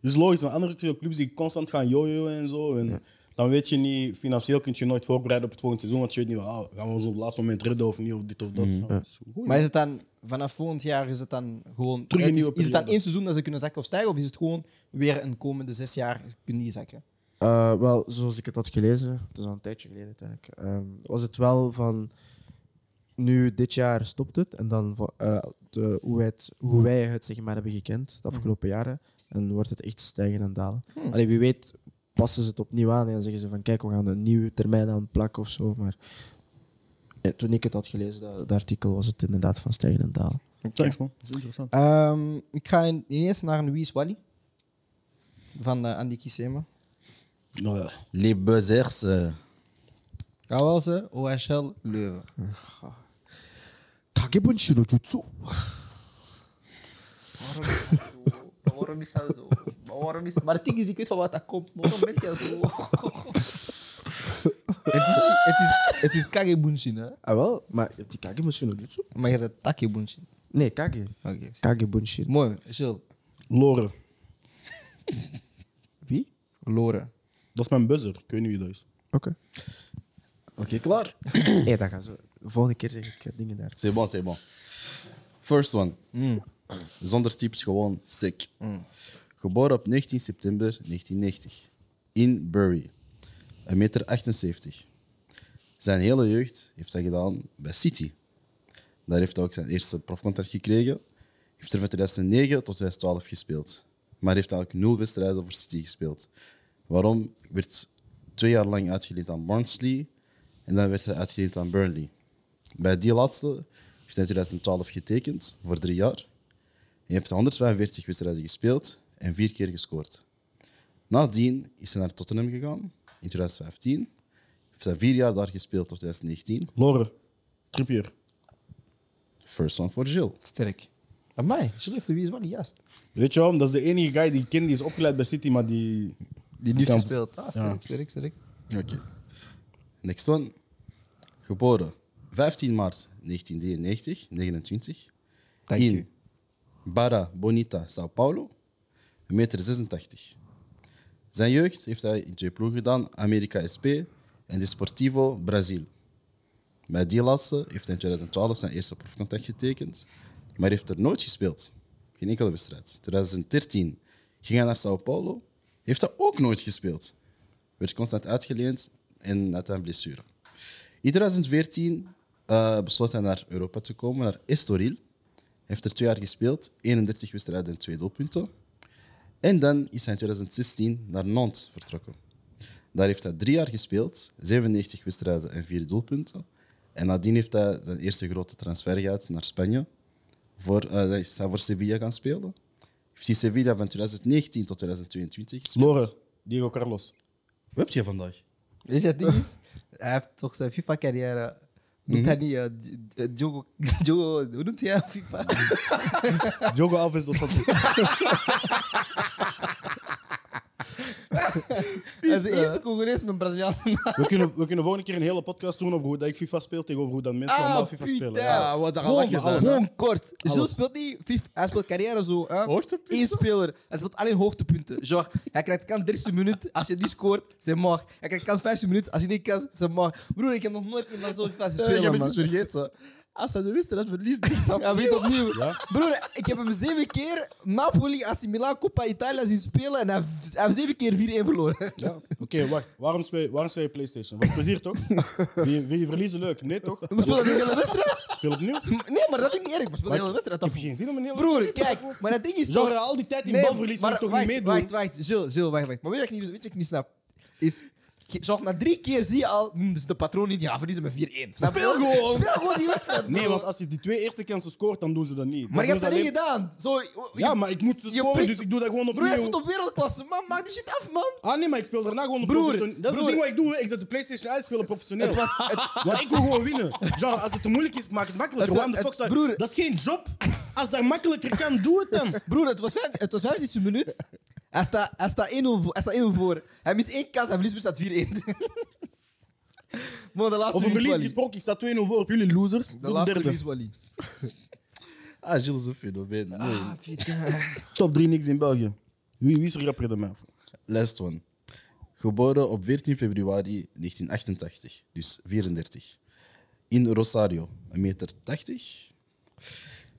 Speaker 2: Dus logisch, een andere clubs die constant gaan jojoen en zo. En Dan weet je niet, financieel kun je nooit voorbereiden op het volgende seizoen, want je weet niet, ah, gaan we ons op het laatste moment redden of niet, of dit of dat. Nou, dat is goed,
Speaker 1: Maar is het dan vanaf volgend jaar is het dan gewoon
Speaker 2: Terug een
Speaker 1: het is,
Speaker 2: nieuwe
Speaker 1: is het dan
Speaker 2: periode.
Speaker 1: één seizoen dat ze kunnen zakken of stijgen of is het gewoon weer een komende zes jaar kunnen die zakken?
Speaker 3: Eh, wel, zoals ik het had gelezen, het is al een tijdje geleden eigenlijk, ehm, was het wel van nu dit jaar stopt het en dan vo- eh, de, hoe, het, hoe wij het zeg maar, hebben gekend de afgelopen jaren en wordt het echt stijgen en dalen. Allee, wie weet passen ze het opnieuw aan en zeggen ze van kijk, we gaan een nieuwe termijn aan plakken of zo. Maar eh, toen ik het had gelezen, dat, dat artikel, was het inderdaad van stijgen en dalen.
Speaker 2: Thanks, man. Dat is interessant.
Speaker 1: Ehm, ik ga in- eerst naar een Wie is Wally van eh, Andy Kisema.
Speaker 2: Nou ja.
Speaker 5: Les buzzers. eh.
Speaker 1: Ga wel ze OHL Leuven.
Speaker 3: Kagebun Shirojutsu.
Speaker 1: Waarom is dat zo? Waarom is Maar het ding is, ik weet van wat dat komt. maar Waarom bent jij zo? het, is- het is, het is Kagebunshin, hè?
Speaker 3: Ah wel, maar die Kagebun Shirojutsu?
Speaker 1: Maar jij zegt Takebunshin.
Speaker 3: Nee, Kage.
Speaker 1: Oké.
Speaker 3: Kagebun Shirojutsu.
Speaker 1: Mooi, Jill.
Speaker 2: Loren,
Speaker 3: Wie?
Speaker 1: Loren.
Speaker 2: dat is mijn buzzer. Ik weet niet wie dat is.
Speaker 3: Oké.
Speaker 5: Oké, klaar.
Speaker 3: Nee, dat gaan ze. De volgende keer zeg ik eh, dingen daar.
Speaker 5: C'est bon, c'est bon. First one. Zonder tips, gewoon sick. Geboren op 19 september 1990 in Bury. 1,78 meter. 78. Zijn hele jeugd heeft hij gedaan bij City. Daar heeft hij ook zijn eerste profcontract gekregen. Heeft er van 2009 tot 2012 gespeeld. Maar heeft eigenlijk nul wedstrijden voor City gespeeld. Waarom? Werd twee jaar lang uitgeleend aan Barnsley. En En dan werd hij uitgeleend aan Burnley. Bij die laatste heeft hij in 2012 getekend, voor drie jaar. Hij heeft 145 wedstrijden gespeeld en vier keer gescoord. Nadien is hij naar Tottenham gegaan, in 2015. Heeft hij vier jaar daar gespeeld tot 2019.
Speaker 2: Loren, Trippier.
Speaker 5: First one voor Gilles.
Speaker 1: Sterk. Amai, Gilles heeft de wie is wel juist.
Speaker 2: Weet je waarom? Dat is de enige guy die ik ken die is opgeleid bij City, maar die...
Speaker 1: Die nu
Speaker 2: Kan-
Speaker 1: gespeeld. Ah, sterk, sterk, sterk.
Speaker 5: Oké. Next one. Geboren 15 maart 1993, 29.
Speaker 1: Dank
Speaker 5: in
Speaker 1: u.
Speaker 5: Barra Bonita, Sao Paulo. 1,86 meter. 86. Zijn jeugd heeft hij in twee ploegen gedaan, America SP en Desportivo Brazil. Bij die laatste heeft hij in 2012 zijn eerste proefcontact getekend, maar heeft er nooit gespeeld. Geen enkele wedstrijd. 2013 ging hij naar Sao Paulo, heeft hij ook nooit gespeeld. Werd constant uitgeleend en had een blessure. In 2014 eh, besloot hij naar Europa te komen, naar Estoril. Heeft er twee jaar gespeeld, 31 wedstrijden en twee doelpunten. En dan is hij in 2016 naar Nantes vertrokken. Daar heeft hij drie jaar gespeeld, 97 wedstrijden en vier doelpunten. En nadien heeft hij zijn eerste grote transfer gehad naar Spanje. Voor, eh, hij is hij voor Sevilla gaan spelen. Heeft hij Sevilla van 2019 tot 2022 gespeeld. Eh,
Speaker 2: Loren, Diego Carlos.
Speaker 5: Wat heb je vandaag?
Speaker 1: Weet je wat het ding is? Hij heeft toch zijn FIFA-carrière. Noemt hij niet eh, d- eh, Diogo, Diogo... Hoe noemt hij hem? FIFA?
Speaker 2: Diogo Alves dos Santos.
Speaker 1: Hij is de eerste Congolees met een Braziliaanse naam.
Speaker 2: We kunnen, we kunnen volgende keer een hele podcast doen over hoe dat ik FIFA speel tegenover hoe dat mensen
Speaker 1: Ah,
Speaker 2: allemaal Ah, FIFA spelen. Ja.
Speaker 5: Ja, wat daar
Speaker 1: Gewoon,
Speaker 5: lach je
Speaker 1: gewoon
Speaker 5: zelfs, hè?
Speaker 1: gewoon kort. Jules speelt niet FIFA. Hij speelt carrière zo. Hè?
Speaker 5: Hoogtepunten?
Speaker 1: Eén speler. Hij speelt alleen hoogtepunten. Genre, hij krijgt kans 30 minuut. Als je niet scoort, zijn mag. Hij krijgt kans 15 minuten. Als je niet kans, zijn mag. Broer, ik heb nog nooit iemand zo FIFA zien
Speaker 5: Eh, Ik
Speaker 1: spelen.
Speaker 5: heb
Speaker 1: man.
Speaker 5: iets vergeten. Als hij de wist dat verliest, dan
Speaker 1: Ja, weet opnieuw. Broer, ik heb hem zeven keer Napoli, AC Milan, Coppa Italia zien spelen en hij heeft- hij heeft zeven keer 4-1 verloren.
Speaker 2: Oké, wacht. Waarom speel, je- waarom speel je PlayStation? Wat plezier toch? Wil je verliezen leuk? Nee toch?
Speaker 1: We spelen de hele wedstrijd.
Speaker 2: Speel opnieuw.
Speaker 1: Nee, maar dat vind ik niet erg. We spelen de hele
Speaker 2: ik
Speaker 1: wedstrijd.
Speaker 2: heb
Speaker 1: af.
Speaker 2: geen zin om een hele
Speaker 1: Broer, kijk, maar dat ding is toch...
Speaker 2: Genre, al die tijd die
Speaker 1: Nee,
Speaker 2: balverlies moet
Speaker 1: maar
Speaker 2: ik toch
Speaker 1: wacht,
Speaker 2: niet meedoen?
Speaker 1: Wacht, wacht, Jill, Jill, wacht, wacht. Maar weet je wat ik niet, weet je wat ik niet snap? Is, je- zo, na drie keer zie je al, hm, dus de patroon niet, ja, verliezen met 4-1. Snap je?
Speaker 5: Speel gewoon.
Speaker 1: Speel gewoon die wedstrijd,
Speaker 2: Nee,
Speaker 1: bro.
Speaker 2: want als je die twee eerste kansen scoort, dan doen ze dat niet. Dan
Speaker 1: Maar je
Speaker 2: doen
Speaker 1: hebt dat
Speaker 2: ze
Speaker 1: niet
Speaker 2: alleen-
Speaker 1: gedaan. Zo,
Speaker 2: Ja, maar ik moet ze
Speaker 1: Je
Speaker 2: scoren,
Speaker 1: pikt-
Speaker 2: dus ik doe dat gewoon
Speaker 1: Broer, jij
Speaker 2: opnieuw.
Speaker 1: speelt op wereldklasse, man. Maak die shit af, man.
Speaker 2: Ah nee, maar ik speel daarna gewoon
Speaker 1: Broer,
Speaker 2: professioneel. Dat is het
Speaker 1: broer.
Speaker 2: ding wat ik doe. hè. Ik zet de PlayStation uit, spelen professioneel.
Speaker 1: Het was- het-
Speaker 2: Want ik wil gewoon winnen. Genre, als het te moeilijk is, ik maak het makkelijker.
Speaker 1: Het wa-
Speaker 2: Waarom de
Speaker 1: het-
Speaker 2: fuck zou-
Speaker 1: broer.
Speaker 2: Dat is geen job. Als dat makkelijker kan, doe het dan.
Speaker 1: Broer, het was, vijf, het was 75 minuut. Hij staat hij staat 1-0 voor- hij staat 1-0 voor. Hij mist één kans, hij verliest met 4-1. Maar de laatste
Speaker 2: Over
Speaker 1: verlies
Speaker 2: verlies
Speaker 1: Wally.
Speaker 2: gesproken, ik sta 2-0 voor op jullie losers. Doe
Speaker 1: De
Speaker 2: De
Speaker 1: laatste
Speaker 2: derde.
Speaker 1: verlies Wally.
Speaker 5: Ah, Gilles is een fenomeen. Nee.
Speaker 2: Ah. Top 3 niks in België. Wie, wie is er rapper dan mij?
Speaker 5: Last one. Geboren op 14 februari 1988, dus 34. In Rosario, 1,80 meter. 80.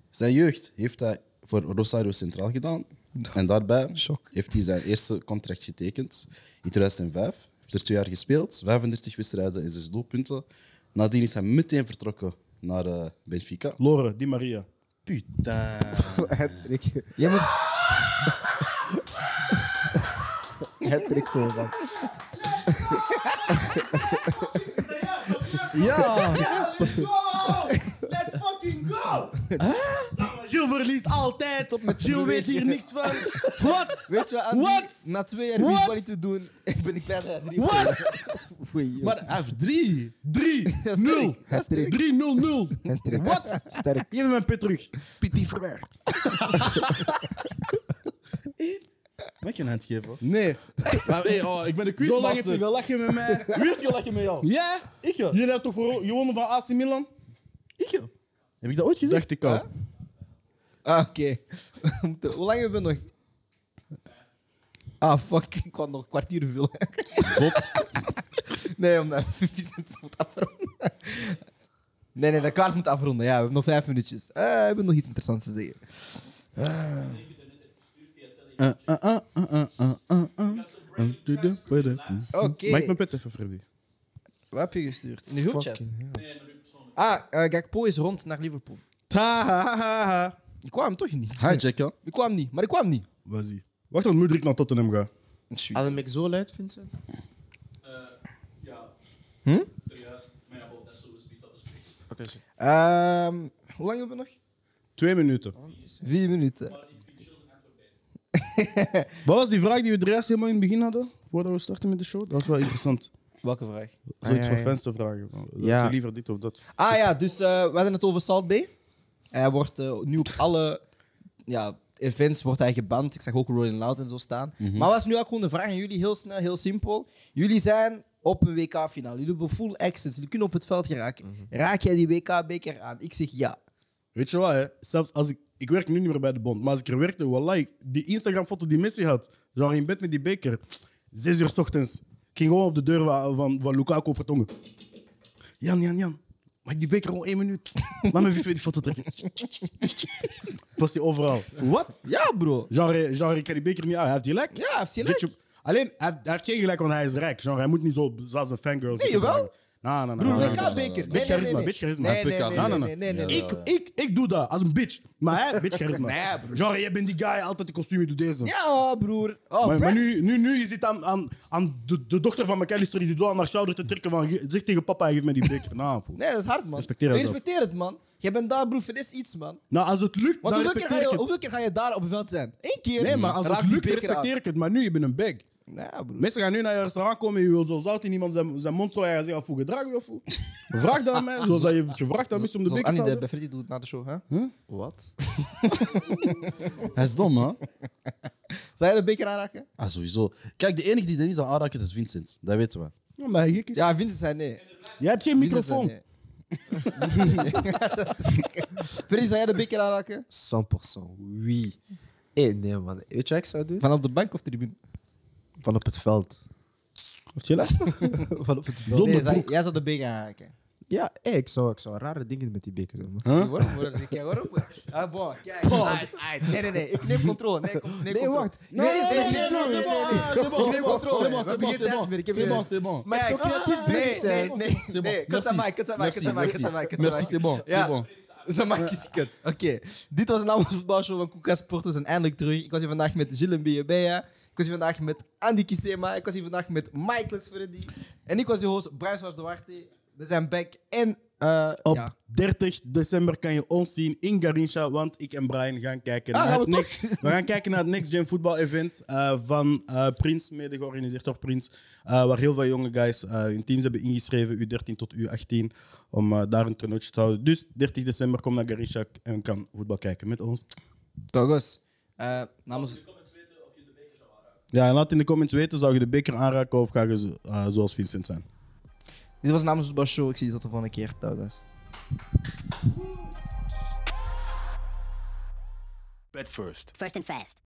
Speaker 5: Zijn jeugd heeft hij voor Rosario Centraal gedaan. En daarbij heeft hij zijn eerste contract getekend in 2005. Heeft er twee jaar gespeeld, 35 wedstrijden en 6 doelpunten. Nadien is hij meteen vertrokken naar eh, Benfica.
Speaker 2: Lore, Di Maria.
Speaker 5: Putain.
Speaker 3: Hattrick.
Speaker 1: Jij moet...
Speaker 3: Hattrick gewoon, man.
Speaker 5: Ja!
Speaker 2: Let's go! Let's fucking go! Gilles verliest altijd. Stop
Speaker 1: met
Speaker 2: Gilles weet hier
Speaker 1: bewegen.
Speaker 2: niks van. Wat?
Speaker 1: Weet je wat, Andy?
Speaker 2: What?
Speaker 1: Na twee jaar
Speaker 2: What?
Speaker 1: Wies Wally te doen, ik ben ik blij dat hij drie
Speaker 2: Wat?
Speaker 3: Oei, joh.
Speaker 2: Maar F3, 3,
Speaker 1: Dat is
Speaker 2: 0,
Speaker 1: sterk. Dat is sterk.
Speaker 2: 3, 0, 0.
Speaker 3: Hattrick.
Speaker 2: Wat?
Speaker 3: Sterk.
Speaker 2: Geef me mijn pit terug. Petit Verberg. Eh?
Speaker 5: Mag ik een hand geven?
Speaker 2: Nee.
Speaker 5: Maar, hey, oh, ik ben een
Speaker 2: Zo lang heb je
Speaker 5: quizmaster.
Speaker 2: gelachen met mij.
Speaker 5: Wie heeft gelachen met jou?
Speaker 2: Ja? Ik Jullie hebben toch voor gewonnen van AC Milan?
Speaker 5: Ik? Heb ik dat ooit gezegd?
Speaker 2: ik al.
Speaker 1: Ah, Oké. We moeten- Hoe lang hebben we nog? Ah, fuck. Ik kwam nog een kwartier vullen. nee, omdat Vincent moet afronden. Nee, nee, de kaart moet afronden. Ja, we hebben nog vijf minuutjes. Eh, we hebben nog iets interessants te zeggen. Oké.
Speaker 2: pet even, Freddy?
Speaker 1: Wat heb je gestuurd? In de groepchat? Ah, eh, Gakpo is rond naar Liverpool.
Speaker 2: Ha, ha, ha, ha.
Speaker 1: Ik kwam hem toch niet.
Speaker 5: Hi, Jacka.
Speaker 1: Ik kwam niet, maar ik kwam niet.
Speaker 2: Wat zie Wacht tot Mudrik naar Tottenham gaat.
Speaker 1: Shoot.
Speaker 3: Adem ik zo luid, Vincent?
Speaker 4: Eh, Ja. Eh,
Speaker 1: Hm?
Speaker 4: Juist.
Speaker 1: Ehm, hoe lang hebben we nog?
Speaker 2: Twee minuten.
Speaker 1: Vier minuten.
Speaker 2: Wat was die vraag die we er juist helemaal in het begin hadden? Voordat we starten met de show? Dat was wel interessant.
Speaker 1: Welke vraag?
Speaker 2: Zoiets
Speaker 3: Ah, ja, ja.
Speaker 2: voor fans te vragen. van, Dat
Speaker 3: Ja.
Speaker 2: je liever dit of dat.
Speaker 1: Ah ja, dus eh, we hadden het over Salt Bay. Hij wordt eh, nu op alle ja, events wordt hij geband. Ik zag ook Rolling Loud en zo staan. Maar was nu ook gewoon de vraag aan jullie, heel snel, heel simpel. Jullie zijn op een WK-finale. Jullie hebben full access. Jullie kunnen op het veld geraken. Raak jij die WK-beker aan? Ik zeg ja.
Speaker 2: Weet je wat, hè? Zelfs als ik... Ik werk nu niet meer bij de bond, maar als ik er werkte, wallah, die Instagram-foto die Messi had, genre in bed met die beker, zes uur 's ochtends, ik ging gewoon op de deur van, van, van Lukaku vertongen. Jan, Jan, Jan, maak die beker gewoon één minuut. Laat me even die foto trekken. Was die overal.
Speaker 1: Wat? Ja, bro.
Speaker 2: Genre, genre, ik kan die beker niet aan. Hij heeft die lek.
Speaker 1: Ja, heeft hij
Speaker 2: Weet
Speaker 1: gelijk.
Speaker 2: je- alleen, hij heeft, hij heeft geen gelijk, want hij is rijk. Genre, hij moet niet zo zoals een fangirl
Speaker 1: Nee, jawel.
Speaker 2: Nou, nou,
Speaker 1: Broer,
Speaker 2: nou.
Speaker 1: WK-beker.
Speaker 2: Bitch charisma, bitch charisma.
Speaker 1: Nee, nee, nee,
Speaker 5: PK.
Speaker 1: nee,
Speaker 2: Nou, nou,
Speaker 1: nee, nee,
Speaker 2: nou.
Speaker 1: nee, nee.
Speaker 2: Ik, ik, ik doe dat als een bitch. Maar hij, bitch charisma. Genre, jij bent die guy, altijd die kostuum, je doet deze.
Speaker 1: Ja, broer. Oh,
Speaker 2: maar, maar
Speaker 1: Brad-
Speaker 2: nu, nu, nu, je zit aan, aan, aan de, de dochter van McAllister, je zit zo aan haar schouder te trekken van, "Ge- zeg tegen papa, geef mij die beker. Nou, fool.
Speaker 1: Nee, dat is hard, man.
Speaker 2: Respecteer
Speaker 1: Nee,
Speaker 2: jezelf.
Speaker 1: Respecteer het, man. Jij bent daar, broer. Verlies iets, man.
Speaker 2: nou, als het lukt,
Speaker 1: Want
Speaker 2: dan
Speaker 1: hoeveel keer, ga
Speaker 2: respecteer
Speaker 1: je,
Speaker 2: ik het.
Speaker 1: hoeveel keer ga je daar op het veld zijn? Eén keer.
Speaker 2: Nee, maar als
Speaker 1: Raak
Speaker 2: het
Speaker 1: die
Speaker 2: lukt,
Speaker 1: beker aan.
Speaker 2: respecteer ik het. Maar nu, je bent een bag.
Speaker 1: Ja, broer.
Speaker 2: Mensen gaan nu naar je restaurant komen en je wil zo zout in iemand zijn, zijn mond zo en je zegt, hoe gedrag je of hoe? Vraag dat aan mij, zoals dat je hebt gevraagd aan mensen om de
Speaker 1: Zoals
Speaker 2: beker
Speaker 1: Annie
Speaker 2: te
Speaker 1: de
Speaker 2: houden.
Speaker 1: bij Freddy doet na de show, hè? Wat?
Speaker 5: Hij is dom, hè?
Speaker 1: Zou jij de beker aanraken?
Speaker 5: Ah, sowieso. Kijk, de enige die er niet zou aanraken is Vincent. Dat weten we.
Speaker 2: Ja, maar hij gek is.
Speaker 1: Ja, Vincent zei nee.
Speaker 2: Jij hebt geen
Speaker 1: Vincent zei
Speaker 2: microfoon.
Speaker 1: nee. Freddy, zou jij de beker aanraken?
Speaker 3: 100% wie? Eh, nee, man. Weet je wat ik zou doen?
Speaker 1: Van op de bank of tribune?
Speaker 3: Van op het veld.
Speaker 2: Wat je lacht?
Speaker 3: Van op het veld.
Speaker 2: Zonder
Speaker 1: Nee, zou-
Speaker 2: broek.
Speaker 1: jij zou de beker aanraken.
Speaker 3: Ja, eh, ik, zou, ik zou rare dingen met die beker doen. man.
Speaker 1: Zie je waarom, broer? Zie je waarom? Ah, boy. Kijk, uit, uit. Nee, nee, nee. Ik neem controle. Nee, kom, neem
Speaker 3: Nee,
Speaker 1: controle.
Speaker 3: wacht.
Speaker 1: Nee, nee, nee, nee, nee, nee, nee, nee.
Speaker 2: c'est bon,
Speaker 1: Ik neem controle. We hebben geen tijd meer. Ik heb
Speaker 5: c'est
Speaker 1: geen-
Speaker 5: bon, c'est bon.
Speaker 3: Maar ik zou creatief bezig
Speaker 1: ah, Nee, nee,
Speaker 3: zijn.
Speaker 1: nee.
Speaker 5: C'est bon.
Speaker 1: Nee, kut aan mij, kut aan mij, kut aan mij, kut aan mij, kut aan mij.
Speaker 5: Merci, c'est bon, c'est
Speaker 1: Ja.
Speaker 5: bon.
Speaker 1: Zijn maak is kut. Oké. Dit was een Amsterdam voetbalshow van Koeka Sport. We zijn eindelijk terug. Ik was hier vandaag met Gilles Mbeyebeya. Ik was hier vandaag met Andy Kisema. Ik was hier vandaag met Michael Freddy. En ik was je host, Bruis was de Warte. We zijn back. En eh
Speaker 2: Op
Speaker 1: ja.
Speaker 2: 30 december kan je ons zien in Garincha, want ik en Brian gaan kijken,
Speaker 1: Ah,
Speaker 2: naar,
Speaker 1: gaan
Speaker 2: het
Speaker 1: we
Speaker 2: next, we gaan kijken naar het Next Gen voetbal event eh, van eh Prins, mede georganiseerd door Prins, eh, waar heel veel jonge guys eh, hun teams hebben ingeschreven, U13 tot U18, om eh, daar een toernooitje te houden. Dus 30 december kom naar Garincha en kan voetbal kijken met ons.
Speaker 1: Togos. eh, namens...
Speaker 2: Ja, en laat in de comments weten, zou je de beker aanraken of ga je zo- eh, zoals Vincent zijn?
Speaker 1: Dit was namens voetbalshow. Ik zie je tot de volgende keer. Togos.
Speaker 4: Bet first.
Speaker 6: First and fast.